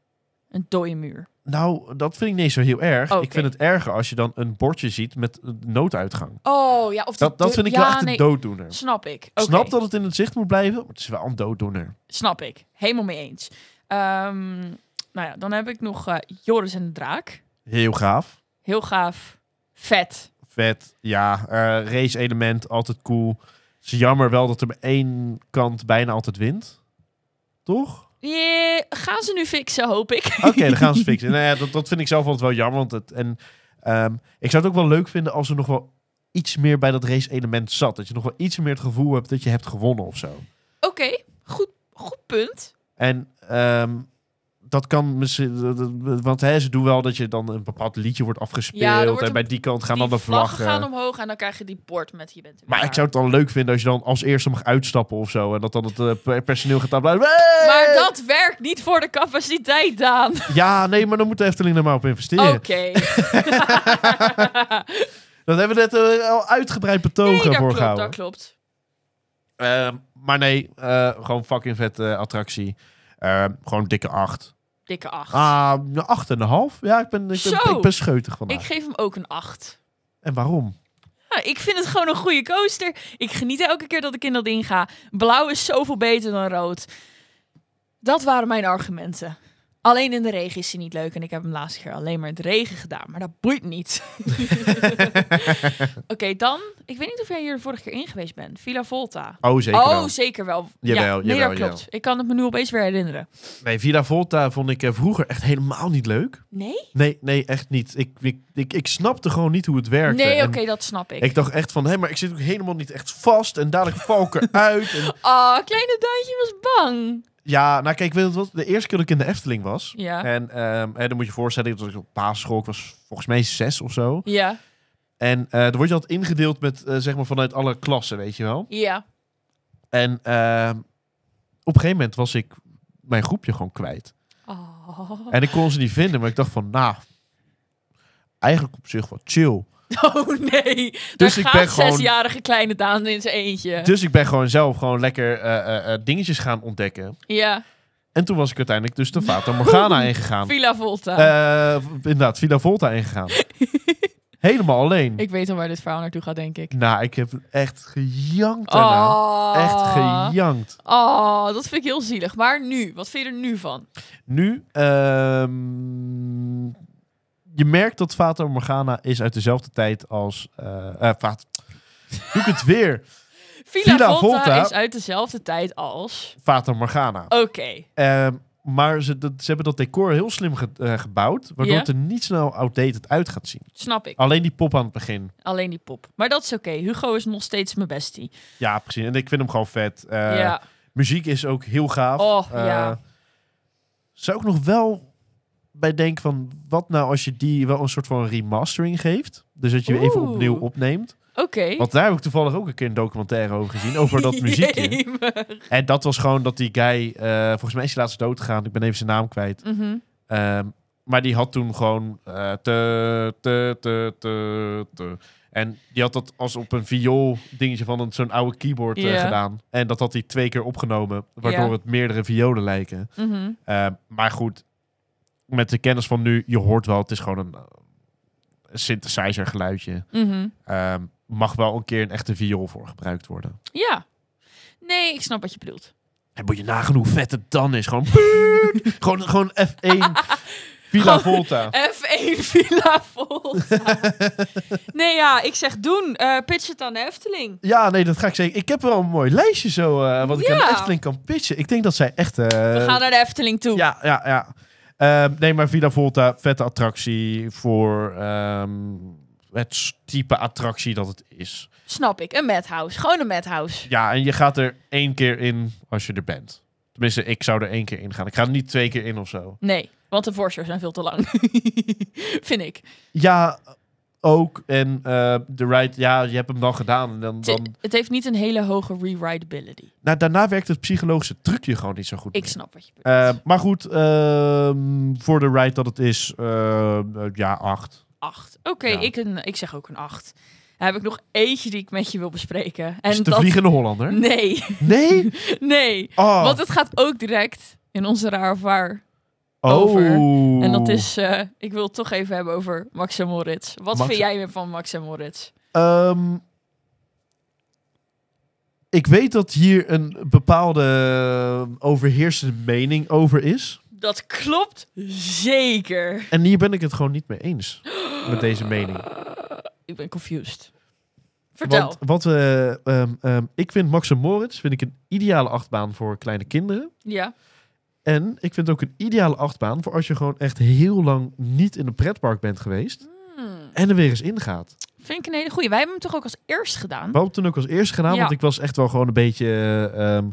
[SPEAKER 1] Een dode muur.
[SPEAKER 2] Nou, dat vind ik niet zo heel erg.
[SPEAKER 1] Oké.
[SPEAKER 2] Ik vind het erger als je dan een bordje ziet met een nooduitgang.
[SPEAKER 1] Oh, ja. Of de
[SPEAKER 2] Dat, dat
[SPEAKER 1] deur-
[SPEAKER 2] vind ik
[SPEAKER 1] ja,
[SPEAKER 2] wel echt
[SPEAKER 1] nee,
[SPEAKER 2] een dooddoener.
[SPEAKER 1] Snap ik. Oké.
[SPEAKER 2] Snap dat het in het zicht moet blijven, maar het is wel een dooddoener.
[SPEAKER 1] Snap ik. Helemaal mee eens. Ehm, nou ja, dan heb ik nog eh, Joris en de Draak.
[SPEAKER 2] Heel gaaf.
[SPEAKER 1] Heel gaaf. Vet.
[SPEAKER 2] Vet. Ja, eh, race-element. Altijd cool. Het is jammer wel dat er bij één kant bijna altijd wint. Toch?
[SPEAKER 1] Eh, gaan ze nu fixen, hoop ik.
[SPEAKER 2] Oké, dan gaan ze fixen. Nou ja, dat, dat vind ik zelf altijd wel jammer. Want het, en, ehm, ik zou het ook wel leuk vinden als er nog wel iets meer bij dat race-element zat. Dat je nog wel iets meer het gevoel hebt dat je hebt gewonnen of zo.
[SPEAKER 1] Oké, goed, goed punt.
[SPEAKER 2] En ehm, dat kan misschien... dat- dat- Want hè, ze doen wel dat je dan een bepaald liedje wordt afgespeeld.
[SPEAKER 1] Ja, er wordt
[SPEAKER 2] en bij
[SPEAKER 1] een-
[SPEAKER 2] die kant gaan
[SPEAKER 1] die
[SPEAKER 2] dan de
[SPEAKER 1] vlaggen
[SPEAKER 2] vlaggen.
[SPEAKER 1] gaan omhoog en dan krijg je die bord met je bent er
[SPEAKER 2] Maar
[SPEAKER 1] weer.
[SPEAKER 2] ik zou het dan leuk vinden als je dan als eerste mag uitstappen of zo. En dat dan het eh, per- personeel gaat blijven.
[SPEAKER 1] Maar dat werkt niet voor de capaciteit, Daan.
[SPEAKER 2] Ja, nee, maar dan moet de Efteling er maar op investeren.
[SPEAKER 1] Oké.
[SPEAKER 2] Dat hebben we net eh, al uitgebreid betogen
[SPEAKER 1] Nee, dat
[SPEAKER 2] voor
[SPEAKER 1] klopt,
[SPEAKER 2] gehouden.
[SPEAKER 1] dat klopt.
[SPEAKER 2] Ehm, maar nee, eh, gewoon fucking vette attractie. Ehm, gewoon dikke 8.
[SPEAKER 1] Dikke acht.
[SPEAKER 2] Ah, een 8,5. Ja, ik ben, ik
[SPEAKER 1] Zo.
[SPEAKER 2] ben, ik ben scheutig vandaag.
[SPEAKER 1] ik geef hem ook een acht.
[SPEAKER 2] En waarom?
[SPEAKER 1] Ja, Nou, ik vind het gewoon een goede coaster. Ik geniet elke keer dat ik in dat ding ga. Blauw is zoveel beter dan rood. Dat waren mijn argumenten. Alleen in de regen is hij niet leuk. En ik heb hem laatste keer alleen maar in de regen gedaan. Maar dat boeit niet. Oké, dan. Ik weet niet of jij hier de vorige keer in geweest bent. Villa Volta.
[SPEAKER 2] Oh, zeker
[SPEAKER 1] oh,
[SPEAKER 2] wel.
[SPEAKER 1] zeker wel. ja,
[SPEAKER 2] Jawel,
[SPEAKER 1] nee,
[SPEAKER 2] jawel,
[SPEAKER 1] dat
[SPEAKER 2] jawel.
[SPEAKER 1] klopt. Ik kan het me nu opeens weer herinneren.
[SPEAKER 2] Nee, Villa Volta vond ik eh, vroeger echt helemaal niet leuk.
[SPEAKER 1] Nee?
[SPEAKER 2] Nee, nee, echt niet. Ik, ik, ik, ik snapte gewoon niet hoe het werkte.
[SPEAKER 1] nee,
[SPEAKER 2] En
[SPEAKER 1] oké, dat snap ik.
[SPEAKER 2] Ik dacht echt van, hé, maar ik zit ook helemaal niet echt vast. En dadelijk val ik eruit. En,
[SPEAKER 1] Ah, kleine Duintje was bang.
[SPEAKER 2] ja, nou kijk, weet je wat? De eerste keer dat ik in de Efteling was.
[SPEAKER 1] Ja.
[SPEAKER 2] En ehm, hè, dan moet je voorstellen, dat ik op basisschool, ik was volgens mij zes of zo.
[SPEAKER 1] Ja.
[SPEAKER 2] En eh dan word je altijd ingedeeld met, eh, zeg maar, vanuit alle klassen, weet je wel.
[SPEAKER 1] Ja.
[SPEAKER 2] En ehm, op een gegeven moment was ik mijn groepje gewoon kwijt.
[SPEAKER 1] Oh.
[SPEAKER 2] En ik kon ze niet vinden, maar ik dacht van, nou, eigenlijk op zich wel chill.
[SPEAKER 1] Oh nee.
[SPEAKER 2] Dus
[SPEAKER 1] Daar
[SPEAKER 2] ik
[SPEAKER 1] gaat
[SPEAKER 2] ben gewoon-
[SPEAKER 1] zesjarige kleine Daan in zijn eentje.
[SPEAKER 2] Dus ik ben gewoon zelf gewoon lekker eh, eh, eh, dingetjes gaan ontdekken.
[SPEAKER 1] Ja.
[SPEAKER 2] En toen was ik uiteindelijk dus de Fata Morgana ingegaan.
[SPEAKER 1] Villa Volta.
[SPEAKER 2] Eh, v- inderdaad, Villa Volta ingegaan. Helemaal alleen.
[SPEAKER 1] Ik weet al waar dit verhaal naartoe gaat, denk ik.
[SPEAKER 2] Nou, ik heb echt gejankt daarna.
[SPEAKER 1] Oh.
[SPEAKER 2] nou Echt gejankt.
[SPEAKER 1] Oh, dat vind ik heel zielig. Maar nu, wat vind je er nu van?
[SPEAKER 2] Nu, ehm, je merkt dat Fata Morgana is uit dezelfde tijd als... eh eh, Fata- Doe ik het weer.
[SPEAKER 1] Villa,
[SPEAKER 2] Villa
[SPEAKER 1] Volta,
[SPEAKER 2] Volta-
[SPEAKER 1] is uit dezelfde tijd als...
[SPEAKER 2] Fata Morgana.
[SPEAKER 1] Oké.
[SPEAKER 2] Ehm, maar ze, dat- ze hebben dat decor heel slim ge- eh, gebouwd, waardoor
[SPEAKER 1] Ja.
[SPEAKER 2] het er niet snel outdated uit gaat zien.
[SPEAKER 1] Snap ik.
[SPEAKER 2] Alleen die pop aan het begin.
[SPEAKER 1] Alleen die pop. Maar dat is oké. Hugo is nog steeds mijn bestie.
[SPEAKER 2] Ja, precies. En ik vind hem gewoon vet. Eh,
[SPEAKER 1] ja.
[SPEAKER 2] Muziek is ook heel gaaf.
[SPEAKER 1] Oh,
[SPEAKER 2] Eh,
[SPEAKER 1] ja.
[SPEAKER 2] Zou ik nog wel bij denken van... wat nou als je die wel een soort van remastering geeft? Dus dat je weer even
[SPEAKER 1] Oeh.
[SPEAKER 2] opnieuw opneemt.
[SPEAKER 1] Oké.
[SPEAKER 2] Want daar heb ik toevallig ook een keer een documentaire over gezien. Over dat muziekje.
[SPEAKER 1] Jemig.
[SPEAKER 2] En dat was gewoon dat die guy... eh, volgens mij is hij laatst doodgegaan. Ik ben even zijn naam kwijt.
[SPEAKER 1] Mhm.
[SPEAKER 2] Ehm, maar die had toen gewoon... eh, te, te, te, te, te. En die had dat als op een viool dingetje van een- zo'n oude keyboard eh,
[SPEAKER 1] Ja.
[SPEAKER 2] gedaan. En dat had hij twee keer opgenomen. Waardoor
[SPEAKER 1] Ja.
[SPEAKER 2] het meerdere violen lijken.
[SPEAKER 1] Mhm.
[SPEAKER 2] Eh, maar goed, met de kennis van nu, je hoort wel, het is gewoon een eh, synthesizer geluidje.
[SPEAKER 1] Mhm.
[SPEAKER 2] Ehm, mag wel een keer een echte viool voor gebruikt worden.
[SPEAKER 1] Ja. Nee, ik snap wat je bedoelt.
[SPEAKER 2] En moet je nagaan hoe vet het dan is. Gewoon, gewoon, gewoon F1 Villa
[SPEAKER 1] Gewoon-
[SPEAKER 2] Volta.
[SPEAKER 1] F1 Villa Volta. nee, ja, ik zeg doen. Eh, pitch het aan de Efteling.
[SPEAKER 2] Ja, nee, dat ga ik zeker. Ik heb wel een mooi lijstje zo, eh, wat ik
[SPEAKER 1] Ja.
[SPEAKER 2] aan de Efteling kan pitchen. Ik denk dat zij echt... eh,
[SPEAKER 1] We gaan naar de Efteling toe.
[SPEAKER 2] Ja, ja, ja. Ehm, nee, maar Villa Volta, vette attractie voor ehm, het type attractie dat het is.
[SPEAKER 1] Snap ik. Een madhouse. Gewoon een madhouse.
[SPEAKER 2] Ja, en je gaat er één keer in als je er bent. Tenminste, ik zou er één keer in gaan. Ik ga er niet twee keer in of zo.
[SPEAKER 1] Nee, want de voorshows zijn veel te lang. Vind ik.
[SPEAKER 2] Ja, ook. En eh, de ride, ja, je hebt hem dan gedaan. En dan,
[SPEAKER 1] Het-
[SPEAKER 2] dan...
[SPEAKER 1] Het heeft niet een hele hoge rewritability.
[SPEAKER 2] Nou, daarna werkt het psychologische trucje gewoon niet zo goed.
[SPEAKER 1] Ik
[SPEAKER 2] meer.
[SPEAKER 1] snap wat je bedoelt.
[SPEAKER 2] Eh, maar goed, ehm, voor de ride dat het is, eh, eh, ja, acht.
[SPEAKER 1] acht. Oké,
[SPEAKER 2] ja.
[SPEAKER 1] ik, een- ik zeg ook een acht. Dan heb ik nog eentje die ik met je wil bespreken. En
[SPEAKER 2] is het de
[SPEAKER 1] dat...
[SPEAKER 2] Vliegende Hollander?
[SPEAKER 1] Nee,
[SPEAKER 2] Nee?
[SPEAKER 1] nee.
[SPEAKER 2] Oh.
[SPEAKER 1] Want het gaat ook direct in onze raar of waar. over.
[SPEAKER 2] Oh.
[SPEAKER 1] En dat is, eh, ik wil het toch even hebben over Max en Moritz. Wat
[SPEAKER 2] Max-
[SPEAKER 1] vind jij weer van Max en Moritz?
[SPEAKER 2] Ehm, ik weet dat hier een bepaalde eh, overheersende mening over is.
[SPEAKER 1] Dat klopt zeker.
[SPEAKER 2] En hier ben ik het gewoon niet mee eens. Met deze mening.
[SPEAKER 1] Eh, Ik ben confused. Vertel.
[SPEAKER 2] Want wat, we, ehm, ehm, ik vind Max en Moritz vind ik een ideale achtbaan voor kleine kinderen.
[SPEAKER 1] Ja.
[SPEAKER 2] En ik vind het ook een ideale achtbaan voor als je gewoon echt heel lang niet in een pretpark bent geweest.
[SPEAKER 1] Hmm.
[SPEAKER 2] En er weer eens ingaat.
[SPEAKER 1] Vind ik een hele goeie. Wij hebben hem toch ook als eerst gedaan?
[SPEAKER 2] We hadden toen ook als eerste gedaan,
[SPEAKER 1] Ja.
[SPEAKER 2] want ik was echt wel gewoon een beetje... eh, ehm,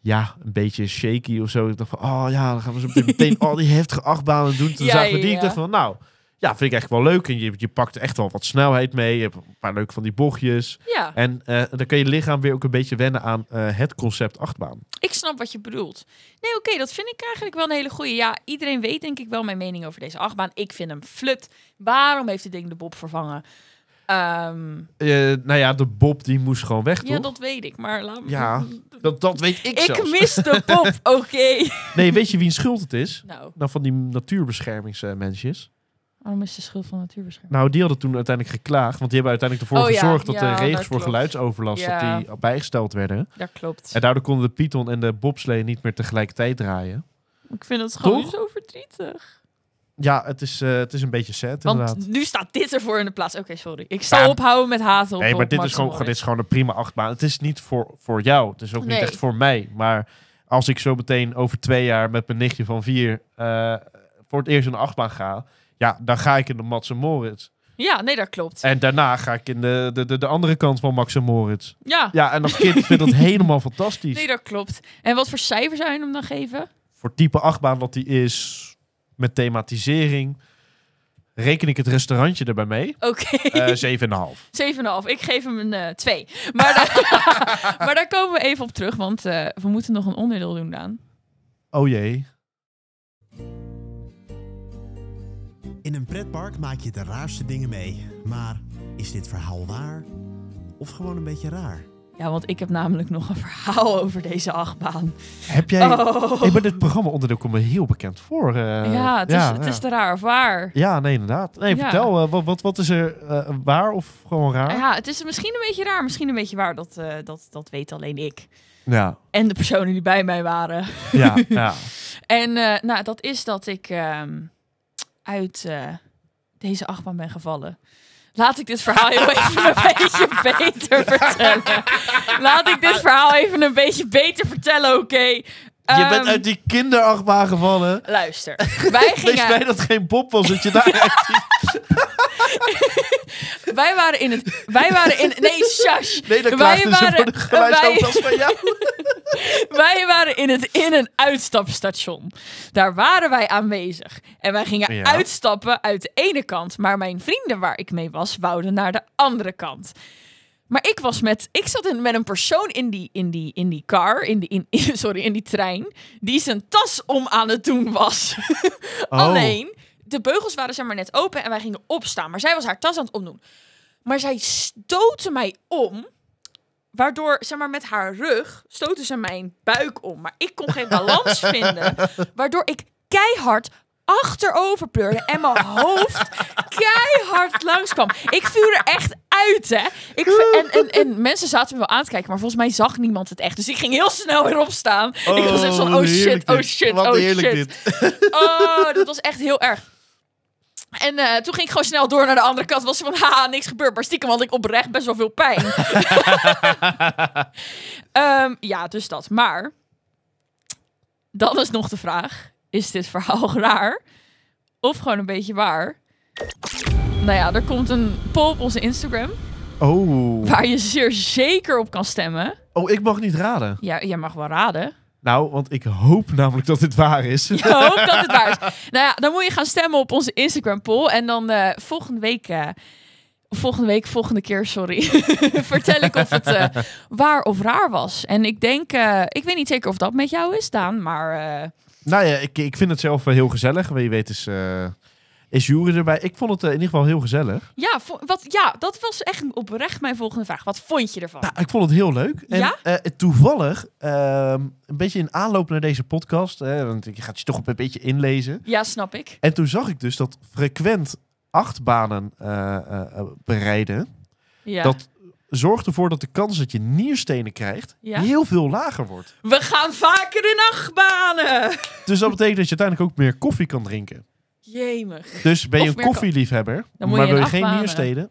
[SPEAKER 2] ja, een beetje shaky of zo. Ik dacht van, oh ja, dan gaan we zo meteen- meteen al die heftige achtbanen doen. Toen
[SPEAKER 1] Ja,
[SPEAKER 2] zagen we die.
[SPEAKER 1] ja,
[SPEAKER 2] Ik
[SPEAKER 1] ja.
[SPEAKER 2] dacht van, nou, ja, vind ik echt wel leuk. En je, je pakt echt wel wat snelheid mee. Je hebt een paar leuke van die bochtjes.
[SPEAKER 1] Ja,
[SPEAKER 2] En eh, dan kan je lichaam weer ook een beetje wennen aan eh, het concept achtbaan.
[SPEAKER 1] ik snap wat je bedoelt. Nee, oké, dat vind ik eigenlijk wel een hele goeie. Ja, iedereen weet denk ik wel mijn mening over deze achtbaan. Ik vind hem flut. Waarom heeft dit ding de Bob vervangen? Ehm,
[SPEAKER 2] Eh, nou ja, de Bob die moest gewoon weg,
[SPEAKER 1] ja,
[SPEAKER 2] toch?
[SPEAKER 1] dat weet ik, maar laat me...
[SPEAKER 2] Ja, dat, dat weet ik,
[SPEAKER 1] Ik
[SPEAKER 2] zelfs.
[SPEAKER 1] mis de Bob, oké.
[SPEAKER 2] Nee, weet je wiens schuld het is?
[SPEAKER 1] Nou,
[SPEAKER 2] Nou, van die natuurbeschermingsmensjes.
[SPEAKER 1] Waarom is de schuld van natuurbescherming?
[SPEAKER 2] Nou, die hadden toen uiteindelijk geklaagd. Want die hebben uiteindelijk ervoor
[SPEAKER 1] Oh ja,
[SPEAKER 2] gezorgd dat
[SPEAKER 1] ja,
[SPEAKER 2] de regels
[SPEAKER 1] dat
[SPEAKER 2] voor
[SPEAKER 1] klopt.
[SPEAKER 2] geluidsoverlast
[SPEAKER 1] Ja.
[SPEAKER 2] dat die bijgesteld werden.
[SPEAKER 1] Dat klopt.
[SPEAKER 2] En daardoor konden de Python en de bobslee niet meer tegelijkertijd draaien.
[SPEAKER 1] Ik vind het gewoon
[SPEAKER 2] Toch?
[SPEAKER 1] zo verdrietig.
[SPEAKER 2] Ja, het is, eh, het is een beetje sad inderdaad.
[SPEAKER 1] Want nu staat dit ervoor in de plaats. Oké, sorry. Ik zal
[SPEAKER 2] Ja,
[SPEAKER 1] ophouden met haten op
[SPEAKER 2] nee, maar
[SPEAKER 1] op
[SPEAKER 2] dit
[SPEAKER 1] Max
[SPEAKER 2] is, gewoon,
[SPEAKER 1] Morris.
[SPEAKER 2] dit is gewoon een prima achtbaan. Het is niet voor, voor jou. Het is ook
[SPEAKER 1] Nee.
[SPEAKER 2] niet echt voor mij. Maar als ik zo meteen over twee jaar met mijn nichtje van vier eh, voor het eerst in de achtbaan ga... Ja, dan ga ik in de Mats en Moritz.
[SPEAKER 1] Ja, nee, dat klopt.
[SPEAKER 2] En daarna ga ik in de, de, de, de andere kant van Max en Moritz.
[SPEAKER 1] Ja,
[SPEAKER 2] Ja, en als kind vind ik dat helemaal fantastisch.
[SPEAKER 1] nee, dat klopt. En wat voor cijfer zou je hem dan geven?
[SPEAKER 2] Voor type achtbaan wat die is, met thematisering... Reken ik het restaurantje erbij mee?
[SPEAKER 1] Oké,
[SPEAKER 2] Eh 7,5.
[SPEAKER 1] 7,5. Ik geef hem een eh 2. Maar, daar- maar daar komen we even op terug, want eh, we moeten nog een onderdeel doen, Daan.
[SPEAKER 2] Oh jee.
[SPEAKER 3] In een pretpark maak je de raarste dingen mee. Maar is dit verhaal waar? Of gewoon een beetje raar?
[SPEAKER 1] Ja, want ik heb namelijk nog een verhaal over deze achtbaan.
[SPEAKER 2] Heb jij...
[SPEAKER 1] Oh.
[SPEAKER 2] Ik ben dit programma onderdeel komt me heel bekend voor. eh,
[SPEAKER 1] ja, het is, het is
[SPEAKER 2] ja.
[SPEAKER 1] te raar of waar.
[SPEAKER 2] Ja, nee, inderdaad. Nee,
[SPEAKER 1] Ja.
[SPEAKER 2] vertel, eh, wat, wat, wat is er eh, waar of gewoon raar?
[SPEAKER 1] Ja, het is misschien een beetje raar, misschien een beetje waar. Dat, eh, dat, dat weet alleen ik.
[SPEAKER 2] Ja,
[SPEAKER 1] En de personen die bij mij waren.
[SPEAKER 2] ja, ja.
[SPEAKER 1] En eh, nou, dat is dat ik ehm, uit eh, deze achtbaan ben gevallen. Laat ik dit verhaal heel even een beetje beter vertellen. Laat ik dit verhaal even een beetje beter vertellen, oké?
[SPEAKER 2] je
[SPEAKER 1] Ehm,
[SPEAKER 2] bent uit die kinderachtbaan gevallen.
[SPEAKER 1] Luister, wij
[SPEAKER 2] Wees blij
[SPEAKER 1] gingen...
[SPEAKER 2] dat het geen Bob was, dat je daar...
[SPEAKER 1] Wij waren in het... Wij waren in... Nee, shush!
[SPEAKER 2] Nee, dan
[SPEAKER 1] Wij
[SPEAKER 2] klaagden ze
[SPEAKER 1] waren-
[SPEAKER 2] voor de geluidsoverlast van jou.
[SPEAKER 1] Wij waren in het in- en uitstapstation. Daar waren wij aanwezig. En wij gingen
[SPEAKER 2] Ja.
[SPEAKER 1] uitstappen uit de ene kant. Maar mijn vrienden waar ik mee was, wouden naar de andere kant. Maar ik was met. Ik zat in, met een persoon in die, in die, in die car. In die, in, sorry, in die trein. Die zijn tas om aan het doen was. Alleen, de beugels waren zeg maar net open en wij gingen opstaan. Maar zij was haar tas aan het omdoen. Maar zij stootte mij om. Waardoor, zeg maar, met haar rug stootte ze mijn buik om. Maar ik kon geen balans vinden. Waardoor ik keihard achterover pleurde en mijn hoofd keihard langskwam. Ik viel er echt uit, hè. Ik, v- en, en, en mensen zaten me wel aan te kijken, maar volgens mij zag niemand het echt. Dus ik ging heel snel weer opstaan. ik was echt zo'n, oh
[SPEAKER 2] wat
[SPEAKER 1] shit,
[SPEAKER 2] heerlijk
[SPEAKER 1] oh
[SPEAKER 2] dit.
[SPEAKER 1] shit,
[SPEAKER 2] Wat
[SPEAKER 1] oh
[SPEAKER 2] heerlijk
[SPEAKER 1] shit.
[SPEAKER 2] dit.
[SPEAKER 1] Oh, dat was echt heel erg. En eh, toen ging ik gewoon snel door naar de andere kant. Was ze van, ha, niks gebeurd. Maar stiekem had ik oprecht best wel veel pijn. Ehm, ja, dus dat. Maar, dan is nog de vraag. Is dit verhaal raar? Of gewoon een beetje waar? Nou ja, er komt een poll op onze Instagram.
[SPEAKER 2] Oh.
[SPEAKER 1] Waar je zeer zeker op kan stemmen.
[SPEAKER 2] oh, ik mag niet raden.
[SPEAKER 1] Ja, jij mag wel raden.
[SPEAKER 2] Nou, want ik hoop namelijk dat dit waar is.
[SPEAKER 1] Ik hoop dat het waar is. Nou ja, dan moet je gaan stemmen op onze Instagram poll. En dan eh, volgende week. eh, Volgende week, volgende keer, sorry. Vertel ik of het eh, waar of raar was. En ik denk, eh, ik weet niet zeker of dat met jou is, Daan. Maar eh,
[SPEAKER 2] Nou ja, ik, ik vind het zelf wel heel gezellig. Maar je weet is, eh is Jure erbij. Ik vond het eh, in ieder geval heel gezellig.
[SPEAKER 1] ja, vo- wat, ja, dat was echt oprecht mijn volgende vraag. Wat vond je ervan?
[SPEAKER 2] Nou, ik vond het heel leuk. En
[SPEAKER 1] Ja?
[SPEAKER 2] eh, toevallig, ehm, een beetje in aanloop naar deze podcast, hè, want je gaat je toch een beetje inlezen.
[SPEAKER 1] Ja, snap ik.
[SPEAKER 2] En toen zag ik dus dat frequent achtbanen eh, eh, eh, bereiden,
[SPEAKER 1] Ja.
[SPEAKER 2] dat zorgt ervoor dat de kans dat je nierstenen krijgt
[SPEAKER 1] Ja.
[SPEAKER 2] heel veel lager wordt.
[SPEAKER 1] We gaan vaker in achtbanen.
[SPEAKER 2] Dus dat betekent dat je uiteindelijk ook meer koffie kan drinken.
[SPEAKER 1] Jemig.
[SPEAKER 2] Dus ben je
[SPEAKER 1] Of
[SPEAKER 2] een
[SPEAKER 1] meer ko-
[SPEAKER 2] koffieliefhebber,
[SPEAKER 1] Dan moet je in
[SPEAKER 2] maar wil je geen
[SPEAKER 1] achtbanen.
[SPEAKER 2] nierstenen,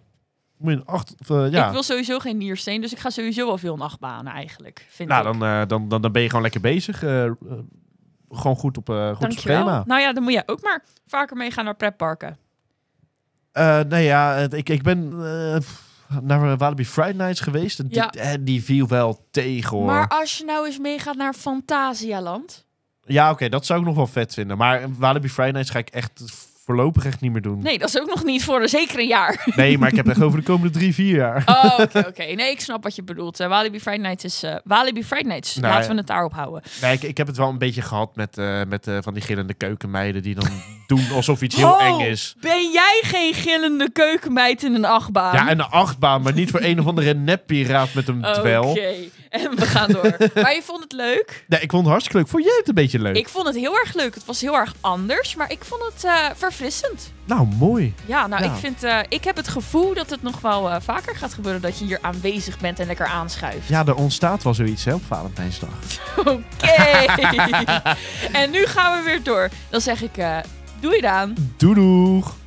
[SPEAKER 2] moet je een acht... of, eh, ja.
[SPEAKER 1] Ik wil sowieso geen niersteen, dus ik ga sowieso al veel in achtbanen eigenlijk. Vind
[SPEAKER 2] Nou,
[SPEAKER 1] ik.
[SPEAKER 2] dan, eh, dan, dan, dan ben je gewoon lekker bezig. eh, eh, gewoon goed op, eh goed op
[SPEAKER 1] Dankjewel.
[SPEAKER 2] schema.
[SPEAKER 1] Nou ja, dan moet jij ook maar vaker meegaan naar pretparken.
[SPEAKER 2] Eh nou ja, het- ik, ik ben eh, pff, naar Walibi Friday Nights geweest. En die,
[SPEAKER 1] Ja.
[SPEAKER 2] eh, die viel wel tegen hoor.
[SPEAKER 1] Maar als je nou eens meegaat naar Fantasialand.
[SPEAKER 2] Ja, oké, dat zou ik nog wel vet vinden. Maar Walibi Friday Nights ga ik echt voorlopig echt niet meer doen.
[SPEAKER 1] Nee, dat is ook nog niet voor een zeker een jaar.
[SPEAKER 2] Nee, maar ik heb het echt over de komende drie, vier jaar.
[SPEAKER 1] Oh, oké, oké. Nee, ik snap wat je bedoelt. Eh, Walibi Friday Nights is eh, Walibi Friday Nights.
[SPEAKER 2] Nou,
[SPEAKER 1] Laten
[SPEAKER 2] ja.
[SPEAKER 1] we het daarop houden.
[SPEAKER 2] Nee, ik, ik heb het wel een beetje gehad met, eh, met eh, van die gillende keukenmeiden die dan doen alsof iets heel
[SPEAKER 1] Ho,
[SPEAKER 2] eng is.
[SPEAKER 1] Oh, Ben jij geen gillende keukenmeid in een achtbaan?
[SPEAKER 2] Ja, en een achtbaan, maar niet voor een of andere neppiraat met een
[SPEAKER 1] Oh, Oké,
[SPEAKER 2] dwel.
[SPEAKER 1] en we gaan door. maar je vond het leuk?
[SPEAKER 2] Nee, ik vond het hartstikke leuk. Vond jij het een beetje leuk?
[SPEAKER 1] Ik vond het heel erg leuk. Het was heel erg anders, maar ik vond het eh, verfrissend. verfrissend.
[SPEAKER 2] Nou, mooi.
[SPEAKER 1] Ja, nou,
[SPEAKER 2] Ja.
[SPEAKER 1] Ik, vind, eh, ik heb het gevoel dat het nog wel eh, vaker gaat gebeuren dat je hier aanwezig bent en lekker aanschuift.
[SPEAKER 2] Ja, er ontstaat wel zoiets hè, op Valentijnsdag.
[SPEAKER 1] Oké. en nu gaan we weer door. Dan zeg ik, eh doei Daan.
[SPEAKER 2] Doei doeg!